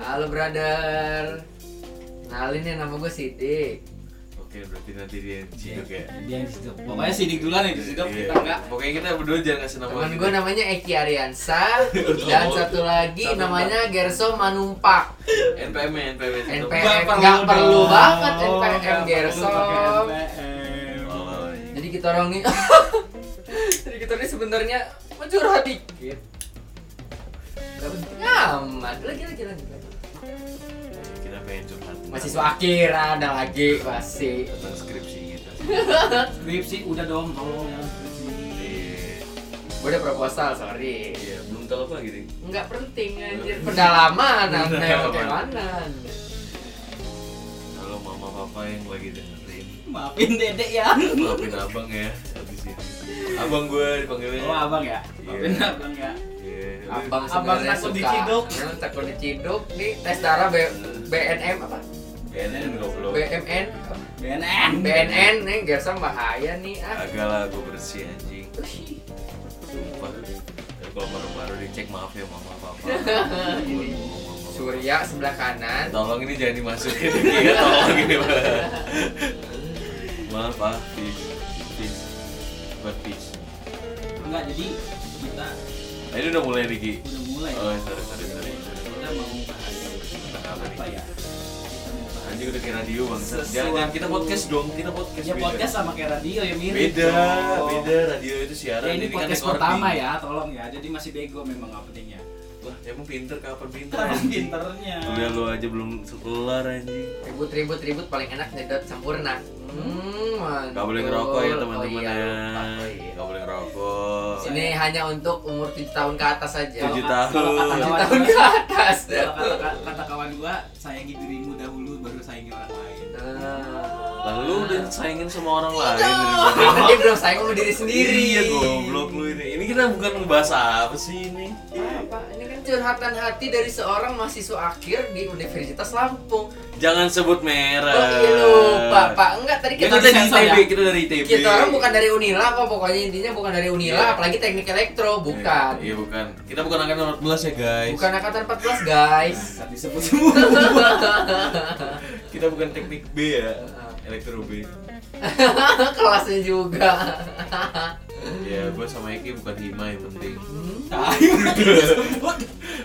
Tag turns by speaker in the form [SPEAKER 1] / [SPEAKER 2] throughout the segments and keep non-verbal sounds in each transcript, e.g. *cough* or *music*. [SPEAKER 1] Halo brother. Nalin ya nama gue Siti.
[SPEAKER 2] Oke, berarti nanti dia
[SPEAKER 1] Iya.
[SPEAKER 2] ciduk ya.
[SPEAKER 3] Dia yang disidok. Pokoknya sidik duluan yang disidok
[SPEAKER 2] Iya.
[SPEAKER 3] kita enggak.
[SPEAKER 2] Pokoknya kita berdua jangan kasih nama.
[SPEAKER 1] Temen
[SPEAKER 2] gitu.
[SPEAKER 1] gue namanya Eki
[SPEAKER 2] *laughs*
[SPEAKER 1] Ariansa dan satu lagi
[SPEAKER 2] Satu
[SPEAKER 1] namanya Gerso Manumpak.
[SPEAKER 2] NPM ya, NPM. ya, satu.
[SPEAKER 1] NPM. Eh, nggak perlu
[SPEAKER 3] dong.
[SPEAKER 1] banget NPM,
[SPEAKER 3] Nggak perlu
[SPEAKER 1] Gerson.
[SPEAKER 3] pakai NPM.
[SPEAKER 2] Oh, iya.
[SPEAKER 1] Jadi kita orang nih *laughs* Jadi kita nih sebenarnya mencurhat dikit. Gak penting amat. Lagi lagi lagi. lagi.
[SPEAKER 2] kita pengen curhat. tentang-
[SPEAKER 1] Mahasiswa akhir ada lagi masih.
[SPEAKER 2] tentang skripsi gitu. kita.
[SPEAKER 3] Skripsi udah dong tolong ya skripsi.
[SPEAKER 2] Iya.
[SPEAKER 1] Gue udah proposal, sorry.
[SPEAKER 2] Iya, belum tahu apa gitu.
[SPEAKER 1] Nggak penting anjir pendalaman,
[SPEAKER 2] Pendalaman.
[SPEAKER 1] aneh bagaimana?
[SPEAKER 2] Halo mama papa yang lagi dengerin.
[SPEAKER 3] Maafin dedek ya.
[SPEAKER 2] Maafin abang ya habis ini. Abang gue dipanggilnya.
[SPEAKER 3] Oh abang ya.
[SPEAKER 2] Iya.
[SPEAKER 3] Maafin abang ya.
[SPEAKER 2] Iya.
[SPEAKER 1] Abang
[SPEAKER 3] Abang
[SPEAKER 1] sebenarnya
[SPEAKER 3] takut
[SPEAKER 1] suka.
[SPEAKER 3] diciduk.
[SPEAKER 1] Abang takut diciduk nih tes darah B- BNM apa?
[SPEAKER 2] BNN goblok.
[SPEAKER 1] BMN
[SPEAKER 3] BNN.
[SPEAKER 1] BNN nih Gerson bahaya nih ah.
[SPEAKER 2] Agak lah gue bersih anjing.
[SPEAKER 1] Ush.
[SPEAKER 2] Sumpah. Tapi Kalau baru-baru dicek maaf ya mama
[SPEAKER 1] *laughs*
[SPEAKER 2] papa.
[SPEAKER 1] Surya sebelah kanan.
[SPEAKER 2] Eh, Tolong ini jangan dimasukin lagi ya, tolong ini Pak. Maaf Pak, peace, peace, bukan peace.
[SPEAKER 3] Enggak jadi kita
[SPEAKER 2] Nah, ini udah mulai nih Ki.
[SPEAKER 3] udah mulai.
[SPEAKER 2] Oh, sorry, sorry, sorry.
[SPEAKER 3] Kita mau bahas
[SPEAKER 2] Tentang apa
[SPEAKER 3] apa
[SPEAKER 2] nih?
[SPEAKER 3] ya? Kita mau bahas.
[SPEAKER 2] Anjing udah kayak radio bang. Jangan, jangan, kita podcast dong, kita podcast.
[SPEAKER 3] Ya
[SPEAKER 2] beda.
[SPEAKER 3] podcast sama kayak radio ya mirip.
[SPEAKER 2] Beda,
[SPEAKER 3] dong.
[SPEAKER 2] beda. Radio itu siaran.
[SPEAKER 3] Ya, ini podcast
[SPEAKER 2] recording.
[SPEAKER 3] pertama ya, tolong ya. Jadi masih bego memang nggak pentingnya.
[SPEAKER 2] Wah, emang pinter kapan pinter?
[SPEAKER 3] Terang
[SPEAKER 2] anjing?
[SPEAKER 3] pinternya.
[SPEAKER 2] Udah lu aja belum sekolah anjing.
[SPEAKER 1] Ribut ribut ribut paling enak nyedot sempurna. Hmm,
[SPEAKER 2] Gak boleh ngerokok ya
[SPEAKER 1] mantul. Oh,
[SPEAKER 2] teman-teman ya.
[SPEAKER 1] iya, lupa, oh, iya.
[SPEAKER 2] Gak boleh ngerokok.
[SPEAKER 1] Ini hanya untuk umur 7 tahun ke atas saja.
[SPEAKER 2] Tujuh
[SPEAKER 1] 7
[SPEAKER 2] tahun.
[SPEAKER 3] Kalau kata kawan
[SPEAKER 1] tahun ke
[SPEAKER 3] gua,
[SPEAKER 1] atas. Nah.
[SPEAKER 3] kalau kata, kata, kata kawan gua, sayangi dirimu dahulu baru sayangi orang lain.
[SPEAKER 1] Ah.
[SPEAKER 2] Lalu udah sayangin sama orang lain
[SPEAKER 1] Karena
[SPEAKER 2] daripada
[SPEAKER 1] dia belum sayang sama diri sendiri.
[SPEAKER 2] Iya goblok lu ini. Ini kita bukan ngebahas apa sih ini?
[SPEAKER 1] Apa? Ini kan curhatan hati dari seorang mahasiswa akhir di Universitas Lampung.
[SPEAKER 2] Jangan sebut
[SPEAKER 1] Oh
[SPEAKER 2] merah.
[SPEAKER 1] iya lupa, Pak. Enggak, tadi
[SPEAKER 2] Ya,
[SPEAKER 1] kita
[SPEAKER 2] kita
[SPEAKER 3] harus
[SPEAKER 2] dari
[SPEAKER 3] sensor
[SPEAKER 2] ITB,
[SPEAKER 3] ya.
[SPEAKER 2] kita dari ITB.
[SPEAKER 1] kita orang bukan dari Unila kok. Pokoknya intinya bukan dari Unila,
[SPEAKER 2] Iya.
[SPEAKER 1] apalagi teknik elektro, bukan.
[SPEAKER 2] Iya, bukan. Kita bukan angkatan 14 ya, guys.
[SPEAKER 1] Bukan angkatan 14, guys. *laughs*
[SPEAKER 3] Saat disebut semua. *laughs*
[SPEAKER 2] Kita bukan teknik B ya. Elektro B.
[SPEAKER 1] Kelasnya juga.
[SPEAKER 2] Ya, gua sama Eki bukan Hima yang
[SPEAKER 1] *laughs*
[SPEAKER 2] penting.
[SPEAKER 3] Tahu disebut.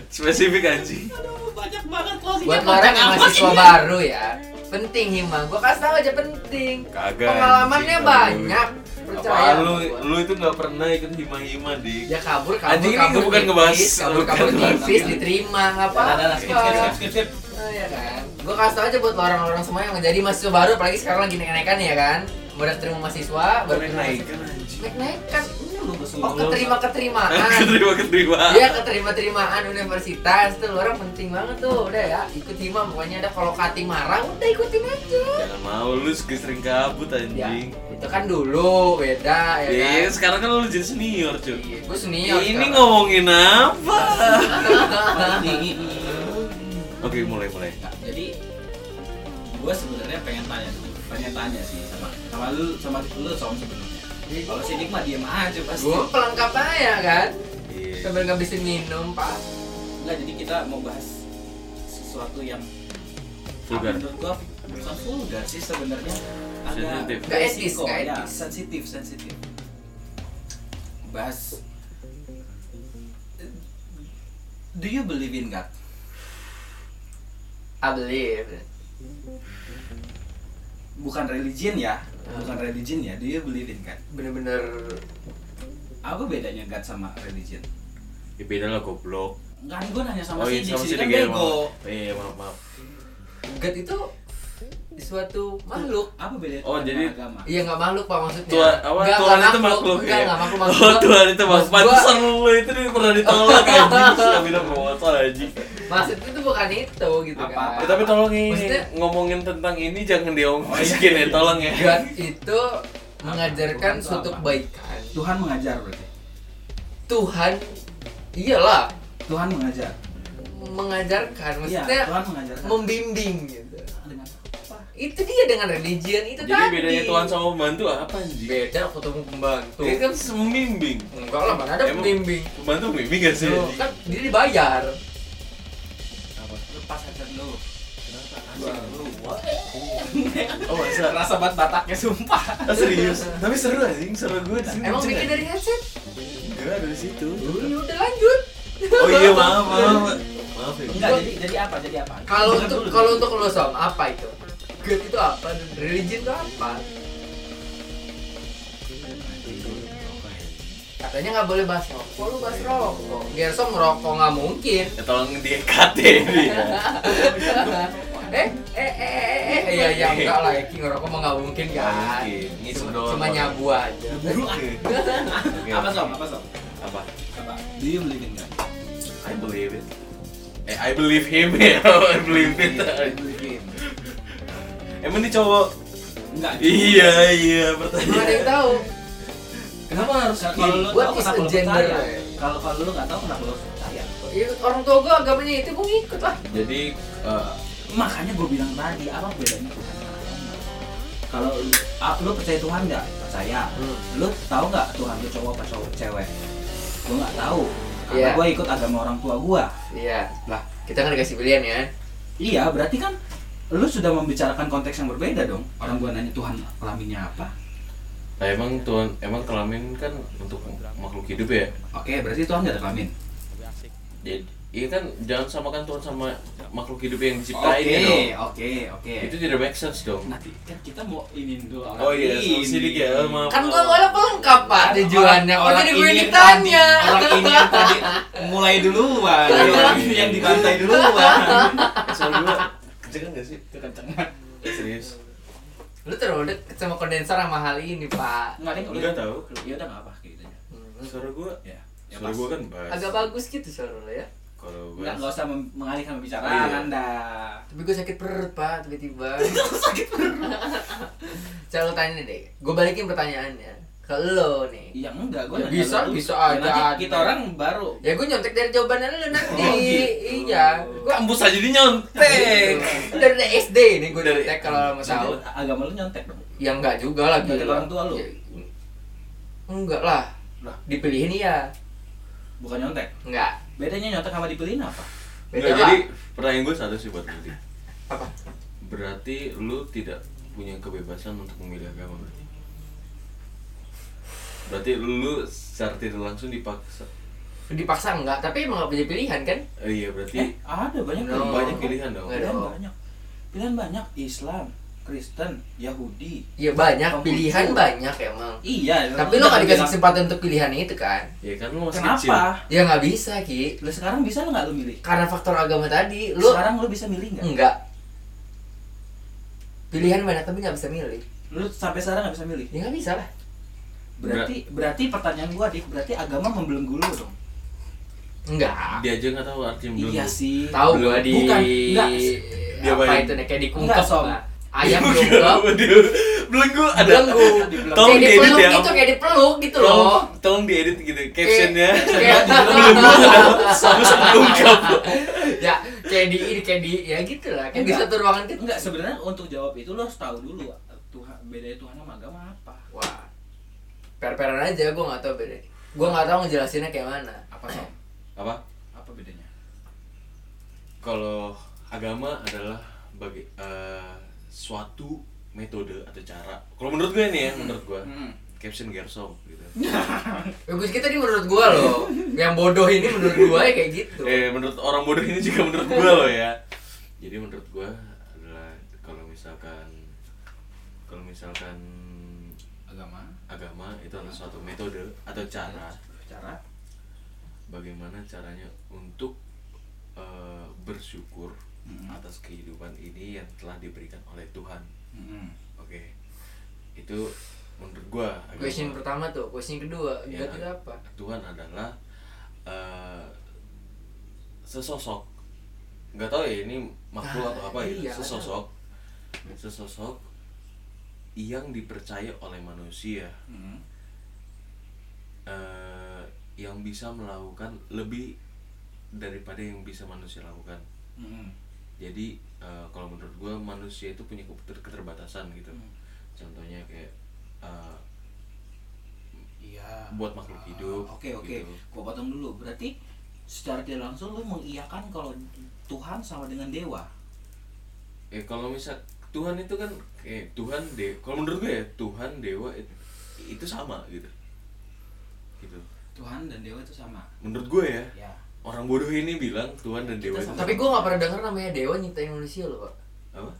[SPEAKER 2] Spesifik anjing.
[SPEAKER 3] Aduh, banyak banget closing.
[SPEAKER 1] Buat lo orang yang mahasiswa baru ya, penting Hima. Gue kasih tau aja penting.
[SPEAKER 2] Kagak.
[SPEAKER 1] Pengalamannya
[SPEAKER 2] anjing,
[SPEAKER 1] banyak.
[SPEAKER 2] aduh.
[SPEAKER 1] Percaya.
[SPEAKER 2] Apaan lu?
[SPEAKER 1] sama gua.
[SPEAKER 2] Lu itu nggak pernah ikut hima-hima, Dik.
[SPEAKER 1] Ya kabur, kabur,
[SPEAKER 2] Anjing, ini
[SPEAKER 1] kabur
[SPEAKER 2] bukan
[SPEAKER 1] tipis,
[SPEAKER 2] ngebahas-
[SPEAKER 1] kabur,
[SPEAKER 2] bukan
[SPEAKER 1] kabur
[SPEAKER 2] ngebahas.
[SPEAKER 1] tipis, diterima, nggak apa
[SPEAKER 3] Ada ada skip skip skip, skip skip.
[SPEAKER 1] ya kan? Gue kasih tau aja buat lo orang-orang semua yang menjadi mahasiswa baru, apalagi sekarang lagi naik-naikan ya kan? Baru terima mahasiswa, baru
[SPEAKER 2] Boleh
[SPEAKER 1] terima-
[SPEAKER 2] naik kan anjing.
[SPEAKER 1] Naik-naikan,
[SPEAKER 3] Lu kesel
[SPEAKER 1] oh
[SPEAKER 3] lu.
[SPEAKER 2] *laughs*
[SPEAKER 1] keterima-keterimaan
[SPEAKER 2] Keterima-keterima.
[SPEAKER 1] Iya keterima-terimaan universitas, tuh lo orang penting banget tuh Udah ya, ikut hima, pokoknya ada kalau kating marah, udah ikutin aja
[SPEAKER 2] Jangan mau lu juga sering kabut
[SPEAKER 1] Ya,
[SPEAKER 2] anjing.
[SPEAKER 1] itu kan dulu, beda ya
[SPEAKER 2] Ya,
[SPEAKER 1] kan?
[SPEAKER 2] sekarang kan lu jadi senior, cuy.
[SPEAKER 1] Gue senior
[SPEAKER 2] ini
[SPEAKER 1] sekarang.
[SPEAKER 2] ngomongin apa?
[SPEAKER 3] Ini- ini-
[SPEAKER 2] Oke, mulai mulai.
[SPEAKER 3] Nah, jadi gue sebenarnya pengen tanya dulu, pengen tanya sih sama sama lu sama lu som sebenarnya. Kalau sidik mah diem aja pasti.
[SPEAKER 1] Gue pelengkap aja kan?
[SPEAKER 2] Iya.
[SPEAKER 1] Sambil ngabisin minum, Pak
[SPEAKER 3] Enggak, jadi kita mau bahas sesuatu yang
[SPEAKER 2] Vulgar.
[SPEAKER 3] menurut gua bukan vulgar sih sebenarnya.
[SPEAKER 2] Sensitif.
[SPEAKER 1] Nggak etis,
[SPEAKER 3] resiko,
[SPEAKER 1] nggak
[SPEAKER 3] ya,
[SPEAKER 1] etis.
[SPEAKER 3] sensitif, sensitif. Bahas Do you believe in God?
[SPEAKER 1] I believe
[SPEAKER 3] Bukan religion ya, bukan religion ya. Do you believe in God?
[SPEAKER 1] bener-bener
[SPEAKER 3] Apa bedanya God sama religion?
[SPEAKER 2] Ya beda lah goblok.
[SPEAKER 3] Kan gue nanya sama si Jack, si
[SPEAKER 2] Sidik
[SPEAKER 3] kan
[SPEAKER 2] ya,
[SPEAKER 3] bego.
[SPEAKER 2] maaf. Iya, maaf, maaf.
[SPEAKER 1] God itu suatu makhluk
[SPEAKER 3] Apa bedanya
[SPEAKER 2] Oh,
[SPEAKER 3] Tuhan
[SPEAKER 2] jadi-
[SPEAKER 3] sama agama?
[SPEAKER 1] iya nggak makhluk pak maksudnya
[SPEAKER 2] Tuhan, apa
[SPEAKER 1] Nggak,
[SPEAKER 2] Tuhan
[SPEAKER 1] nggak
[SPEAKER 2] itu makhluk
[SPEAKER 1] nggak
[SPEAKER 2] ya?
[SPEAKER 1] nggak makhluk
[SPEAKER 2] Oh,
[SPEAKER 1] maksud
[SPEAKER 2] Tuhan itu makhluk.
[SPEAKER 1] Maksud gua-
[SPEAKER 2] Pantesan lu itu pernah ditolak anjing. Terus gak bilang botol anjing.
[SPEAKER 1] maksudnya itu bukan itu gitu
[SPEAKER 3] Apa?
[SPEAKER 1] kan
[SPEAKER 2] Ya, tapi tolong ini
[SPEAKER 1] Maksudnya-
[SPEAKER 2] ngomongin tentang ini jangan
[SPEAKER 3] Oh,
[SPEAKER 2] diomongin *laughs*
[SPEAKER 3] iya.
[SPEAKER 2] ya tolong ya.
[SPEAKER 1] God itu mengajarkan
[SPEAKER 3] Tuhan itu
[SPEAKER 1] suatu
[SPEAKER 3] apa?
[SPEAKER 1] kebaikan
[SPEAKER 3] Tuhan mengajar berarti.
[SPEAKER 1] Tuhan iyalah
[SPEAKER 3] Tuhan mengajar.
[SPEAKER 1] mengajarkan
[SPEAKER 3] Iya,
[SPEAKER 1] maksudnya
[SPEAKER 3] Tuhan mengajar.
[SPEAKER 1] membimbing gitu
[SPEAKER 3] Dengan apa?
[SPEAKER 1] itu dia dengan religion itu
[SPEAKER 2] Jadi
[SPEAKER 1] tadi
[SPEAKER 2] bedanya Tuhan sama pembantu apa anjing?
[SPEAKER 1] beda ketemu pembantu
[SPEAKER 2] Dia kan membimbing.
[SPEAKER 1] enggak lah mana ada
[SPEAKER 2] Emang- Iya,
[SPEAKER 1] pembimbing
[SPEAKER 2] Pembantu membimbing gak sih?
[SPEAKER 1] Loh,
[SPEAKER 2] anjing?
[SPEAKER 1] kan dia dibayar
[SPEAKER 3] lu
[SPEAKER 2] Kenapa?
[SPEAKER 3] Bang,
[SPEAKER 2] Asik.
[SPEAKER 3] lu wah. oh masa rasa banget bataknya sumpah
[SPEAKER 2] Ah, serius? Tapi seru anjing, seru gue di sini.
[SPEAKER 1] Emang
[SPEAKER 2] lucu,
[SPEAKER 1] bikin
[SPEAKER 2] kan?
[SPEAKER 1] dari headset?
[SPEAKER 2] Enggak dari situ.
[SPEAKER 1] Ya udah lanjut.
[SPEAKER 2] Oh iya, maaf, maaf. Maaf ya.
[SPEAKER 3] enggak jadi jadi apa jadi apa
[SPEAKER 1] Kalau
[SPEAKER 3] Bener
[SPEAKER 1] untuk
[SPEAKER 3] dulu.
[SPEAKER 1] kalau untuk lo som apa itu? God itu apa? Dan Religion itu apa? Katanya nggak boleh bahas rokok, lu bahas rokok. Gersom ngerokok nggak mungkin. *laughs*
[SPEAKER 2] Ya tolong di cut ya ini ya.
[SPEAKER 1] eh, eh, eh, eh, eh, eh, ya, ya, enggak lah, Eki ngerokok mah nggak mungkin
[SPEAKER 2] Iya.
[SPEAKER 1] kan?
[SPEAKER 2] Mungkin. Ngisep
[SPEAKER 1] Cuma,
[SPEAKER 2] doang.
[SPEAKER 1] cuma nyabu aja.
[SPEAKER 3] Buru, ah.
[SPEAKER 2] Oke.
[SPEAKER 3] apa som apa som
[SPEAKER 2] Apa?
[SPEAKER 3] apa do you believe in God
[SPEAKER 2] I believe it. Eh, I believe him *laughs* ya. I believe it.
[SPEAKER 3] I believe in
[SPEAKER 2] Emang ini cowok?
[SPEAKER 3] enggak
[SPEAKER 2] Iya, iya,
[SPEAKER 1] Belum ada yang
[SPEAKER 2] pertanyaan.
[SPEAKER 1] tahu.
[SPEAKER 3] kenapa harus
[SPEAKER 1] Nah,
[SPEAKER 3] kalau lu
[SPEAKER 1] what
[SPEAKER 3] tahu
[SPEAKER 1] is a
[SPEAKER 3] kenapa lu
[SPEAKER 1] gender,
[SPEAKER 3] percaya
[SPEAKER 1] ya?
[SPEAKER 3] kalau kalau lu nggak tahu kenapa lu harus percaya
[SPEAKER 1] Ya, orang tua gue agamanya itu gue ngikut lah.
[SPEAKER 2] Jadi eh,
[SPEAKER 3] makanya gue bilang tadi apa bedanya Tuhan sama agama? kalau lu, ah, lu percaya Tuhan nggak percaya lu tahu nggak Tuhan lu cowok apa cowok cewek gue nggak tahu karena
[SPEAKER 1] Iya.
[SPEAKER 3] gue ikut agama orang tua gue
[SPEAKER 1] Iya,
[SPEAKER 3] lah
[SPEAKER 1] kita kan dikasih pilihan ya.
[SPEAKER 3] iya berarti kan lu sudah membicarakan konteks yang berbeda dong orang gue nanya Tuhan kelaminnya apa
[SPEAKER 2] Nah, emang Tuhan, emang kelamin kan untuk makhluk hidup ya.
[SPEAKER 3] oke berarti Tuhan nggak ada kelamin
[SPEAKER 2] Jadi, iya kan jangan samakan Tuhan sama makhluk hidup yang diciptain ya
[SPEAKER 3] oke
[SPEAKER 2] dong.
[SPEAKER 3] oke oke
[SPEAKER 2] Itu tidak make sense dong.
[SPEAKER 3] nanti kan kita mau ingin dulu orang
[SPEAKER 2] Oh iya,
[SPEAKER 3] ini.
[SPEAKER 2] sedikit ya, maaf.
[SPEAKER 1] Kan gue malah pelengkap pak
[SPEAKER 3] Kan
[SPEAKER 1] tujuannya. Oh
[SPEAKER 3] orang-
[SPEAKER 1] jadi
[SPEAKER 3] orang
[SPEAKER 1] gue
[SPEAKER 3] ini yang
[SPEAKER 1] ditanya.
[SPEAKER 3] tadi- orang *laughs* ini yang tadi mulai duluan Iya. orang ini yang dibantai duluan
[SPEAKER 2] Soal gue kenceng gak sih?
[SPEAKER 3] kencengan
[SPEAKER 2] kan- Serius?
[SPEAKER 1] Lu terlalu deket sama kondensor sama hal ini pak.
[SPEAKER 3] nggak ada yang
[SPEAKER 2] Enggak tahu.
[SPEAKER 3] ya udah nggak apa gitu aja
[SPEAKER 1] Hmm.
[SPEAKER 2] Suara gue,
[SPEAKER 3] ya ya
[SPEAKER 2] suara
[SPEAKER 3] pas.
[SPEAKER 2] gue kan bass.
[SPEAKER 1] Agak bagus gitu suara lo ya.
[SPEAKER 2] Kalau gue,
[SPEAKER 3] nggak nggak usah mem- mengalihkan pembicaraan
[SPEAKER 2] Iya.
[SPEAKER 3] anda *laughs*
[SPEAKER 1] Tapi gue sakit perut pak *laughs* tiba-tiba. sakit perut. Coba lu tanya deh. Gue balikin pertanyaannya ke lo nih.
[SPEAKER 3] iya enggak gue
[SPEAKER 1] Ya, bisa, bisa aja,
[SPEAKER 3] nanti kita
[SPEAKER 1] Anda.
[SPEAKER 3] orang baru
[SPEAKER 1] Ya gue nyontek dari jawabannya lu nanti.
[SPEAKER 3] Oh, gitu.
[SPEAKER 1] Iya. Gue
[SPEAKER 2] ambus aja di nyontek.
[SPEAKER 1] dari SD nih gue
[SPEAKER 2] Dari-
[SPEAKER 1] nyontek kalau mau Ya, tahu.
[SPEAKER 3] Jadi, agama lu nyontek dong
[SPEAKER 1] Ya enggak juga lah
[SPEAKER 3] Dari
[SPEAKER 1] gila.
[SPEAKER 3] orang tua lu?
[SPEAKER 1] Ya, Enggak lah.
[SPEAKER 3] Lah.
[SPEAKER 1] Dipilihin iya.
[SPEAKER 3] bukan nyontek
[SPEAKER 1] Enggak.
[SPEAKER 3] bedanya nyontek sama dipilihin apa
[SPEAKER 1] Beda
[SPEAKER 2] Enggak,
[SPEAKER 1] lah.
[SPEAKER 2] jadi pertanyaan gue satu sih buat nanti.
[SPEAKER 1] apa?
[SPEAKER 2] Berarti lu tidak punya kebebasan untuk memilih agama berarti? Berarti lu secara tidak langsung dipaksa.
[SPEAKER 1] Dipaksa enggak, tapi emang enggak punya pilihan kan?
[SPEAKER 2] Eh, iya berarti
[SPEAKER 3] eh ada banyak
[SPEAKER 1] No.
[SPEAKER 3] pilihan.
[SPEAKER 2] banyak pilihan dong.
[SPEAKER 1] Nggak
[SPEAKER 3] pilihan
[SPEAKER 1] dong.
[SPEAKER 3] banyak pilihan banyak Islam Kristen Yahudi
[SPEAKER 1] Ya banyak,
[SPEAKER 3] Kamu
[SPEAKER 1] pilihan
[SPEAKER 3] itu.
[SPEAKER 1] banyak emang.
[SPEAKER 3] iya
[SPEAKER 1] Tapi lo gak dikasih
[SPEAKER 3] bilang,
[SPEAKER 1] kesempatan untuk pilihan itu kan?
[SPEAKER 2] Ya kan lu masih kecil.
[SPEAKER 3] kenapa
[SPEAKER 1] Ya nggak bisa Ki
[SPEAKER 3] lu sekarang bisa lu nggak lu milih
[SPEAKER 1] Karena faktor agama tadi,
[SPEAKER 3] lu
[SPEAKER 1] lo
[SPEAKER 3] sekarang lu bisa milih nggak
[SPEAKER 1] enggak Pilihan banyak tapi nggak bisa milih
[SPEAKER 3] lu sampai sekarang nggak bisa milih
[SPEAKER 1] Ya nggak bisa lah
[SPEAKER 3] berarti berarti pertanyaan gua dik berarti agama membelenggu lu dong
[SPEAKER 1] Enggak
[SPEAKER 2] Dia aja nggak tahu arti belum.
[SPEAKER 3] iya sih
[SPEAKER 1] Tahu gue di...
[SPEAKER 3] Bukan, enggak.
[SPEAKER 2] Dia
[SPEAKER 1] apa
[SPEAKER 2] bayang-
[SPEAKER 1] itu nih, kayak di
[SPEAKER 3] Enggak,
[SPEAKER 1] kungkep
[SPEAKER 3] Som.
[SPEAKER 1] lah Ayam kungkep
[SPEAKER 2] Belenggu ada.
[SPEAKER 1] Belenggu
[SPEAKER 2] Tolong
[SPEAKER 1] Kayak
[SPEAKER 2] diedit
[SPEAKER 1] dipeluk
[SPEAKER 2] ya.
[SPEAKER 1] gitu, kayak dipeluk gitu
[SPEAKER 2] Tolong,
[SPEAKER 1] loh
[SPEAKER 2] tolong diedit gitu captionnya.
[SPEAKER 1] *laughs* Kayak-
[SPEAKER 2] Sama sama ungkap.
[SPEAKER 1] ya kayak di ini kayak di ya gitu lah kayak di
[SPEAKER 3] Enggak.
[SPEAKER 1] satu ruangan gitu
[SPEAKER 3] enggak sebenarnya untuk jawab itu lu harus tahu dulu Tuhan bedanya Tuhan sama agama apa
[SPEAKER 1] wah per-peran aja gue nggak tahu beda gue nggak tahu ngejelasinnya kayak mana
[SPEAKER 3] apa sih
[SPEAKER 2] Apa?
[SPEAKER 3] apa bedanya
[SPEAKER 2] Kalau agama adalah bagi eh, suatu metode atau cara. Kalau menurut gue nih ya, menurut gue
[SPEAKER 3] Hmm.
[SPEAKER 2] caption Gersom gitu.
[SPEAKER 1] bagus Ya, kita ini menurut gue
[SPEAKER 2] *laughs*
[SPEAKER 1] loh yang bodoh ini menurut gue ya kayak gitu
[SPEAKER 2] Eh menurut orang bodoh ini juga menurut gue loh ya. Jadi menurut gue adalah kalau misalkan kalau misalkan
[SPEAKER 3] agama
[SPEAKER 2] agama itu adalah suatu metode atau cara
[SPEAKER 3] cara
[SPEAKER 2] bagaimana caranya untuk eh, bersyukur atas kehidupan ini yang telah diberikan oleh Tuhan.
[SPEAKER 3] Mm-mm.
[SPEAKER 2] Oke. Itu menurut gua agama.
[SPEAKER 1] question pertama tuh question kedua
[SPEAKER 2] Ya,
[SPEAKER 1] ya. itu apa
[SPEAKER 2] Tuhan adalah eh, sesosok. Nggak tahu ya ini makhluk atau apa
[SPEAKER 1] Ah,
[SPEAKER 2] gitu.
[SPEAKER 1] iya,
[SPEAKER 2] sesosok. Sesosok yang dipercaya oleh manusia
[SPEAKER 3] Mm-mm.
[SPEAKER 2] eh, yang bisa melakukan lebih daripada yang bisa manusia lakukan.
[SPEAKER 3] Mm-mm.
[SPEAKER 2] jadi eh, kalau menurut gue manusia itu punya keter- keterbatasan gitu
[SPEAKER 3] Hmm.
[SPEAKER 2] contohnya kayak eh,
[SPEAKER 3] Iya.
[SPEAKER 2] Buat makhluk
[SPEAKER 3] Ah,
[SPEAKER 2] hidup,
[SPEAKER 3] Oke oke.
[SPEAKER 2] gitu.
[SPEAKER 3] Gua potong dulu. Berarti secara tidak langsung lu mengiyakan kalau Tuhan sama dengan dewa.
[SPEAKER 2] ya kalau misal Tuhan itu kan eh Tuhan de kalau menurut gue ya Tuhan dewa it- itu sama gitu gitu
[SPEAKER 3] Tuhan dan dewa itu sama
[SPEAKER 2] menurut gue ya
[SPEAKER 3] ya
[SPEAKER 2] orang bodoh ini bilang Tuhan dan dewa itu
[SPEAKER 1] Tapi gue gak pernah denger namanya Dewa nyiptain manusia loh pak.
[SPEAKER 2] apa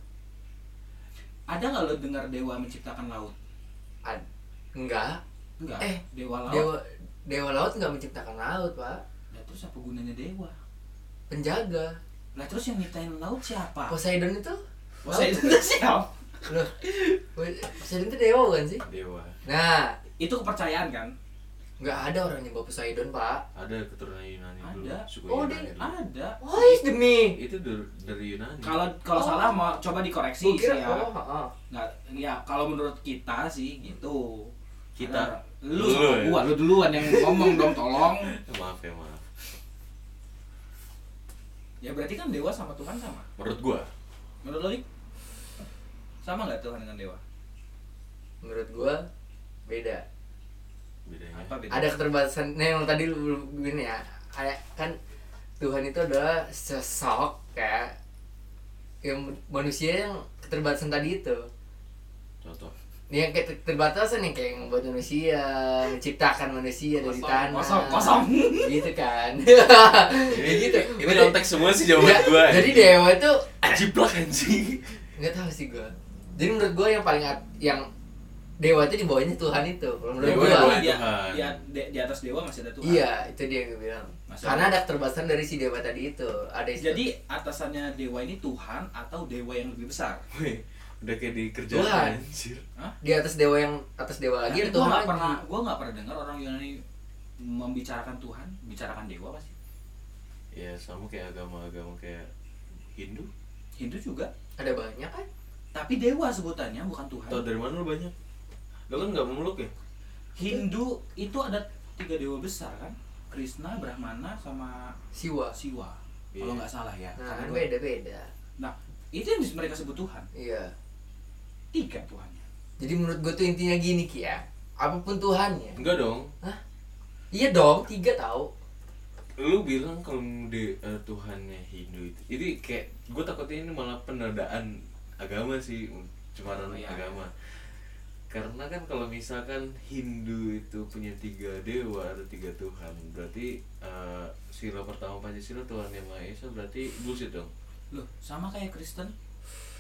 [SPEAKER 3] ada nggak lo dengar dewa menciptakan laut
[SPEAKER 1] Ad, enggak.
[SPEAKER 3] enggak
[SPEAKER 1] Eh,
[SPEAKER 3] dewa laut
[SPEAKER 1] Dewa Dewa laut nggak menciptakan laut pak.
[SPEAKER 3] Nah, terus apa gunanya dewa
[SPEAKER 1] Penjaga.
[SPEAKER 3] lah terus yang nyiptain laut
[SPEAKER 2] Ah.
[SPEAKER 3] siapa
[SPEAKER 1] Poseidon itu?
[SPEAKER 3] Poseidon itu *laughs* siapa
[SPEAKER 1] Loh, Poseidon itu dewa bukan sih?
[SPEAKER 2] dewa
[SPEAKER 1] Nah,
[SPEAKER 3] itu kepercayaan kan
[SPEAKER 1] nggak ada orang nyembah Poseidon pak.
[SPEAKER 2] ada keturunan Yunani dulu
[SPEAKER 3] Ada.
[SPEAKER 2] suku
[SPEAKER 1] Oh,
[SPEAKER 2] Yunani
[SPEAKER 1] dia-
[SPEAKER 2] dulu.
[SPEAKER 3] ada
[SPEAKER 1] Wah, demi.
[SPEAKER 2] itu dari, dari Yunani
[SPEAKER 3] kalau kalau
[SPEAKER 1] Oh.
[SPEAKER 3] salah mau coba
[SPEAKER 1] Gue
[SPEAKER 3] dikoreksi
[SPEAKER 1] kira,
[SPEAKER 3] sih ya
[SPEAKER 1] oh, oh, oh.
[SPEAKER 3] nggak ya kalau menurut kita sih gitu
[SPEAKER 2] Kita?
[SPEAKER 3] Karena lu
[SPEAKER 2] Lu ya?
[SPEAKER 3] sama gua lu duluan yang ngomong dong tolong
[SPEAKER 2] Eh, maaf ya maaf
[SPEAKER 3] ya berarti kan dewa sama Tuhan sama
[SPEAKER 2] menurut gue
[SPEAKER 3] menurut lo Dik? sama nggak Tuhan dengan dewa
[SPEAKER 1] menurut gue beda.
[SPEAKER 2] bedanya
[SPEAKER 3] apa beda
[SPEAKER 1] Ada keterbatasan. Nah, yang tadi lu lu- gini ya, ada kan Tuhan itu adalah sesosok kayak yang manusia yang keterbatasan tadi itu.
[SPEAKER 2] contoh
[SPEAKER 1] Ini yang kayak keterbatasan nih kayak yang membuat manusia, menciptakan manusia dari
[SPEAKER 3] Kosong,
[SPEAKER 1] tanah.
[SPEAKER 3] kosong, kosong. Iya,
[SPEAKER 1] Gitu
[SPEAKER 3] *laughs*
[SPEAKER 1] kan.
[SPEAKER 2] ini
[SPEAKER 1] gitu.
[SPEAKER 2] ini konteks semua sih jawaban
[SPEAKER 1] Nggak,
[SPEAKER 2] gue
[SPEAKER 1] Jadi dewa itu
[SPEAKER 2] jiplak anjing
[SPEAKER 1] nggak tahu sih gue. Jadi menurut gue yang paling at- yang dewa itu di bawahnya Tuhan itu. Kalau menurut
[SPEAKER 2] Dewa
[SPEAKER 1] gue.
[SPEAKER 2] di bawah
[SPEAKER 3] di,
[SPEAKER 2] Tuhan.
[SPEAKER 3] di, Iya, di, di atas dewa masih ada Tuhan
[SPEAKER 1] Iya, itu dia yang gue bilang.
[SPEAKER 3] Masuk.
[SPEAKER 1] Karena ada keterbatasan dari si dewa tadi itu. Ada istilah-
[SPEAKER 3] jadi atasannya dewa ini Tuhan atau dewa yang lebih besar
[SPEAKER 2] Weh, udah kayak di
[SPEAKER 1] Tuhan.
[SPEAKER 2] kerjaan anjir
[SPEAKER 1] di atas dewa yang atas dewa lagi ada
[SPEAKER 3] gue
[SPEAKER 1] Tuhan
[SPEAKER 3] nggak
[SPEAKER 1] lagi.
[SPEAKER 3] pernah gue nggak pernah dengar orang Yunani membicarakan Tuhan bicarakan dewa pasti
[SPEAKER 2] ya sama kayak agama-agama kayak Hindu
[SPEAKER 3] Hindu juga
[SPEAKER 1] Ada banyak kan?
[SPEAKER 3] tapi dewa sebutannya bukan Tuhan
[SPEAKER 2] tau dari mana lu banyak lu kan nggak memeluk ya
[SPEAKER 3] Hindu itu ada tiga dewa besar kan Krishna Brahmana sama
[SPEAKER 1] Siwa.
[SPEAKER 3] Siwa
[SPEAKER 2] Iya.
[SPEAKER 3] kalau nggak salah ya
[SPEAKER 1] Nah,
[SPEAKER 3] Karena
[SPEAKER 1] kan
[SPEAKER 3] gua-
[SPEAKER 1] beda-beda.
[SPEAKER 3] nah itu yang dis- mereka sebut Tuhan
[SPEAKER 1] Iya.
[SPEAKER 3] tiga Tuhannya
[SPEAKER 1] Jadi menurut gue tuh intinya gini Ki ya. Apapun Tuhannya.
[SPEAKER 2] enggak dong
[SPEAKER 1] Iya dong, tiga tahu.
[SPEAKER 2] lu bilang kalau di eh, Tuhannya Hindu itu jadi kayak gue takutnya ini malah penodaan agama sih um, cemaran
[SPEAKER 3] Oh, iya.
[SPEAKER 2] agama karena kan kalau misalkan Hindu itu punya tiga dewa atau tiga Tuhan berarti eh, sila pertama Pancasila Tuhan yang Maha Esa berarti bullshit dong
[SPEAKER 3] loh sama kayak Kristen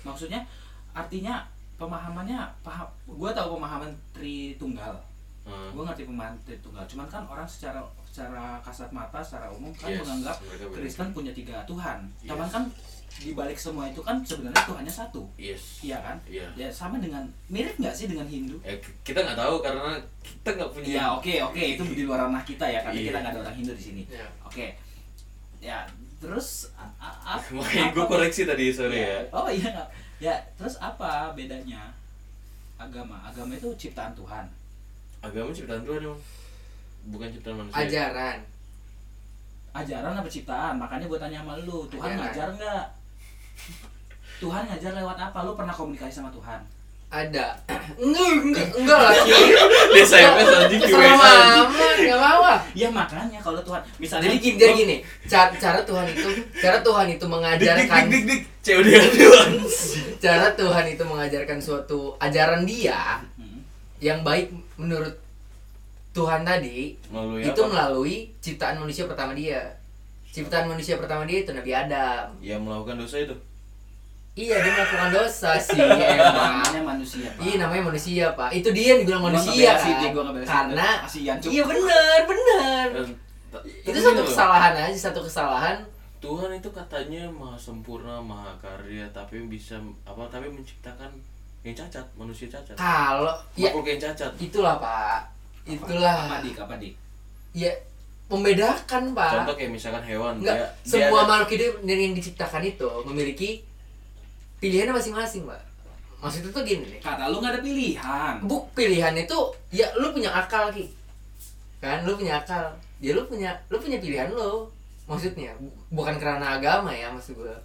[SPEAKER 3] maksudnya artinya pemahamannya paham gue tahu pemahaman Tritunggal
[SPEAKER 2] Eh,
[SPEAKER 3] gue ngerti pemahaman Tritunggal cuman kan orang secara secara kasat mata secara umum kan
[SPEAKER 2] yes,
[SPEAKER 3] menganggap
[SPEAKER 2] mereka beda.
[SPEAKER 3] Kristen punya tiga Tuhan
[SPEAKER 2] Yes.
[SPEAKER 3] cuman kan dibalik semua itu kan sebenarnya Tuhannya satu
[SPEAKER 2] yes
[SPEAKER 3] iya kan
[SPEAKER 2] iya
[SPEAKER 3] ya sama dengan mirip nggak sih dengan Hindu
[SPEAKER 2] Eh, ki- kita nggak tahu karena kita nggak punya
[SPEAKER 3] Iya oke oke itu di luar ranah kita ya karena
[SPEAKER 2] Iya.
[SPEAKER 3] kita nggak ada orang Hindu di sini.
[SPEAKER 1] Iya.
[SPEAKER 3] Oke ya terus a- a-
[SPEAKER 2] *laughs*
[SPEAKER 3] a-
[SPEAKER 2] *laughs* makanya
[SPEAKER 3] apa-
[SPEAKER 2] gue koreksi tadi sore
[SPEAKER 3] Iya.
[SPEAKER 2] ya
[SPEAKER 3] Oh iya nggak. ya terus apa bedanya agama agama itu ciptaan Tuhan.
[SPEAKER 2] agama ciptaan Tuhan emang bukan ciptaan manusia
[SPEAKER 1] Ajaran.
[SPEAKER 3] Ajaran apa ciptaan makanya gue tanya sama lu Tuhan
[SPEAKER 1] Ajaran.
[SPEAKER 3] ngajar nggak? Tuhan ngajar lewat apa? Lu pernah komunikasi sama Tuhan?
[SPEAKER 1] Ada. *clears throat* enggak, enggak, enggak lah. Ki.
[SPEAKER 2] *laughs* Dia SMS anjing di
[SPEAKER 1] Sama
[SPEAKER 2] WA anjing.
[SPEAKER 1] mama, enggak apa-apa.
[SPEAKER 3] Ya makanya kalau Tuhan misalnya
[SPEAKER 1] Jadi gini, jadi gini. Cara, cara Tuhan itu, cara Tuhan itu
[SPEAKER 2] Dik dik dik
[SPEAKER 1] mengajarkan
[SPEAKER 2] dik dik COD doang
[SPEAKER 1] cara Tuhan itu mengajarkan suatu ajaran dia
[SPEAKER 3] Hmm.
[SPEAKER 1] yang baik menurut Tuhan tadi
[SPEAKER 2] Melalui
[SPEAKER 1] itu
[SPEAKER 2] ya, apa?
[SPEAKER 1] melalui ciptaan manusia pertama dia. Ciptaan manusia pertama dia itu Nabi Adam.
[SPEAKER 2] Ya melakukan dosa itu
[SPEAKER 1] Iya dia melakukan dosa sih emang.
[SPEAKER 3] namanya manusia. Pak.
[SPEAKER 1] Iya namanya manusia pak. Itu dia yang dibilang manusia
[SPEAKER 3] Gua ngebelasin dia,
[SPEAKER 1] kan.
[SPEAKER 3] gua ngebelasin.
[SPEAKER 1] Karena
[SPEAKER 3] kasihan Cuk.
[SPEAKER 1] iya bener bener.
[SPEAKER 2] Dan- ta-
[SPEAKER 1] Itu
[SPEAKER 2] Eh, tapi
[SPEAKER 1] satu
[SPEAKER 2] gini loh,
[SPEAKER 1] kesalahan aja satu kesalahan.
[SPEAKER 2] Tuhan itu katanya maha sempurna, maha karya Tapi bisa, apa, tapi menciptakan yang cacat, manusia cacat
[SPEAKER 1] Kalau ya
[SPEAKER 2] Makhluk yang cacat
[SPEAKER 1] itulah pak.
[SPEAKER 3] Apa
[SPEAKER 1] Itulah.
[SPEAKER 3] dik? Apa dik?
[SPEAKER 1] Ya membedakan pak.
[SPEAKER 2] Contoh kayak misalkan hewan
[SPEAKER 1] Enggak,
[SPEAKER 2] dia-
[SPEAKER 1] Ya.
[SPEAKER 2] dia
[SPEAKER 1] semua
[SPEAKER 2] ada-
[SPEAKER 1] makhluk hidup yang diciptakan itu memiliki pilihannya masing-masing, Pak. Maksudnya tuh gini nih.
[SPEAKER 3] Kata lu nggak ada pilihan.
[SPEAKER 1] Buk pilihan itu ya lu punya akal, Ki. Kan lu punya akal. Ya lu punya lu punya pilihan lu. Maksudnya bu- bukan karena agama ya maksud gua.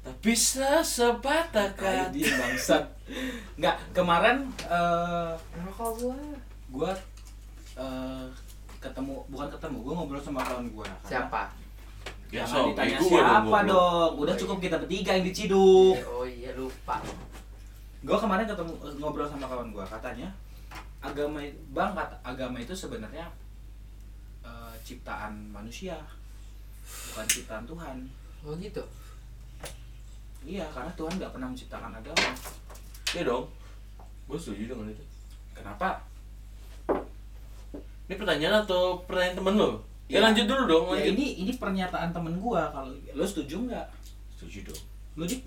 [SPEAKER 2] Tak bisa sebatas
[SPEAKER 1] Nah,
[SPEAKER 3] Kayak dia bangsat. Nggak, kemarin eh
[SPEAKER 1] Rokok gua.
[SPEAKER 3] gua eh ketemu bukan ketemu, gua ngobrol sama kawan gua. Karena
[SPEAKER 1] Siapa?
[SPEAKER 2] Ya,
[SPEAKER 3] Jangan
[SPEAKER 2] sok,
[SPEAKER 3] ditanya
[SPEAKER 2] eh, gua dong,
[SPEAKER 3] siapa
[SPEAKER 2] goblok.
[SPEAKER 3] dong. Udah cukup kita bertiga yang diciduk.
[SPEAKER 1] oh iya lupa
[SPEAKER 3] Gue kemarin ketemu eh, ngobrol sama kawan gue, katanya agama i- bang kata, agama itu sebenarnya eh, ciptaan manusia, bukan ciptaan Tuhan.
[SPEAKER 1] oh gitu
[SPEAKER 3] Iya, karena Tuhan nggak pernah menciptakan agama.
[SPEAKER 2] Iya dong. Gue setuju dengan itu.
[SPEAKER 3] Kenapa?
[SPEAKER 2] Ini pertanyaan atau pertanyaan temen lo? Ya,
[SPEAKER 3] Iya.
[SPEAKER 2] lanjut dulu dong.
[SPEAKER 3] Ya,
[SPEAKER 2] Lanjut.
[SPEAKER 3] ini ini pernyataan temen gue. Kalau lo setuju nggak?
[SPEAKER 2] Setuju dong.
[SPEAKER 3] Lo dik?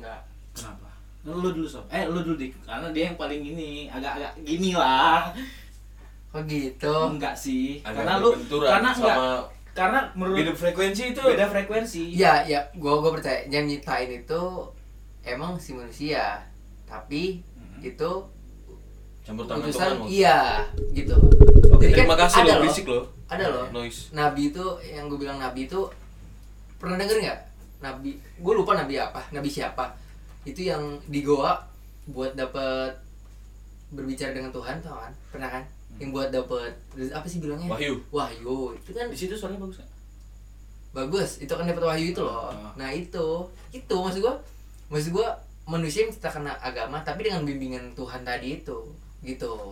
[SPEAKER 1] enggak
[SPEAKER 3] Kenapa? Lo dulu sob. Eh lo dulu dik. Karena dia yang paling ini, agak-agak gini lah.
[SPEAKER 1] oh gitu
[SPEAKER 3] Enggak sih.
[SPEAKER 2] Agak
[SPEAKER 3] karena lu
[SPEAKER 2] berbenturan
[SPEAKER 3] karena
[SPEAKER 2] sama
[SPEAKER 3] enggak karena menurut
[SPEAKER 2] Beda frekuensi itu.
[SPEAKER 3] beda frekuensi.
[SPEAKER 1] Iya, ya, gua gua percaya yang nyiptain itu emang si manusia, tapi
[SPEAKER 2] Hmm.
[SPEAKER 3] Mhm.
[SPEAKER 1] itu
[SPEAKER 2] Campur tangan Tuhan.
[SPEAKER 1] utusan
[SPEAKER 2] lo.
[SPEAKER 1] iya gitu.
[SPEAKER 3] Oke,
[SPEAKER 1] Jadi kan
[SPEAKER 2] kan, Terima kasih
[SPEAKER 1] ada
[SPEAKER 2] lo,
[SPEAKER 1] loh,
[SPEAKER 2] berisik lo.
[SPEAKER 1] Ada loh.
[SPEAKER 2] Noise.
[SPEAKER 1] Nabi itu yang gue bilang nabi itu pernah denger nggak? Nabi, gue lupa nabi apa, nabi siapa? Itu yang di goa buat dapet berbicara dengan Tuhan, tau kan? Pernah kan? Yang buat dapet apa sih bilangnya?
[SPEAKER 2] Hmm. Wahyu.
[SPEAKER 1] Wahyu itu kan
[SPEAKER 2] Di situ suaranya bagus kan?
[SPEAKER 1] bagus itu kan dapat wahyu itu loh
[SPEAKER 2] Oh.
[SPEAKER 3] Ah.
[SPEAKER 1] nah itu itu maksud gua maksud gua manusia yang menciptakan agama tapi dengan bimbingan Tuhan tadi itu gitu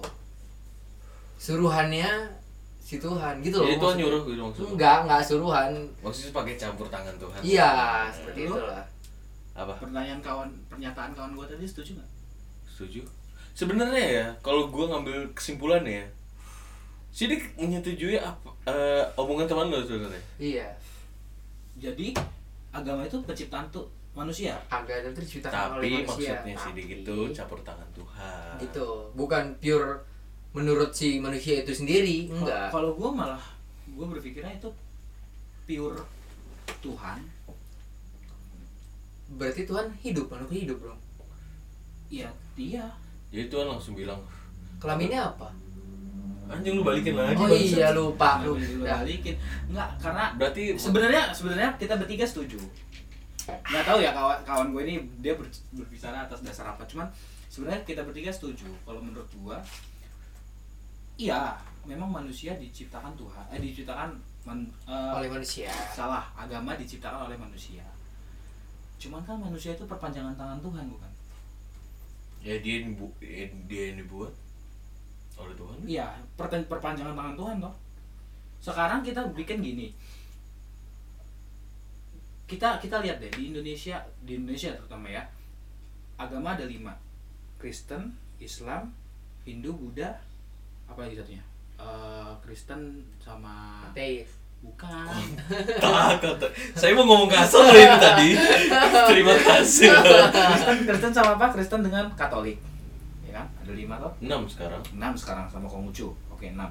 [SPEAKER 1] suruhannya si Tuhan gitu loh
[SPEAKER 2] Jadi Tuhan
[SPEAKER 1] maksudnya.
[SPEAKER 2] nyuruh gitu maksudnya.
[SPEAKER 1] enggak enggak suruhan
[SPEAKER 2] Maksudnya pakai campur tangan Tuhan.
[SPEAKER 1] iya seperti
[SPEAKER 3] Lu?
[SPEAKER 1] itulah
[SPEAKER 2] Apa?
[SPEAKER 3] Pertanyaan kawan pernyataan kawan gue tadi setuju nggak?
[SPEAKER 2] Setuju. Sebenarnya ya, kalau gua ngambil kesimpulan ya, Sidik menyetujui apa, eh, omongan teman lo sebenarnya.
[SPEAKER 1] iya
[SPEAKER 3] Jadi agama itu penciptaan tuh manusia.
[SPEAKER 1] agama itu diciptakan oleh
[SPEAKER 2] Tapi
[SPEAKER 1] Nah, manusia
[SPEAKER 2] maksudnya gitu, Sidik
[SPEAKER 1] Tapi-
[SPEAKER 2] itu campur tangan Tuhan.
[SPEAKER 1] gitu bukan pure menurut si manusia itu sendiri
[SPEAKER 3] Kalau-
[SPEAKER 1] enggak
[SPEAKER 3] Kalau gue malah gue berpikirnya itu pure Tuhan.
[SPEAKER 1] berarti Tuhan hidup makhluk hidup dong
[SPEAKER 3] Iya dia.
[SPEAKER 2] Jadi Tuhan langsung bilang,
[SPEAKER 1] kelaminnya apa
[SPEAKER 2] anjing lu balikin lagi.
[SPEAKER 1] oh
[SPEAKER 2] bangsat."
[SPEAKER 1] iya lupa
[SPEAKER 3] Lu
[SPEAKER 1] lupa
[SPEAKER 3] balikin. Nggak karena
[SPEAKER 2] Berarti
[SPEAKER 3] sebenarnya sebenarnya kita bertiga setuju nggak tahu ya kawan kawan gue ini dia ber- berbicara atas dasar apa cuman sebenarnya kita bertiga setuju kalau menurut gue iya memang manusia diciptakan Tuhan eh diciptakan man- eh,
[SPEAKER 1] oleh manusia
[SPEAKER 3] salah agama diciptakan oleh manusia cuman kan manusia itu perpanjangan tangan Tuhan bukan
[SPEAKER 2] ya dia yang dibu- eh, dia yang dibuat oleh Tuhan.
[SPEAKER 3] Iya, per- perpanjangan tangan Tuhan toh. Sekarang kita bikin gini. Kita kita lihat deh di Indonesia, di Indonesia terutama ya. Agama ada lima. Kristen, Islam, Hindu, Buddha, apa lagi satunya? Eh, Kristen sama
[SPEAKER 1] Teis.
[SPEAKER 3] bukan. *laughs*
[SPEAKER 2] Tak, kata. Saya mau ngomong kasar loh ini tadi. Terima kasih.
[SPEAKER 3] Kristen, Kristen sama apa? Kristen dengan Katolik. Ya kan? Ada lima toh.
[SPEAKER 2] Enam sekarang.
[SPEAKER 3] Enam sekarang sama Konghucu. Oke, enam.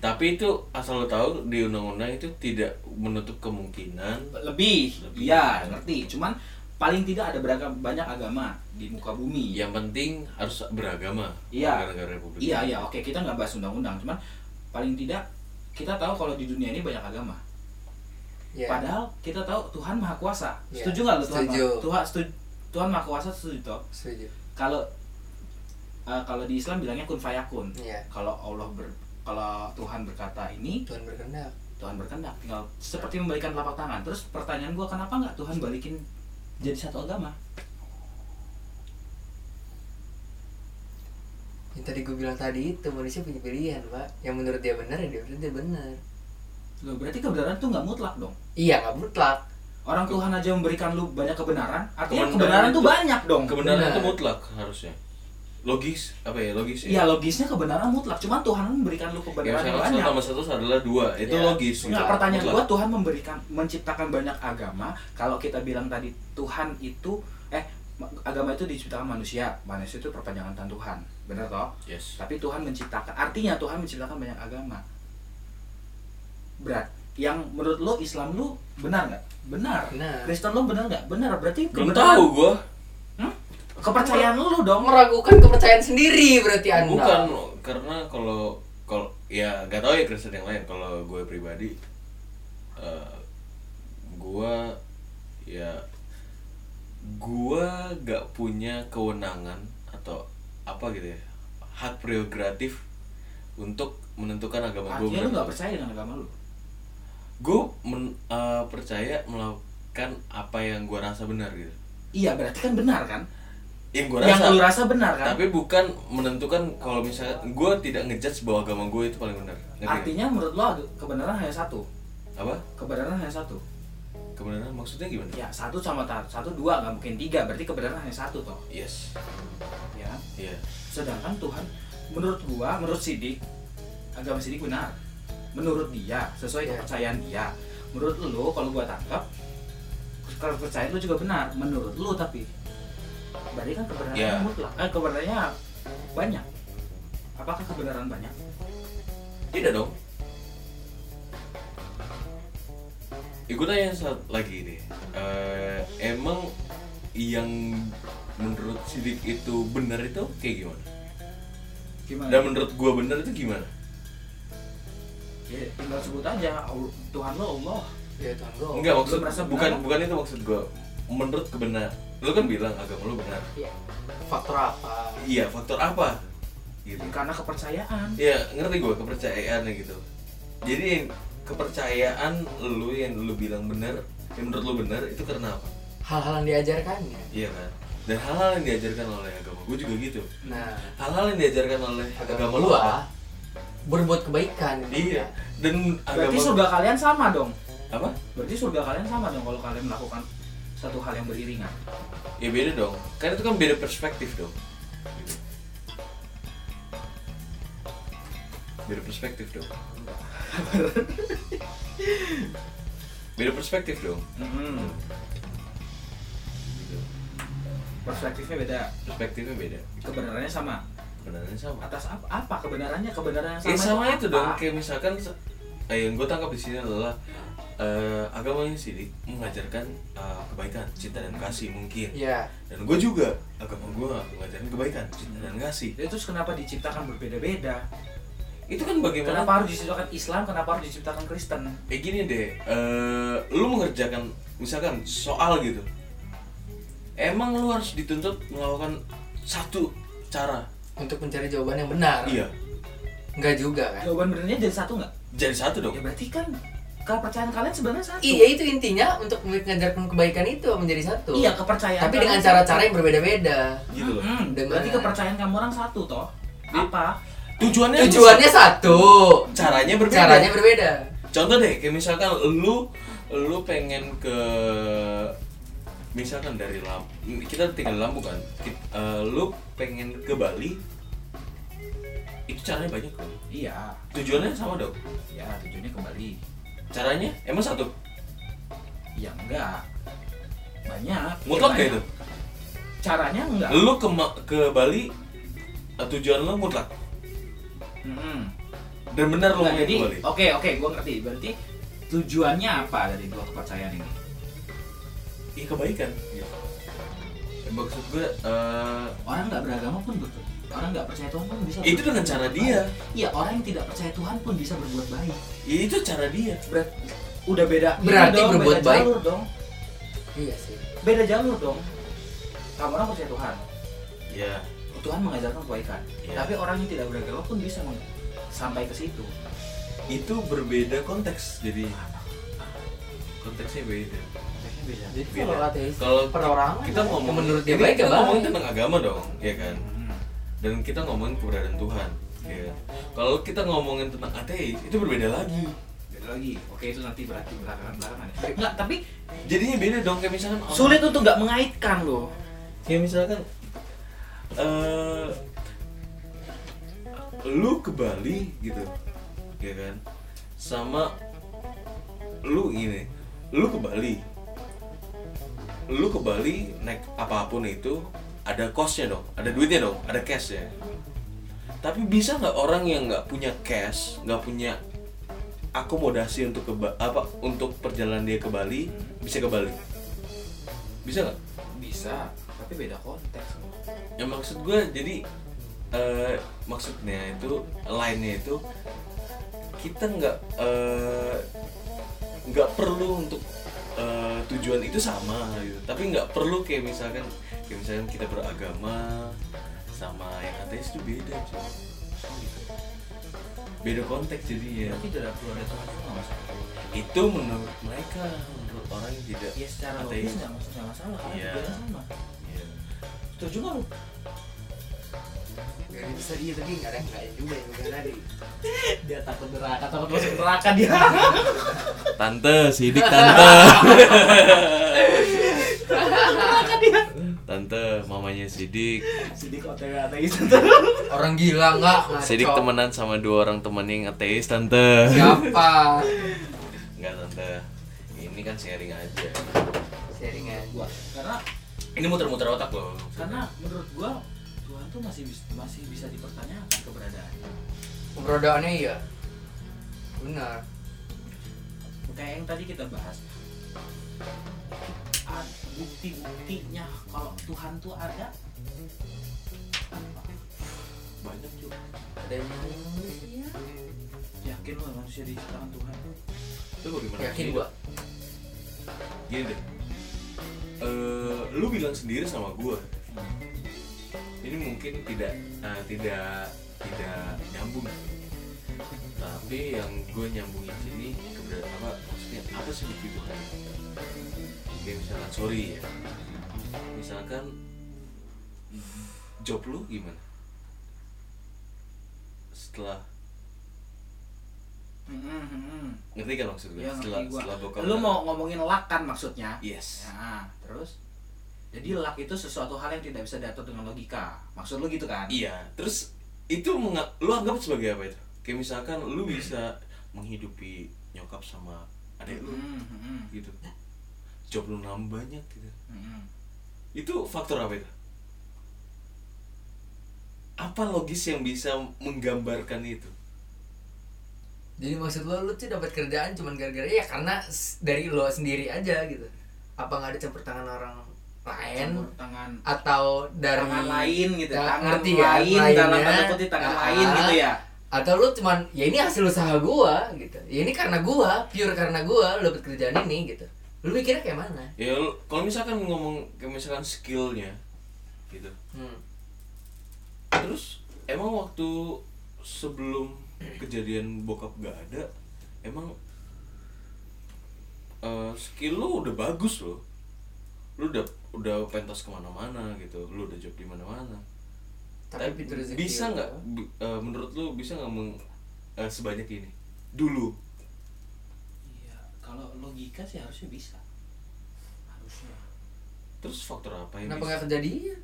[SPEAKER 2] Tapi itu asal lo tahu di undang-undang itu tidak menutup kemungkinan
[SPEAKER 3] lebih,
[SPEAKER 2] Lebih.
[SPEAKER 3] iya ngerti cuman paling tidak ada beragam banyak agama di muka bumi
[SPEAKER 2] yang penting harus beragama
[SPEAKER 3] Iya.
[SPEAKER 2] negara republik
[SPEAKER 3] iya iya oke kita nggak bahas undang-undang cuman paling tidak kita tahu kalau di dunia ini banyak agama
[SPEAKER 1] Ya.
[SPEAKER 3] padahal kita tahu Tuhan maha kuasa
[SPEAKER 1] Iya.
[SPEAKER 3] setuju nggak lu Tuhan
[SPEAKER 1] Setuju.
[SPEAKER 3] Maha- Tuhan setuju Tuhan maha kuasa setuju toh
[SPEAKER 1] Setuju.
[SPEAKER 3] kalau eh, kalau di Islam bilangnya kun fayakun
[SPEAKER 1] Iya.
[SPEAKER 3] kalau Allah ber kalau Tuhan berkata ini
[SPEAKER 1] Tuhan berkehendak.
[SPEAKER 3] Tuhan berkehendak tinggal seperti membalikan telapak tangan terus pertanyaan gua kenapa nggak Tuhan balikin jadi satu agama
[SPEAKER 1] Yang tadi gue bilang tadi itu manusia punya pilihan, Pak. Yang menurut dia benar, ya dia menurut dia benar.
[SPEAKER 3] Loh, berarti kebenaran itu nggak mutlak dong.
[SPEAKER 1] Iya, nggak mutlak.
[SPEAKER 3] Orang Tuhan aja memberikan lu banyak kebenaran, artinya
[SPEAKER 2] Kebenaran
[SPEAKER 3] kebenaran,
[SPEAKER 2] itu-
[SPEAKER 3] tuh banyak dong.
[SPEAKER 2] kebenaran
[SPEAKER 1] Benar.
[SPEAKER 2] itu mutlak harusnya logis apa ya logis
[SPEAKER 3] Iya logisnya kebenaran mutlak, cuman Tuhan memberikan lu
[SPEAKER 2] yang
[SPEAKER 3] kebenaran yang
[SPEAKER 2] satu
[SPEAKER 3] banyak.
[SPEAKER 2] tambah satu adalah dua itu
[SPEAKER 1] Iya.
[SPEAKER 2] logis
[SPEAKER 3] Nah,
[SPEAKER 2] gitu.
[SPEAKER 3] pertanyaan gua
[SPEAKER 2] Mutlak.
[SPEAKER 3] Tuhan memberikan menciptakan banyak agama. Kalau kita bilang tadi Tuhan itu eh ma- agama itu diciptakan manusia, manusia itu perpanjangan tangan Tuhan. Benar toh?
[SPEAKER 2] yes
[SPEAKER 3] Tapi Tuhan menciptakan, artinya Tuhan menciptakan banyak agama. Berat. Yang menurut lu Islam lu benar nggak? Benar.
[SPEAKER 1] Benar.
[SPEAKER 3] Kristen lu benar nggak? Benar. Berarti
[SPEAKER 2] belum
[SPEAKER 3] kebenaran-
[SPEAKER 2] tahu gua
[SPEAKER 3] Hmm? Kepercayaan lu dong.
[SPEAKER 1] Meragukan kepercayaan sendiri berarti
[SPEAKER 3] Iya,
[SPEAKER 1] Anda.
[SPEAKER 2] bukan karena kalau kalau ya nggak tahu ya Kristen yang lain kalau gue pribadi eh, gua ya gua nggak punya kewenangan atau apa gitu ya hak prerogatif untuk menentukan agama gue
[SPEAKER 3] Artinya lu gak percaya dengan agama lu.
[SPEAKER 2] gue men- eh, percaya melakukan apa yang gue rasa benar gitu
[SPEAKER 3] Iya berarti kan benar kan?
[SPEAKER 2] yang gue
[SPEAKER 3] Yang
[SPEAKER 2] rasa
[SPEAKER 3] lu rasa benar kan?
[SPEAKER 2] tapi bukan menentukan kalau misalnya gue tidak ngejudge bahwa agama gue itu paling benar Ngerti nggak?
[SPEAKER 3] Artinya menurut lo ag- kebenaran hanya satu.
[SPEAKER 2] apa
[SPEAKER 3] Kebenaran hanya satu.
[SPEAKER 2] kebenaran maksudnya gimana
[SPEAKER 3] Ya satu sama ta- satu dua nggak mungkin tiga. Berarti kebenaran hanya satu toh.
[SPEAKER 2] yes
[SPEAKER 3] Ya. kan?
[SPEAKER 2] iya
[SPEAKER 3] Sedangkan Tuhan menurut gua menurut Sidik agama Sidik benar. Menurut dia sesuai
[SPEAKER 1] Ya.
[SPEAKER 3] kepercayaan dia. Menurut lo kalau gua tangkap kalau percaya lo juga benar. Menurut lo tapi berarti kan kebenaran
[SPEAKER 2] Ya.
[SPEAKER 3] mutlak. Eh, kebenarannya banyak. Apakah kebenaran banyak?
[SPEAKER 2] tidak Iya dong Ya, gue tanya satu lagi nih Eh, emang yang menurut sidik itu benar itu kayak gimana
[SPEAKER 3] Gimana?
[SPEAKER 2] dan menurut gue benar itu gimana
[SPEAKER 3] Ya, tinggal sebut aja Allah- Tuhan lo Allah
[SPEAKER 1] ya Tuhan gue
[SPEAKER 2] Enggak maksud
[SPEAKER 3] Oh, merasa benar
[SPEAKER 2] bukan
[SPEAKER 3] kan?
[SPEAKER 2] bukan itu maksud gua. Menurut kebenar. Lu kan bilang agama lu benar.
[SPEAKER 1] ya, faktor apa
[SPEAKER 2] Iya, faktor apa? Gitu.
[SPEAKER 3] karena kepercayaan
[SPEAKER 2] Iya, ngerti gua kepercayaannya gitu. Jadi yang kepercayaan lu yang lu bilang benar, yang menurut lu benar itu karena apa?
[SPEAKER 1] hal-hal yang diajarkannya
[SPEAKER 2] Iya kan? Dan hal-hal yang diajarkan oleh agama gua juga gitu.
[SPEAKER 1] nah
[SPEAKER 2] Hal-hal yang diajarkan oleh agama
[SPEAKER 1] agama
[SPEAKER 2] lu
[SPEAKER 1] gua
[SPEAKER 2] apa?
[SPEAKER 1] berbuat kebaikan
[SPEAKER 2] Iya. Dan
[SPEAKER 3] berarti
[SPEAKER 2] agama
[SPEAKER 3] surga kalian sama dong
[SPEAKER 2] apa?
[SPEAKER 3] berarti surga kalian sama dong kalau kalian melakukan satu hal yang beriringan
[SPEAKER 2] Ya beda dong. Kan itu kan beda perspektif dong. Gitu. Beda perspektif dong. beda perspektif dong. Gitu.
[SPEAKER 3] perspektifnya beda
[SPEAKER 2] Perspektifnya beda.
[SPEAKER 3] kebenarannya sama
[SPEAKER 2] Kebenarannya sama.
[SPEAKER 3] atas apa, apa kebenarannya kebenaran yang sama
[SPEAKER 2] Ya sama itu
[SPEAKER 3] apa?
[SPEAKER 2] dong. Kayak misalkan se- eh, yang gue tangkap di sini adalah eh, agamanya sini mengajarkan eh, kebaikan, cinta dan kasih mungkin.
[SPEAKER 1] ya
[SPEAKER 2] Dan gue juga agama gue mengajarkan kebaikan, cinta dan kasih.
[SPEAKER 3] Ya, terus kenapa diciptakan berbeda-beda
[SPEAKER 2] Itu kan bagaimana
[SPEAKER 3] kenapa harus diciptakan Islam kenapa harus diciptakan Kristen
[SPEAKER 2] Eh gini deh, eh, lu mengerjakan misalkan soal gitu, emang lu harus dituntut melakukan satu cara,
[SPEAKER 1] untuk mencari jawaban yang benar
[SPEAKER 2] iya,
[SPEAKER 1] nggak juga kan
[SPEAKER 3] jawaban benernya jadi satu nggak
[SPEAKER 2] jadi satu dong.
[SPEAKER 3] ya berarti kan kepercayaan kalian sebenarnya satu
[SPEAKER 1] iya itu intinya untuk mengajarkan kebaikan itu menjadi satu
[SPEAKER 3] Iya, kepercayaan
[SPEAKER 1] tapi
[SPEAKER 3] kalian
[SPEAKER 1] dengan
[SPEAKER 3] satu.
[SPEAKER 1] cara-cara yang berbeda-beda
[SPEAKER 2] Gitu loh.
[SPEAKER 3] Hmm,
[SPEAKER 1] Dengan-
[SPEAKER 3] berarti kepercayaan kamu orang satu toh apa
[SPEAKER 2] Tujuannya
[SPEAKER 1] tujuannya satu
[SPEAKER 2] caranya berbeda.
[SPEAKER 1] caranya Nah, berbeda
[SPEAKER 2] Contoh deh, kayak misalkan lu lu pengen ke misalkan dari Lampung, kita tinggal di Lampung kan, Ki- eh, lu pengen ke Bali, itu caranya banyak dong.
[SPEAKER 3] iya
[SPEAKER 2] Tujuannya sama dong.
[SPEAKER 3] ya tujuannya ke Bali
[SPEAKER 2] Caranya emang satu.
[SPEAKER 3] ya enggak banyak
[SPEAKER 2] Mutlak
[SPEAKER 3] Ya,
[SPEAKER 2] kayak
[SPEAKER 3] banyak.
[SPEAKER 2] itu?
[SPEAKER 3] caranya enggak
[SPEAKER 2] lu ke Ma- ke Bali eh, tujuan lu mutlak
[SPEAKER 3] Mm-mm.
[SPEAKER 2] dan benar lu
[SPEAKER 3] Enggak,
[SPEAKER 2] mau
[SPEAKER 3] Nah, jadi
[SPEAKER 2] ke
[SPEAKER 3] oke
[SPEAKER 2] Bali
[SPEAKER 3] oke gua ngerti berarti tujuannya apa dari dua kepercayaan ini
[SPEAKER 2] iya kebaikan gitu. Ya, maksud gue eh,
[SPEAKER 3] orang nggak beragama pun betul orang nggak percaya Tuhan pun bisa
[SPEAKER 2] itu
[SPEAKER 3] berbuat
[SPEAKER 2] dengan cara
[SPEAKER 3] baik.
[SPEAKER 2] dia
[SPEAKER 3] iya orang yang tidak percaya Tuhan pun bisa berbuat baik
[SPEAKER 2] ya, itu cara dia
[SPEAKER 3] Ber- udah beda ini
[SPEAKER 1] Berarti
[SPEAKER 3] dong,
[SPEAKER 1] berbuat
[SPEAKER 3] beda
[SPEAKER 1] baik.
[SPEAKER 3] jalur dong
[SPEAKER 1] iya sih
[SPEAKER 3] beda jalur dong kamu orang percaya Tuhan
[SPEAKER 2] ya
[SPEAKER 3] Iya. Tuhan mengajarkan kebaikan
[SPEAKER 2] Iya.
[SPEAKER 3] tapi orang yang tidak beragama pun bisa meng- sampai ke situ
[SPEAKER 2] itu berbeda konteks jadi konteksnya beda
[SPEAKER 3] Konteksnya beda
[SPEAKER 1] jadi
[SPEAKER 2] Beda.
[SPEAKER 1] kalau ateis
[SPEAKER 2] kalau
[SPEAKER 1] perorangan
[SPEAKER 2] kita ngomong
[SPEAKER 1] kan menurut dia
[SPEAKER 2] ini
[SPEAKER 1] baik
[SPEAKER 2] kita
[SPEAKER 1] ya
[SPEAKER 2] ngomongin
[SPEAKER 1] baik.
[SPEAKER 2] tentang agama dong ya kan dan kita ngomongin keberadaan Tuhan ya kan? kalau kita ngomongin tentang ateis itu berbeda lagi
[SPEAKER 3] beda lagi oke itu nanti berarti belakangan belakangan nggak tapi
[SPEAKER 2] jadinya beda dong kayak misalkan orang-
[SPEAKER 3] sulit untuk nggak mengaitkan loh
[SPEAKER 2] kayak Ya, misalkan eh lu ke Bali gitu ya kan sama lu gini lu ke Bali lu ke Bali naik apapun itu ada costnya dong ada duitnya dong ada cash ya tapi bisa nggak orang yang nggak punya cash nggak punya akomodasi untuk ke Ba- apa untuk perjalanan dia ke Bali bisa ke Bali bisa nggak
[SPEAKER 3] bisa tapi beda konteks
[SPEAKER 2] ya maksud gue jadi eh, maksudnya itu lainnya itu kita nggak eh, nggak perlu untuk eh, tujuan itu sama gitu tapi nggak perlu kayak misalkan kayak misalkan kita beragama sama yang ateis itu beda cuy. beda konteks jadinya
[SPEAKER 3] berarti tidak perlu ada Tuhan juga nggak masalah
[SPEAKER 2] itu menurut mereka menurut orang yang tidak
[SPEAKER 3] ya secara
[SPEAKER 2] ateis.
[SPEAKER 3] logis nggak maksud nggak masalah karena
[SPEAKER 2] Iya.
[SPEAKER 3] tujuannya sama
[SPEAKER 2] Iya.
[SPEAKER 3] setuju *laughs* nggak lu
[SPEAKER 1] Gak ada yang bisa iya tapi gak ada yang lain juga yang gue tadi
[SPEAKER 3] dia takut neraka takut masuk neraka dia *laughs*
[SPEAKER 2] tante sidik tante *laughs*
[SPEAKER 3] neraka dia
[SPEAKER 2] tante mamanya sidik
[SPEAKER 3] sidik otw *laughs* ateis
[SPEAKER 1] Orang gila gak?
[SPEAKER 2] sidik temenan sama dua orang temennya yang ateis tante
[SPEAKER 1] *laughs* Siapa?
[SPEAKER 2] Enggak tante ini kan sharing aja
[SPEAKER 1] Sharing aja
[SPEAKER 3] gua karena
[SPEAKER 2] ini muter-muter otak loh
[SPEAKER 3] karena menurut gua Tuhan tuh masih bis- masih bisa dipertanyakan keberadaannya
[SPEAKER 1] Pemberodaannya iya Benar
[SPEAKER 3] kayak yang tadi kita bahas ad- bukti-buktinya kalau Tuhan tuh ada apa? banyak juga
[SPEAKER 1] Ada yang iya.
[SPEAKER 3] yakin lo manusia diciptakan Tuhan
[SPEAKER 2] itu bagaimana
[SPEAKER 1] yakin gua
[SPEAKER 2] gini deh Eh, lu bilang sendiri sama gue ini mungkin tidak eh, tidak tidak nyambung tapi yang gue nyambungin sini keberadaan apa maksudnya apa sih bukti Tuhan Kayak misalkan sorry ya misalkan job lu gimana setelah ngerti kan maksud gue
[SPEAKER 3] Ya, ngerti
[SPEAKER 2] setelah
[SPEAKER 3] gua.
[SPEAKER 2] setelah bokap
[SPEAKER 3] lu mau ngomongin lak kan maksudnya
[SPEAKER 2] yes
[SPEAKER 3] nah terus jadi lak itu sesuatu hal yang tidak bisa diatur dengan logika maksud lu gitu kan
[SPEAKER 2] Iya, terus itu menga- lu anggap sebagai apa itu? Kayak misalkan lu bisa menghidupi nyokap sama adik lu
[SPEAKER 3] Hmm, hmm, hmm,
[SPEAKER 2] gitu. Job lu nambah banyak gitu.
[SPEAKER 3] hmm, hmm.
[SPEAKER 2] Itu faktor apa itu? Apa logis yang bisa menggambarkan itu?
[SPEAKER 1] Jadi maksud lo, lo tuh dapat kerjaan cuman gara-gara ya karena s- dari lo sendiri aja gitu Apa gak ada campur tangan orang lain
[SPEAKER 3] Campur tangan
[SPEAKER 1] atau dari
[SPEAKER 3] tangan lain gitu
[SPEAKER 1] Ya,
[SPEAKER 3] tangan
[SPEAKER 1] ngerti ya,
[SPEAKER 3] lain dalam
[SPEAKER 1] lainnya.
[SPEAKER 3] tanda kutip tangan
[SPEAKER 1] Ah.
[SPEAKER 3] lain gitu ya
[SPEAKER 1] atau lu cuman ya ini hasil usaha gua gitu ya ini karena gua pure karena gua lu dapet kerjaan ini gitu lu mikirnya kayak mana
[SPEAKER 2] Ya lu- kalau misalkan ngomong kayak misalkan skillnya gitu.
[SPEAKER 1] hmm.
[SPEAKER 2] Terus emang waktu sebelum kejadian bokap gak ada, emang eh, skill lu udah bagus loh. Lu udah udah pentas kemana-mana gitu, lu udah job di mana-mana.
[SPEAKER 1] tapi pintu rezeki
[SPEAKER 2] Eh, bisa
[SPEAKER 1] lu.
[SPEAKER 2] nggak? bi- eh, menurut lu bisa nggak meng- eh, sebanyak ini? Dulu.
[SPEAKER 3] Iya, kalau logika sih harusnya bisa. Harusnya.
[SPEAKER 2] Terus faktor apa yang
[SPEAKER 1] kenapa
[SPEAKER 2] bisa?
[SPEAKER 1] nggak kejadian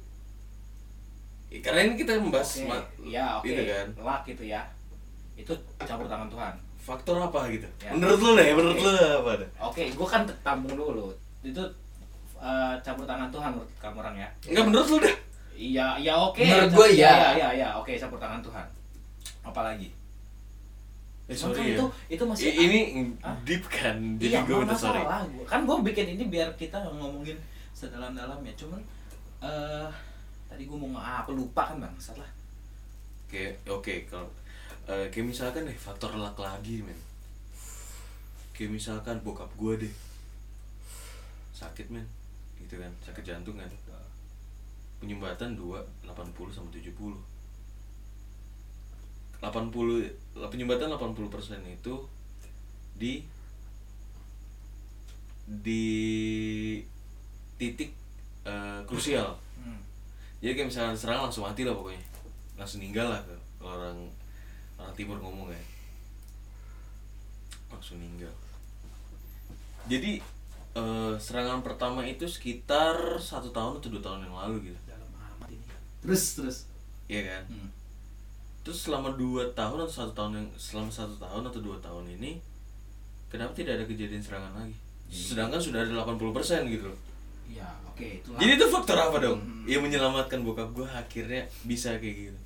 [SPEAKER 2] Ya, karena ini kita membahas
[SPEAKER 3] Oke,
[SPEAKER 1] Ya,
[SPEAKER 2] ma-
[SPEAKER 3] Iya, oke.
[SPEAKER 2] itu kan.
[SPEAKER 3] Luck gitu ya. Itu campur tangan Tuhan.
[SPEAKER 2] Faktor apa gitu?
[SPEAKER 3] Ya.
[SPEAKER 2] Menurut lu deh, menurut
[SPEAKER 3] Oke.
[SPEAKER 2] lu apa deh?
[SPEAKER 3] Oke, gua kan tampung dulu. Itu eh, campur tangan Tuhan menurut kamu orang ya.
[SPEAKER 2] Enggak menurut lu deh.
[SPEAKER 3] Iya, ya oke.
[SPEAKER 1] Menurut gua
[SPEAKER 3] Campur-
[SPEAKER 1] iya.
[SPEAKER 3] Iya, iya, iya, oke campur tangan Tuhan. Apalagi?
[SPEAKER 2] Eh,
[SPEAKER 3] Cuman
[SPEAKER 2] sorry
[SPEAKER 3] kan
[SPEAKER 2] ya.
[SPEAKER 3] itu itu masih
[SPEAKER 2] I- ini *laughs*
[SPEAKER 3] Hah?
[SPEAKER 2] deep kan, jadi
[SPEAKER 3] Iya,
[SPEAKER 2] gue
[SPEAKER 3] nggak
[SPEAKER 2] minta sorry.
[SPEAKER 3] masalah. Gua- Kan gue bikin ini biar kita ngomongin sedalam-dalamnya. Cuman eh tadi gue mau nge- ah, aku lupa kan bang, salah.
[SPEAKER 2] Kayak oke kalau eh, kayak misalkan deh faktor luck lagi men. Kayak misalkan bokap gue deh sakit men, gitu kan sakit jantung kan. Penyumbatan 2, 80 sama 70 80 penyumbatan 80 itu di di titik eh, krusial
[SPEAKER 3] Hmm.
[SPEAKER 2] jadi Iya, kayak misalnya serang langsung mati lah pokoknya langsung meninggal lah kalau orang orang timur ngomong ya langsung meninggal jadi eh, serangan pertama itu sekitar satu tahun atau dua tahun yang lalu gitu
[SPEAKER 3] dalam amat ini terus terus
[SPEAKER 2] iya kan
[SPEAKER 3] hmm.
[SPEAKER 2] terus selama dua tahun atau satu tahun yang selama satu tahun atau dua tahun ini kenapa tidak ada kejadian serangan lagi sedangkan sudah ada 80% gitu loh
[SPEAKER 3] ya oke itu
[SPEAKER 2] Jadi itu faktor apa dong?
[SPEAKER 3] Hmm.
[SPEAKER 2] Yang menyelamatkan bokap gue akhirnya bisa kayak gitu.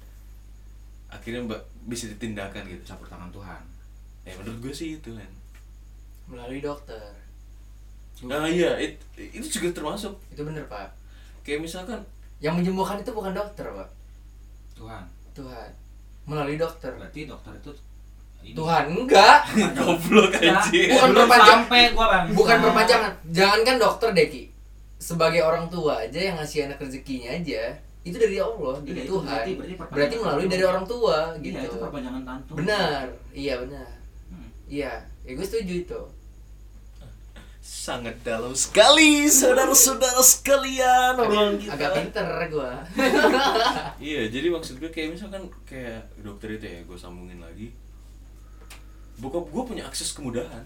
[SPEAKER 2] Akhirnya mbak bisa ditindakan gitu.
[SPEAKER 3] Kan campur tangan Tuhan
[SPEAKER 2] Ya menurut gue sih itu kan.
[SPEAKER 1] melalui dokter
[SPEAKER 2] Nah iya it- itu juga termasuk
[SPEAKER 1] itu bener pak
[SPEAKER 2] kayak misalkan
[SPEAKER 1] yang menyembuhkan itu bukan dokter pak
[SPEAKER 3] Tuhan
[SPEAKER 1] Tuhan melalui dokter
[SPEAKER 2] Nah,
[SPEAKER 3] berarti dokter itu ini.
[SPEAKER 1] Tuhan enggak
[SPEAKER 2] goblok
[SPEAKER 3] Nah,
[SPEAKER 2] anjir.
[SPEAKER 1] Bukan
[SPEAKER 3] belum
[SPEAKER 1] perpanjang-
[SPEAKER 3] sampai gua bang Iya,
[SPEAKER 1] bukan perpanjangan jangankan dokter Deki sebagai orang tua aja yang ngasih anak rezekinya aja itu dari Allah dari
[SPEAKER 3] Iya, itu
[SPEAKER 1] Tuhan
[SPEAKER 3] berarti-
[SPEAKER 1] berarti,
[SPEAKER 3] berarti perpanjangan
[SPEAKER 1] melalui
[SPEAKER 3] tangan.
[SPEAKER 1] dari orang tua gitu
[SPEAKER 3] Iya, itu perpanjangan tantu.
[SPEAKER 1] benar iya benar
[SPEAKER 3] Hmm.
[SPEAKER 1] iya ya gue setuju itu
[SPEAKER 2] sangat dalam sekali saudara-saudara sekalian orang kita
[SPEAKER 1] agak pinter gue
[SPEAKER 2] iya jadi maksud gue kayak misalkan kayak dokter itu ya gue sambungin lagi bokap gue punya akses kemudahan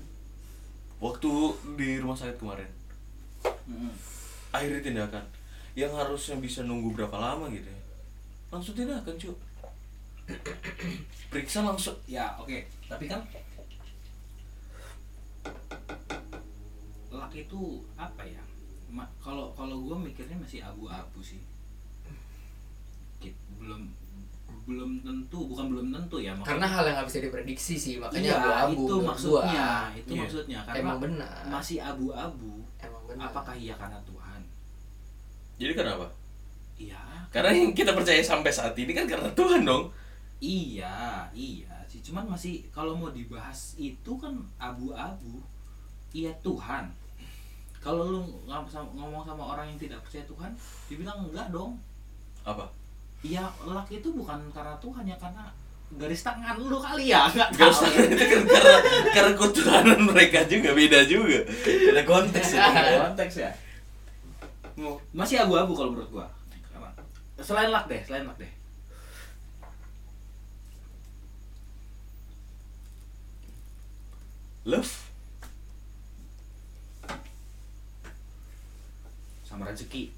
[SPEAKER 2] waktu di rumah sakit kemarin
[SPEAKER 3] Hmm.
[SPEAKER 2] akhirnya tindakan yang harusnya bisa nunggu berapa lama gitu ya langsung tindakan cuy periksa langsung
[SPEAKER 3] Ya, oke. Tapi kan luck itu apa ya? Ma- Kalau kalau gue mikirnya masih abu-abu sih. Ki- Belum belum tentu, bukan belum tentu ya.
[SPEAKER 1] *laughs* karena hal yang nggak bisa diprediksi sih makanya
[SPEAKER 3] iya,
[SPEAKER 1] abu-abu
[SPEAKER 3] itu
[SPEAKER 1] menurut gua.
[SPEAKER 3] maksudnya, itu
[SPEAKER 2] Iya.
[SPEAKER 3] maksudnya karena
[SPEAKER 1] emang benar
[SPEAKER 3] masih abu-abu.
[SPEAKER 1] emang benar
[SPEAKER 3] Apakah iya karena Tuhan?
[SPEAKER 2] jadi kenapa
[SPEAKER 3] Iya,
[SPEAKER 2] karena yang kita percaya sampai saat ini kan karena Tuhan dong
[SPEAKER 3] Iya, iya sih. Cuman masih kalau mau dibahas itu kan abu-abu. Iya Tuhan. Kalau lu ngam- sama- ngomong sama orang yang tidak percaya Tuhan, dibilang enggak dong.
[SPEAKER 2] apa
[SPEAKER 3] Iya, luck itu bukan karena Tuhan ya karena garis tangan lu kali ya, enggak
[SPEAKER 2] Gak usah *laughs* itu kan karena karena ketuhanan mereka juga beda juga ada konteks
[SPEAKER 3] *laughs*
[SPEAKER 2] ya
[SPEAKER 3] konteks ya. Masih abu-abu kalau menurut gua. Karena- Selain luck deh, selain luck deh.
[SPEAKER 2] love
[SPEAKER 3] Sama rezeki.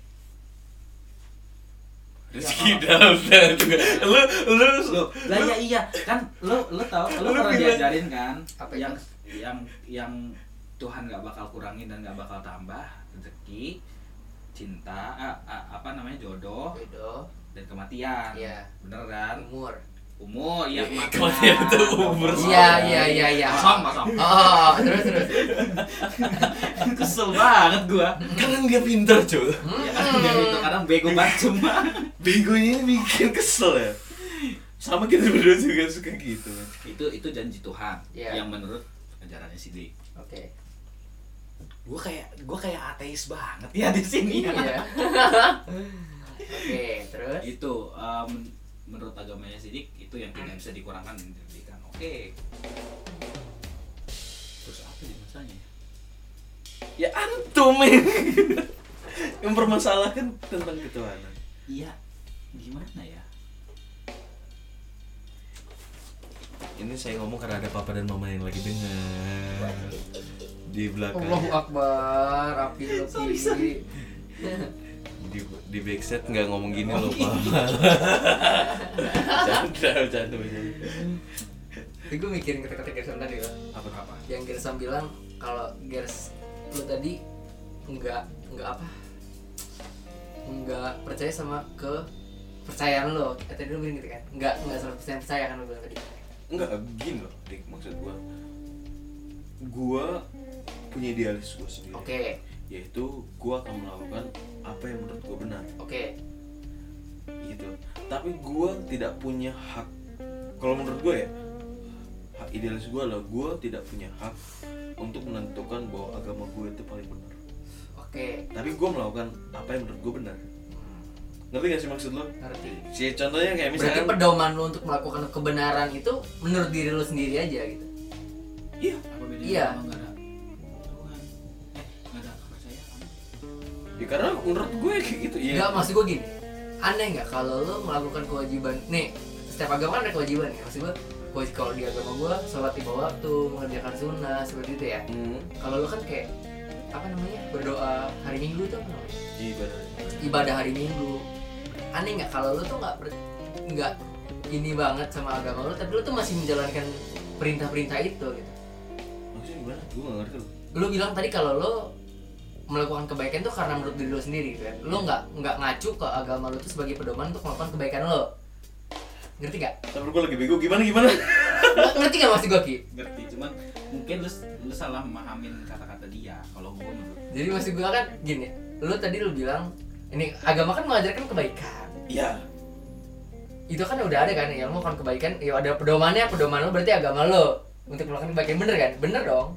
[SPEAKER 2] rezeki *laughs* dalam dalam juga lu lu
[SPEAKER 3] Loh, lah iya iya kan lo lo tau
[SPEAKER 2] Lu
[SPEAKER 3] lo pernah
[SPEAKER 2] bilang-
[SPEAKER 3] diajarin kan
[SPEAKER 1] Apa
[SPEAKER 3] yang yang yang Tuhan nggak bakal kurangin dan nggak bakal tambah rezeki cinta ah, ah, apa namanya jodoh
[SPEAKER 1] jodoh
[SPEAKER 3] dan kematian
[SPEAKER 1] Iya.
[SPEAKER 3] bener kan
[SPEAKER 1] umur
[SPEAKER 3] umur ya
[SPEAKER 2] Iya, kematian tuh umur.
[SPEAKER 1] Iya, iya, iya, iya.
[SPEAKER 3] sama sama
[SPEAKER 1] oh terus
[SPEAKER 3] *laughs*
[SPEAKER 1] terus
[SPEAKER 3] kesel banget gua
[SPEAKER 2] kadang dia pintar cuy
[SPEAKER 3] ya kan dia itu kadang bego banget cuma
[SPEAKER 2] begonya bikin kesel ya sama kita berdua juga suka gitu
[SPEAKER 3] itu itu janji Tuhan
[SPEAKER 1] Iya.
[SPEAKER 3] yang menurut ajarannya Sidik
[SPEAKER 1] Hmm. oke
[SPEAKER 3] gue kayak gue kayak ateis banget ya di sini ya.
[SPEAKER 1] iya *laughs* oke terus
[SPEAKER 3] itu um, menurut agamanya sidik itu yang tidak bisa dikurangkan dan diberikan oke terus apa sih masanya
[SPEAKER 2] ya antum men. yang *laughs* mempermasalahkan tentang ketuhanan
[SPEAKER 3] iya gimana ya
[SPEAKER 2] ini saya ngomong karena ada papa dan mama yang lagi dengar di belakang
[SPEAKER 1] Allahu Akbar rapi rapi
[SPEAKER 2] di di backset nggak ngomong gini loh pak *laughs* canda canda
[SPEAKER 1] Tapi gue mikirin kata-kata Gerson tadi loh
[SPEAKER 3] apa apa
[SPEAKER 1] Yang Gerson bilang kalau Gers lu tadi nggak nggak apa nggak percaya sama ke percayaan lo Eh, tadi lu bilang gitu kan nggak nggak 100% percaya kan lu bilang tadi
[SPEAKER 2] nggak gini loh dik maksud gua gua punya idealis gua sendiri
[SPEAKER 1] oke
[SPEAKER 2] yaitu gua akan melakukan apa yang menurut gua benar
[SPEAKER 1] oke
[SPEAKER 2] gitu tapi gua tidak punya hak kalau menurut gua ya hak idealis gua adalah gua tidak punya hak untuk menentukan bahwa agama gua itu paling benar
[SPEAKER 1] oke
[SPEAKER 2] tapi gua melakukan apa yang menurut gua benar
[SPEAKER 1] Hmm,
[SPEAKER 2] ngerti gak sih maksud lo
[SPEAKER 1] ngerti
[SPEAKER 2] si contohnya kayak
[SPEAKER 1] berarti
[SPEAKER 2] misalkan
[SPEAKER 1] pedoman lu untuk melakukan kebenaran itu menurut diri lu sendiri aja gitu
[SPEAKER 2] iya
[SPEAKER 3] apa bedanya
[SPEAKER 1] Iya.
[SPEAKER 3] sama nggak ada Tuhan eh nggak ada kepercayaan
[SPEAKER 2] ya karena menurut gue kayak gitu ya
[SPEAKER 1] Enggak, maksud gue gini Aneh nggak kalau lo melakukan kewajiban Nih, setiap agama kan ada kewajiban ya Maksud gue, kewaj- kalau di agama gue Sholat lima waktu, mengerjakan sunnah, seperti itu ya
[SPEAKER 2] hmm,
[SPEAKER 1] Kalau lo kan kayak, apa namanya, berdoa hari minggu tuh apa namanya?
[SPEAKER 2] iya benar
[SPEAKER 1] Ibadah hari minggu Aneh nggak kalau lo tuh nggak ber- nggak ini banget sama agama lo Tapi lo tuh masih menjalankan perintah-perintah itu gitu
[SPEAKER 2] maksudnya gimana gue gak ngerti loh
[SPEAKER 1] Lo bilang tadi kalau lo melakukan kebaikan tuh karena menurut diri lo sendiri gitu kan
[SPEAKER 3] Hmm.
[SPEAKER 1] lo nggak nggak ngacu ke agama lo tuh sebagai pedoman untuk melakukan kebaikan lo ngerti
[SPEAKER 3] *laughs*
[SPEAKER 1] gak?
[SPEAKER 2] tapi gue lagi bego gimana gimana
[SPEAKER 1] Nggak- ngerti gak maksud gue Ki?
[SPEAKER 3] ngerti cuman mungkin lu lu salah memahamin kata-kata dia kalau gua menurut
[SPEAKER 1] jadi maksud gue kan gini lo tadi lo bilang ini agama kan mengajarkan kebaikan
[SPEAKER 2] iya
[SPEAKER 1] itu kan udah ada kan yang melakukan kebaikan ya ada pedomannya pedoman lo berarti agama lo untuk melakukan kebaikan bener kan bener dong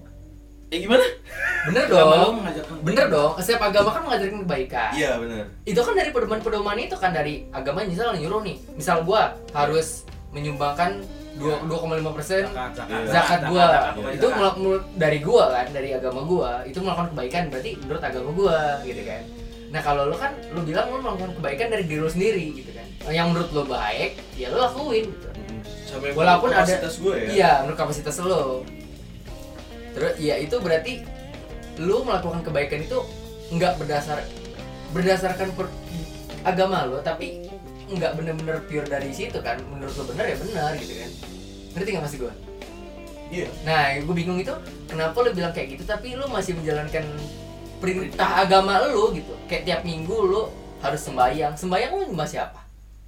[SPEAKER 2] eh gimana
[SPEAKER 1] Bener
[SPEAKER 3] Agama lu
[SPEAKER 1] dong.
[SPEAKER 3] mengajarkan
[SPEAKER 1] Bener dong. Setiap agama kan mengajarkan kebaikan.
[SPEAKER 2] iya benar
[SPEAKER 1] Itu kan dari pedoman-pedoman itu kan dari agama misal nyuruh nih. Misal gua harus menyumbangkan dua- 2,5%
[SPEAKER 3] zakat
[SPEAKER 2] Iya.
[SPEAKER 1] zakat gua
[SPEAKER 2] zakat.
[SPEAKER 1] itu melak- menurut dari gua kan dari agama gua itu melakukan kebaikan berarti menurut agama gua gitu kan nah kalau lo kan lo bilang lo melakukan kebaikan dari diri lo sendiri gitu kan yang menurut lo baik ya lo lakuin gitu.
[SPEAKER 2] Hmm, sampai
[SPEAKER 1] walaupun ada
[SPEAKER 2] kapasitas gue ya
[SPEAKER 1] iya menurut kapasitas lo terus ya itu berarti lo melakukan kebaikan itu nggak berdasar berdasarkan per- agama lo tapi nggak bener-bener pure dari situ kan menurut lo bener ya bener gitu kan ngerti nggak masih gua
[SPEAKER 2] Iya.
[SPEAKER 1] Nah, gue bingung itu kenapa lu bilang kayak gitu tapi lu masih menjalankan perintah agama lu gitu. Kayak tiap minggu lu harus sembahyang. Sembahyang lu masih apa?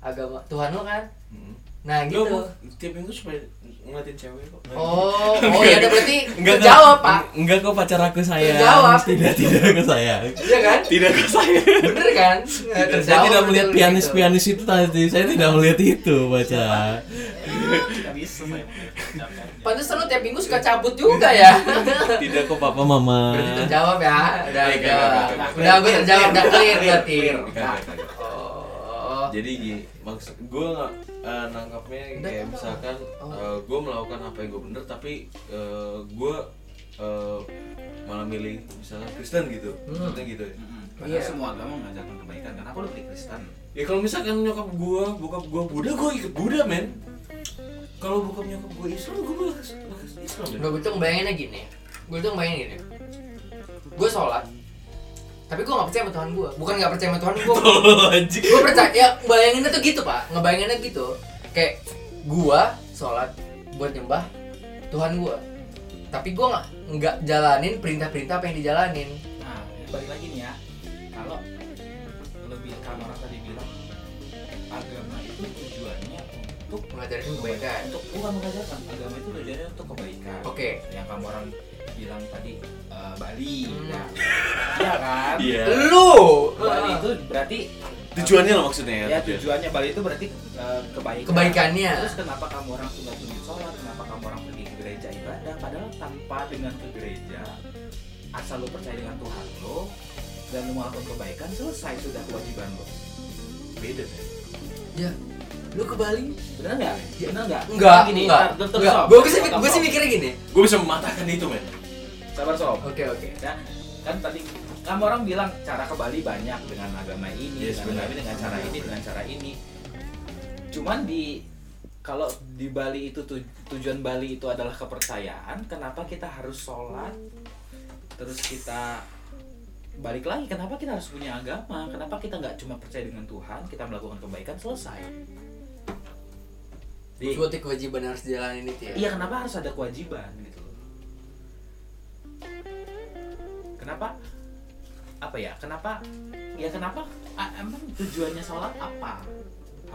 [SPEAKER 1] Agama Tuhan lu kan.
[SPEAKER 2] Mm.
[SPEAKER 1] Nah, gitu.
[SPEAKER 2] Gua mau- tiap minggu cuma ngeliatin cewek kok
[SPEAKER 1] Oh, oh ya udah berarti
[SPEAKER 2] Enggak
[SPEAKER 1] terjawab, Pak.
[SPEAKER 2] Enggak kok pacar aku sayang.
[SPEAKER 1] Terjawab.
[SPEAKER 2] Tidak, tidak ke saya.
[SPEAKER 1] Iya kan?
[SPEAKER 2] Tidak ke saya.
[SPEAKER 1] Bener kan? Nah,
[SPEAKER 2] Tidak, Iya. saya
[SPEAKER 1] terjawab
[SPEAKER 2] tidak
[SPEAKER 1] bener
[SPEAKER 2] melihat
[SPEAKER 1] gitu.
[SPEAKER 2] pianis-pianis itu tadi. Saya tidak melihat itu, baca.
[SPEAKER 3] tidak bisa saya mengucapkan.
[SPEAKER 1] Pantesan lu tiap minggu suka cabut juga ya.
[SPEAKER 2] Tidak kok papa mama.
[SPEAKER 1] berarti terjawab ya. Udah, udah.
[SPEAKER 2] Iya, iya, iya.
[SPEAKER 1] Udah gue terjawab, udah clear berarti.
[SPEAKER 2] Kagak, kagak.
[SPEAKER 1] Oh.
[SPEAKER 2] *laughs* Jadi gini, maksud gue nggak eh, nangkapnya
[SPEAKER 1] Udah,
[SPEAKER 2] kayak
[SPEAKER 1] udah.
[SPEAKER 2] misalkan
[SPEAKER 1] Oh.
[SPEAKER 2] gue melakukan apa yang gue bener tapi gue malah milih misalnya Kristen gitu,
[SPEAKER 1] Hmm.
[SPEAKER 2] Maksudnya gitu ya.
[SPEAKER 3] Mm-mm.
[SPEAKER 1] Iya.
[SPEAKER 3] Padahal semua agama mengajarkan kebaikan. Kenapa lu pilih Kristen?
[SPEAKER 2] Ya kalau misalkan nyokap gua, bokap gua Buddha, gua ikut Buddha, men. Kalau bokap nyokap gua Islam, gua malah kes- malah kes- Islam, men.
[SPEAKER 1] Nggak, gue tuh ngebayanginnya gini Gue tuh ngebayangin gini Gue sholat Tapi gue gak percaya sama Tuhan gue Bukan gak percaya sama Tuhan gue
[SPEAKER 2] *laughs* Oh, anjing.
[SPEAKER 1] Gue percaya, ya bayanginnya tuh gitu pak Ngebayanginnya gitu Kayak gue sholat buat nyembah Tuhan gue Tapi gue gak, nggak jalanin perintah-perintah apa yang dijalanin
[SPEAKER 3] Nah, ini balik lagi nih ya. Kalau lebih kamar tadi bilang agama itu tujuannya untuk
[SPEAKER 1] Mengajarin kebaikan
[SPEAKER 3] untuk bukan mengajarkan agama itu tujuannya untuk kebaikan.
[SPEAKER 1] Oke
[SPEAKER 3] Yang kamu orang bilang tadi eh, Bali,
[SPEAKER 1] Hmm.
[SPEAKER 3] ya, Iya kan?
[SPEAKER 2] Iya.
[SPEAKER 1] Lu
[SPEAKER 3] Bali itu berarti
[SPEAKER 2] Tujuannya lah maksudnya ya.
[SPEAKER 1] Iya,
[SPEAKER 3] ya
[SPEAKER 2] tujuan.
[SPEAKER 3] tujuannya Bali itu berarti eh, kebaikan.
[SPEAKER 1] Kebaikannya
[SPEAKER 3] Terus kenapa kamu orang suka tunjuk sholat? Kenapa kamu orang pergi ke gereja ibadah? Padahal tanpa dengan ke gereja, asal lo percaya dengan Tuhan lo dan lo melakukan kebaikan, selesai sudah kewajiban lo.
[SPEAKER 2] Beda, men.
[SPEAKER 1] Ya Lu ke Bali?
[SPEAKER 3] Benar nggak?
[SPEAKER 1] Ya.
[SPEAKER 3] Benar nggak?
[SPEAKER 1] Enggak,
[SPEAKER 3] Gini,
[SPEAKER 1] enggak,
[SPEAKER 3] tar- tar- tar-
[SPEAKER 1] enggak.
[SPEAKER 3] sob.
[SPEAKER 1] Gue sih,
[SPEAKER 3] Tar-
[SPEAKER 1] gue sih
[SPEAKER 3] sob.
[SPEAKER 1] mikirnya gini
[SPEAKER 2] Gua bisa mematahkan itu, men.
[SPEAKER 3] Sabar sob.
[SPEAKER 1] Oke oke
[SPEAKER 3] Ya, kan tadi kamu orang bilang cara ke Bali banyak dengan agama ini,
[SPEAKER 2] Yes, benar.
[SPEAKER 3] dengan, agama ini, dengan cara ini, dengan cara ini. Cuman di kalau di Bali itu tu- tujuan Bali itu adalah kepercayaan, kenapa kita harus sholat? Terus kita balik lagi, kenapa kita harus punya agama? Kenapa kita nggak cuma percaya dengan Tuhan, kita melakukan kebaikan selesai? Di-
[SPEAKER 1] Suatu kewajiban harus jalanin itu ya
[SPEAKER 3] Iya kenapa harus ada kewajiban gitu loh. Kenapa? Apa ya? Kenapa? Ya kenapa? A- emang tujuannya sholat apa?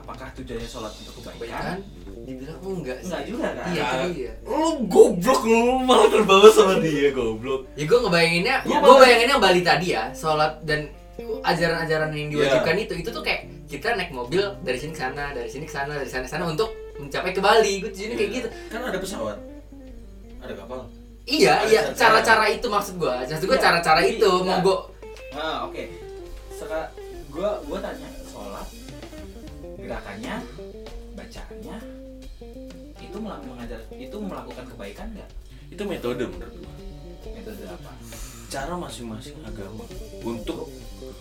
[SPEAKER 3] Apakah tujuannya sholat untuk
[SPEAKER 1] Kebanyakan
[SPEAKER 3] kebaikan?
[SPEAKER 1] dibilang "Oh, enggak sih.
[SPEAKER 3] Enggak juga kan?
[SPEAKER 1] Iya, itu dia.
[SPEAKER 2] Lu goblok lu malah terbawa sama *laughs* dia goblok.
[SPEAKER 1] Ya gue ngebayanginnya,
[SPEAKER 2] Gua
[SPEAKER 1] gue
[SPEAKER 2] malah-
[SPEAKER 1] bayanginnya Bali tadi ya, sholat dan ajaran-ajaran
[SPEAKER 3] Iya.
[SPEAKER 1] yang diwajibkan itu, itu tuh kayak kita naik mobil dari sini ke sana, dari sini ke sana, dari sana ke sana untuk mencapai ke Bali. Gue tujuannya kayak gitu.
[SPEAKER 2] Kan ada pesawat. Ada kapal.
[SPEAKER 1] Iya,
[SPEAKER 2] Ada
[SPEAKER 1] iya,
[SPEAKER 2] cara-cara.
[SPEAKER 1] cara-cara itu maksud gue. Maksud gue
[SPEAKER 3] Iya.
[SPEAKER 1] cara-cara
[SPEAKER 3] Iya.
[SPEAKER 1] itu mau gue
[SPEAKER 3] Nah, oke. Sekarang gua gua tanya sholat gerakannya, bacaannya itu melak- mengajar itu melakukan kebaikan nggak?
[SPEAKER 2] Itu metode menurut gua.
[SPEAKER 3] Metode apa?
[SPEAKER 2] Cara masing-masing agama untuk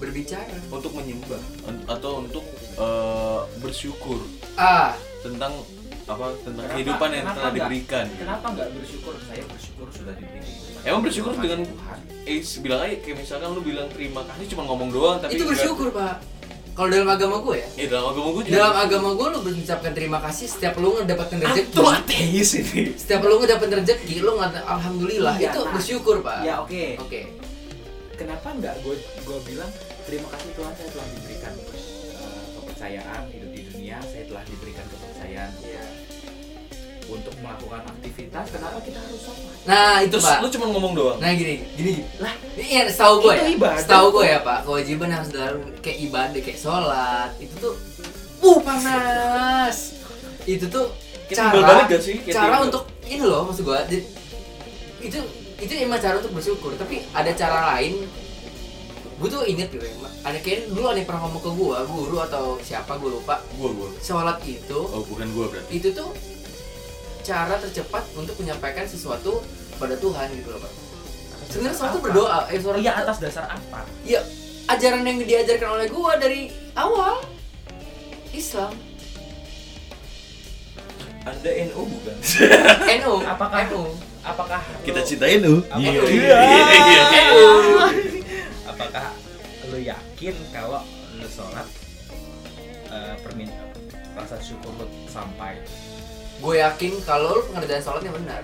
[SPEAKER 1] berbicara.
[SPEAKER 2] untuk menyembah un- atau untuk eh, bersyukur
[SPEAKER 1] Ah,
[SPEAKER 2] tentang apa tentang
[SPEAKER 3] Kenapa-
[SPEAKER 2] kehidupan yang
[SPEAKER 3] kenapa
[SPEAKER 2] telah
[SPEAKER 3] enggak?
[SPEAKER 2] diberikan.
[SPEAKER 3] Kenapa nggak bersyukur? Saya bersyukur sudah diberi kehidupan.
[SPEAKER 2] Emang bersyukur
[SPEAKER 3] Sama
[SPEAKER 2] dengan-
[SPEAKER 3] Tuhan.
[SPEAKER 2] Eh bilang aja kayak misalkan lu bilang terima kasih cuma ngomong doang tapi
[SPEAKER 1] itu bersyukur pak. Kalau dalam agama gue ya,
[SPEAKER 2] Ya dalam agama
[SPEAKER 3] Iya.
[SPEAKER 2] gue
[SPEAKER 1] dalam agama gue lu mengucapkan terima kasih setiap lu ngedapetin rezeki.
[SPEAKER 2] itu ateis ini.
[SPEAKER 1] Setiap lu ngedapetin rezeki, lu ngata alhamdulillah.
[SPEAKER 3] Iya,
[SPEAKER 1] itu
[SPEAKER 3] nah.
[SPEAKER 1] bersyukur
[SPEAKER 2] Ah.
[SPEAKER 1] pak.
[SPEAKER 3] Ya oke.
[SPEAKER 1] Oke.
[SPEAKER 3] Kenapa nggak gue gue bilang terima kasih Tuhan saya telah diberikan eh, kepercayaan hidup di dunia, saya telah diberikan kepercayaan
[SPEAKER 2] Iya.
[SPEAKER 3] untuk melakukan aktivitas. Kenapa kita harus sholat?
[SPEAKER 1] Nah itu
[SPEAKER 2] Terus
[SPEAKER 1] pak.
[SPEAKER 2] lu cuma ngomong doang.
[SPEAKER 1] Nah gini, gini
[SPEAKER 3] Lah,
[SPEAKER 1] Iya, setahu gue ya.
[SPEAKER 3] Itu ibadah.
[SPEAKER 1] Setahu gue ya, Pak. Kewajiban harus dalam kayak ibadah, kayak sholat. Itu tuh uh panas. Itu tuh
[SPEAKER 2] Kita timbal
[SPEAKER 1] cara
[SPEAKER 2] balik gak sih? Kayak
[SPEAKER 1] cara
[SPEAKER 2] timbal.
[SPEAKER 1] untuk ini loh maksud gue. Itu itu emang cara untuk bersyukur tapi ada cara lain gue tuh inget gitu ya ada kayaknya dulu ada yang pernah ngomong ke gue guru atau siapa gue lupa
[SPEAKER 2] Gua gua.
[SPEAKER 1] sholat itu
[SPEAKER 2] Oh bukan gua berarti.
[SPEAKER 1] itu tuh cara tercepat untuk menyampaikan sesuatu pada Tuhan gitu loh pak sebenarnya sholat tuh
[SPEAKER 3] Apa?
[SPEAKER 1] berdoa eh sholat
[SPEAKER 3] Iya
[SPEAKER 1] tuh-
[SPEAKER 3] atas dasar apa?
[SPEAKER 1] ya ajaran yang diajarkan oleh gua dari awal Islam
[SPEAKER 2] Anda NU bukan?
[SPEAKER 1] NU
[SPEAKER 3] Apakah-
[SPEAKER 1] NU
[SPEAKER 3] *laughs* Apakah
[SPEAKER 2] Kita
[SPEAKER 3] lu-
[SPEAKER 2] cintai NU.
[SPEAKER 3] Apa?
[SPEAKER 1] Iya.
[SPEAKER 2] Iya.
[SPEAKER 1] NU
[SPEAKER 3] apakah lu yakin kalau lu sholat eh permintaan rasa syukur lu sampai
[SPEAKER 1] gue yakin kalau lu pengerjaan sholatnya benar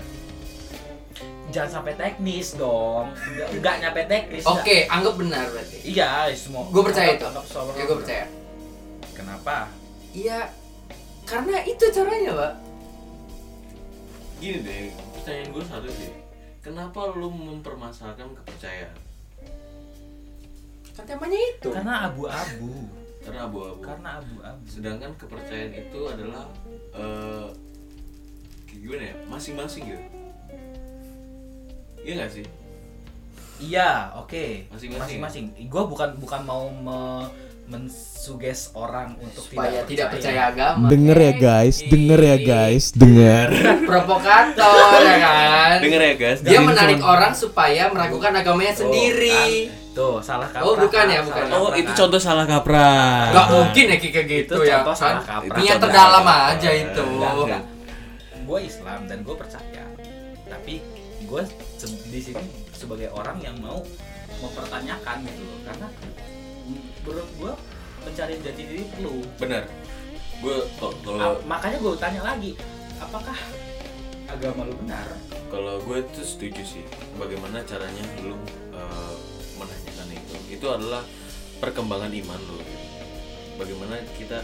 [SPEAKER 3] jangan sampai teknis dong nggak, nggak nyampe teknis
[SPEAKER 1] oke anggap benar berarti
[SPEAKER 3] iya semua
[SPEAKER 1] Gua percaya itu.
[SPEAKER 3] Anggap- anggap sholat
[SPEAKER 1] ya gue percaya
[SPEAKER 3] kenapa
[SPEAKER 1] iya karena itu caranya pak
[SPEAKER 2] Gini deh, pertanyaan gue satu sih. Kenapa lu mempermasalahkan kepercayaan?
[SPEAKER 1] kan temanya itu
[SPEAKER 3] karena abu-abu
[SPEAKER 2] Karena abu-abu.
[SPEAKER 3] karena abu-abu
[SPEAKER 2] Sedangkan kepercayaan itu adalah eh kayak gimana ya? Masing-masing gitu. Iya gak sih?
[SPEAKER 3] iya oke
[SPEAKER 2] Masing-masing.
[SPEAKER 3] masing-masing gue bukan bukan mau me- mensuges orang untuk
[SPEAKER 1] supaya tidak percaya agama
[SPEAKER 4] Denger ya guys, denger ya guys, denger.
[SPEAKER 1] provokator ya kan
[SPEAKER 2] Dengar ya guys.
[SPEAKER 1] dia
[SPEAKER 4] Jadi
[SPEAKER 1] menarik
[SPEAKER 4] cuman-
[SPEAKER 1] orang supaya meragukan agamanya
[SPEAKER 3] Tuh,
[SPEAKER 1] sendiri
[SPEAKER 3] kan? tuh salah kaprah
[SPEAKER 1] Oh, bukan ya,
[SPEAKER 3] Salah
[SPEAKER 1] bukan.
[SPEAKER 3] kaprah,
[SPEAKER 2] Oh, itu
[SPEAKER 3] kan?
[SPEAKER 2] contoh salah kaprah.
[SPEAKER 1] Gak mungkin ya kayak gitu
[SPEAKER 3] itu
[SPEAKER 1] ya
[SPEAKER 3] contoh salah
[SPEAKER 1] kan?
[SPEAKER 3] kaprah
[SPEAKER 2] Itu
[SPEAKER 1] Niat
[SPEAKER 2] contoh
[SPEAKER 1] terdalam
[SPEAKER 2] salah kaprah.
[SPEAKER 1] aja itu.
[SPEAKER 2] Enggak, enggak.
[SPEAKER 3] gue Islam dan gue percaya tapi gue se- di sini sebagai orang yang mau mempertanyakan gitu loh karena menurut gue mencari jati diri perlu
[SPEAKER 1] Oh.
[SPEAKER 2] Benar. Gue kalau
[SPEAKER 3] A- makanya gue tanya lagi apakah agama lu benar
[SPEAKER 2] Kalau gue itu setuju sih. Bagaimana caranya lu eh, menanyakan itu? Itu adalah perkembangan iman lu. Bagaimana kita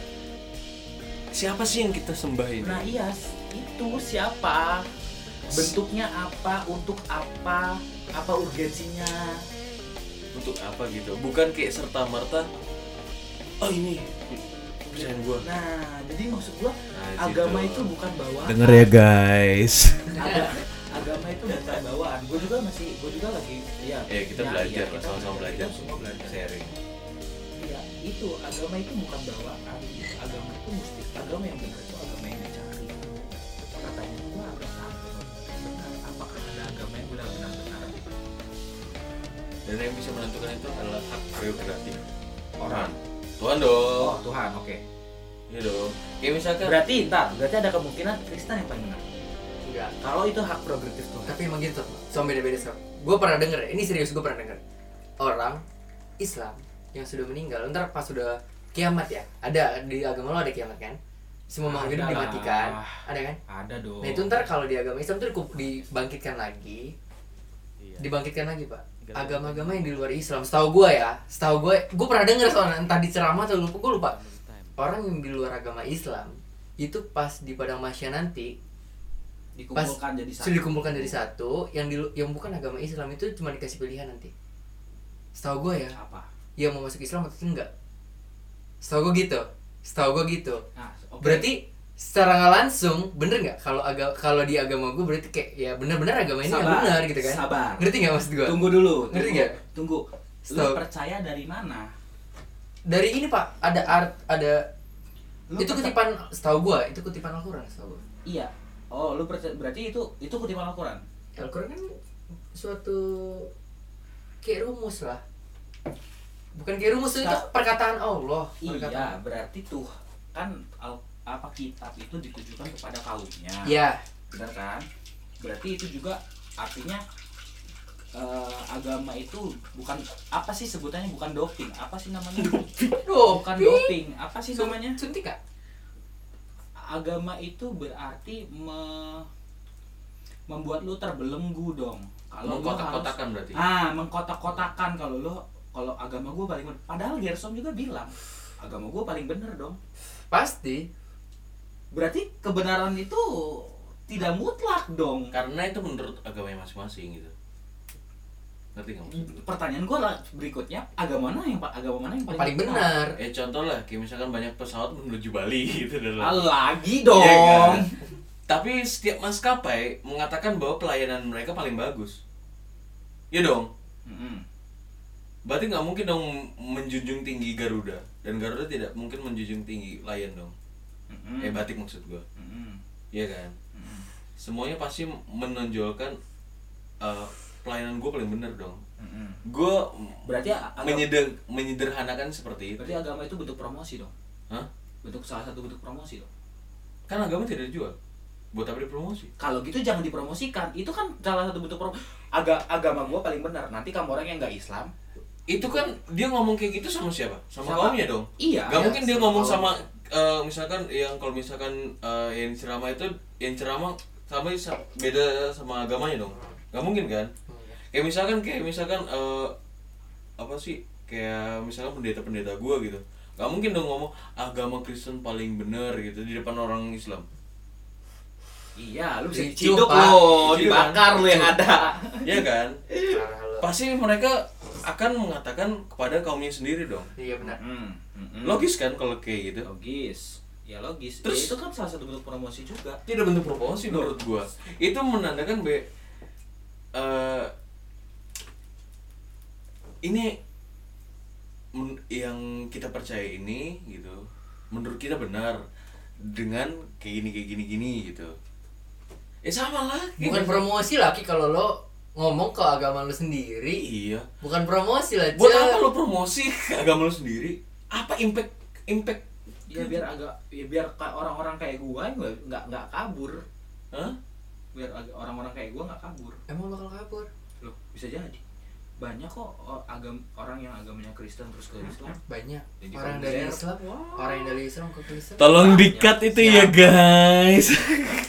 [SPEAKER 2] siapa sih yang kita sembah
[SPEAKER 1] Gitu.
[SPEAKER 2] ini?
[SPEAKER 3] nah iya s- itu siapa bentuknya apa untuk apa apa urgensinya
[SPEAKER 2] Untuk apa gitu? Bukan kayak serta merta. Oh ini percayaan gue.
[SPEAKER 3] nah jadi maksud gue
[SPEAKER 2] Nah, di
[SPEAKER 3] agama
[SPEAKER 2] situ.
[SPEAKER 3] itu bukan bawaan
[SPEAKER 4] Denger ya guys.
[SPEAKER 2] Iya.
[SPEAKER 3] Aga- agama itu bukan bawaan gue juga masih gue juga lagi ya
[SPEAKER 2] Ya kita
[SPEAKER 3] ya,
[SPEAKER 2] belajar
[SPEAKER 3] ya,
[SPEAKER 2] lah,
[SPEAKER 3] kita
[SPEAKER 2] sama-sama belajar,
[SPEAKER 3] kita semua belajar
[SPEAKER 2] sharing.
[SPEAKER 3] ya itu agama itu bukan bawaan gitu. agama itu mesti agama yang benar itu agama yang dicari katanya gua agama benar apakah ada agama yang benar-benar benar
[SPEAKER 2] Dan yang bisa menentukan itu adalah hak prerogatif
[SPEAKER 3] orang
[SPEAKER 2] Tuhan dong.
[SPEAKER 3] oh Tuhan oke
[SPEAKER 2] Iya dong. Kayak misalkan
[SPEAKER 3] berarti entar berarti ada kemungkinan Kristen yang paling benar
[SPEAKER 1] Enggak.
[SPEAKER 3] kalau itu hak progresif Tuhan
[SPEAKER 1] tapi emang gitu so beda-beda so gue pernah denger ini serius gue pernah denger orang Islam yang sudah meninggal ntar pas sudah kiamat ya ada di agama lo ada kiamat kan semua makhluk hidup
[SPEAKER 3] Ada lah.
[SPEAKER 1] dimatikan ada kan
[SPEAKER 3] ada dong
[SPEAKER 1] nah itu ntar kalau di agama Islam tuh dikup- dibangkitkan lagi dibangkitkan lagi pak agama-agama yang di luar Islam setahu gue ya setahu gue gue pernah denger soalnya entah di ceramah atau lupa gue lupa orang yang di luar agama Islam itu pas di padang mahsyar nanti
[SPEAKER 3] dikumpulkan jadi satu
[SPEAKER 1] sudah dikumpulkan dari satu yang di, yang bukan agama Islam itu cuma dikasih pilihan nanti setahu gue ya
[SPEAKER 3] apa
[SPEAKER 1] ya mau masuk Islam atau enggak setahu gue gitu setahu gue gitu
[SPEAKER 3] nah oke.
[SPEAKER 1] berarti secara nggak langsung bener nggak kalau aga kalau di agama gue berarti kayak ya bener-bener agama ini ya
[SPEAKER 3] Sabar,
[SPEAKER 1] benar gitu kan
[SPEAKER 3] sabar.
[SPEAKER 1] ngerti nggak maksud gue
[SPEAKER 3] tunggu dulu
[SPEAKER 1] Ngerti
[SPEAKER 3] tunggu,
[SPEAKER 1] nggak?
[SPEAKER 3] tunggu. lu
[SPEAKER 1] Stop.
[SPEAKER 3] percaya dari mana
[SPEAKER 1] dari ini pak ada art ada
[SPEAKER 3] Lu
[SPEAKER 1] itu
[SPEAKER 3] percaya-
[SPEAKER 1] kutipan setahu gue itu kutipan Al-Quran setahu gue
[SPEAKER 3] Iya. Oh, lu percaya berarti itu itu kutipan Al-Quran.
[SPEAKER 1] Al-Quran kan suatu kayak rumus lah bukan kayak rumus itu
[SPEAKER 3] Sa-
[SPEAKER 1] perkataan Allah perkataan
[SPEAKER 3] Iya, berarti tuh kan al- apa kitab itu ditujukan kepada kaumnya.
[SPEAKER 1] ya
[SPEAKER 3] Benar kan? Berarti itu juga artinya eh, agama itu bukan apa sih sebutannya bukan doping apa sih namanya bukan doping apa sih namanya
[SPEAKER 1] suntik gak?
[SPEAKER 3] agama itu berarti me- membuat lu terbelenggu dong kalau lu harus
[SPEAKER 2] mengkotak-kotakan berarti.
[SPEAKER 3] Ah, mengkotak-kotakan kalau lo kalau agama gue paling bener. Padahal Gersom juga bilang agama gue paling bener dong.
[SPEAKER 1] pasti
[SPEAKER 3] Berarti kebenaran itu tidak mutlak dong.
[SPEAKER 2] Karena itu menurut agamanya masing-masing gitu. Ngerti nggak maksud gue?
[SPEAKER 3] Pertanyaan gue lah berikutnya agama mana yang pa- agama mana yang paling,
[SPEAKER 1] paling benar
[SPEAKER 2] Eh contoh lah, kayak misalkan banyak pesawat menuju Bali *laughs* gitu dan
[SPEAKER 3] Ah,
[SPEAKER 2] lain-lain.
[SPEAKER 3] lagi
[SPEAKER 2] Iya
[SPEAKER 3] dong.
[SPEAKER 2] kan? Tapi setiap maskapai mengatakan bahwa pelayanan mereka paling bagus. Iya dong.
[SPEAKER 3] Mm-mm.
[SPEAKER 2] Berarti nggak mungkin dong menjunjung tinggi Garuda dan Garuda tidak mungkin menjunjung tinggi Lion dong.
[SPEAKER 3] Mm-mm.
[SPEAKER 2] Eh batik maksud gua.
[SPEAKER 3] Mm-mm.
[SPEAKER 2] Iya kan?
[SPEAKER 3] Mm-mm.
[SPEAKER 2] Semuanya pasti menonjolkan eh, pelayanan gua paling bener dong.
[SPEAKER 3] Mm-mm.
[SPEAKER 2] Gua
[SPEAKER 3] Berarti a- agama-
[SPEAKER 2] menyeder- menyederhanakan seperti itu.
[SPEAKER 3] berarti agama itu bentuk promosi dong
[SPEAKER 2] Hah?
[SPEAKER 3] bentuk salah satu bentuk promosi dong
[SPEAKER 2] Kan agama tidak dijual. Buat apa dipromosi?
[SPEAKER 3] kalau gitu jangan dipromosikan itu kan salah satu bentuk promosi Aga, agama gue paling benar nanti kamu orang yang nggak Islam
[SPEAKER 2] itu kan dia ngomong kayak gitu sama siapa? Sama,
[SPEAKER 3] Sama-
[SPEAKER 2] kaumnya dong.
[SPEAKER 3] Iya,
[SPEAKER 2] Gak
[SPEAKER 3] iya,
[SPEAKER 2] mungkin dia
[SPEAKER 3] sama
[SPEAKER 2] ngomong
[SPEAKER 3] kaumnya.
[SPEAKER 2] sama eh, misalkan yang kalau misalkan eh, yang ceramah itu yang ceramah sama sa- beda sama agamanya dong. Gak mungkin kan? Kayak misalkan kayak misalkan eh, apa sih? Kayak misalkan pendeta-pendeta gua gitu. Gak mungkin dong ngomong agama Kristen paling bener gitu di depan orang Islam.
[SPEAKER 3] iya lu bisa
[SPEAKER 1] Diciduk,
[SPEAKER 3] diciduk
[SPEAKER 1] Pak.
[SPEAKER 3] lo
[SPEAKER 2] Diciduk, kan?
[SPEAKER 3] dibakar lo yang ada
[SPEAKER 2] Iya kan?
[SPEAKER 1] Parah lu.
[SPEAKER 2] Pasti mereka akan mengatakan kepada kaumnya sendiri dong.
[SPEAKER 1] Iya benar.
[SPEAKER 3] Mm, mm-mm.
[SPEAKER 2] Logis kan kalau kayak gitu?
[SPEAKER 3] logis ya logis
[SPEAKER 2] Terus-
[SPEAKER 3] Ya, itu kan salah satu bentuk promosi juga
[SPEAKER 2] tidak bentuk promosi Oh, menurut gua itu menandakan be eh, ini men- yang kita percaya ini gitu menurut kita benar dengan kayak gini kayak gini gini gitu eh sama lah
[SPEAKER 1] Bukan promosi lah Ki kalau lo ngomong ke agama lo sendiri.
[SPEAKER 2] iya
[SPEAKER 1] Bukan promosi lah.
[SPEAKER 2] buat
[SPEAKER 1] Cel.
[SPEAKER 2] apa lo promosi *laughs* ke agama lo sendiri apa impact impact
[SPEAKER 3] ya biar agak ya biar ka- orang-orang kayak gua yang nggak- nggak nggak kabur
[SPEAKER 2] Hah?
[SPEAKER 3] biar ag- orang-orang kayak gua nggak kabur
[SPEAKER 1] Emang lo kalau kabur?
[SPEAKER 3] loh bisa jadi banyak kok o- agam orang yang agamanya Kristen terus ke Islam
[SPEAKER 1] Banyak.
[SPEAKER 3] Jadi
[SPEAKER 1] Orang
[SPEAKER 3] kamu
[SPEAKER 1] dari
[SPEAKER 3] share.
[SPEAKER 1] Islam. Orang yang dari Islam ke Kristen.
[SPEAKER 2] tolong
[SPEAKER 3] di-cut
[SPEAKER 2] dikat
[SPEAKER 3] itu ya,
[SPEAKER 2] guys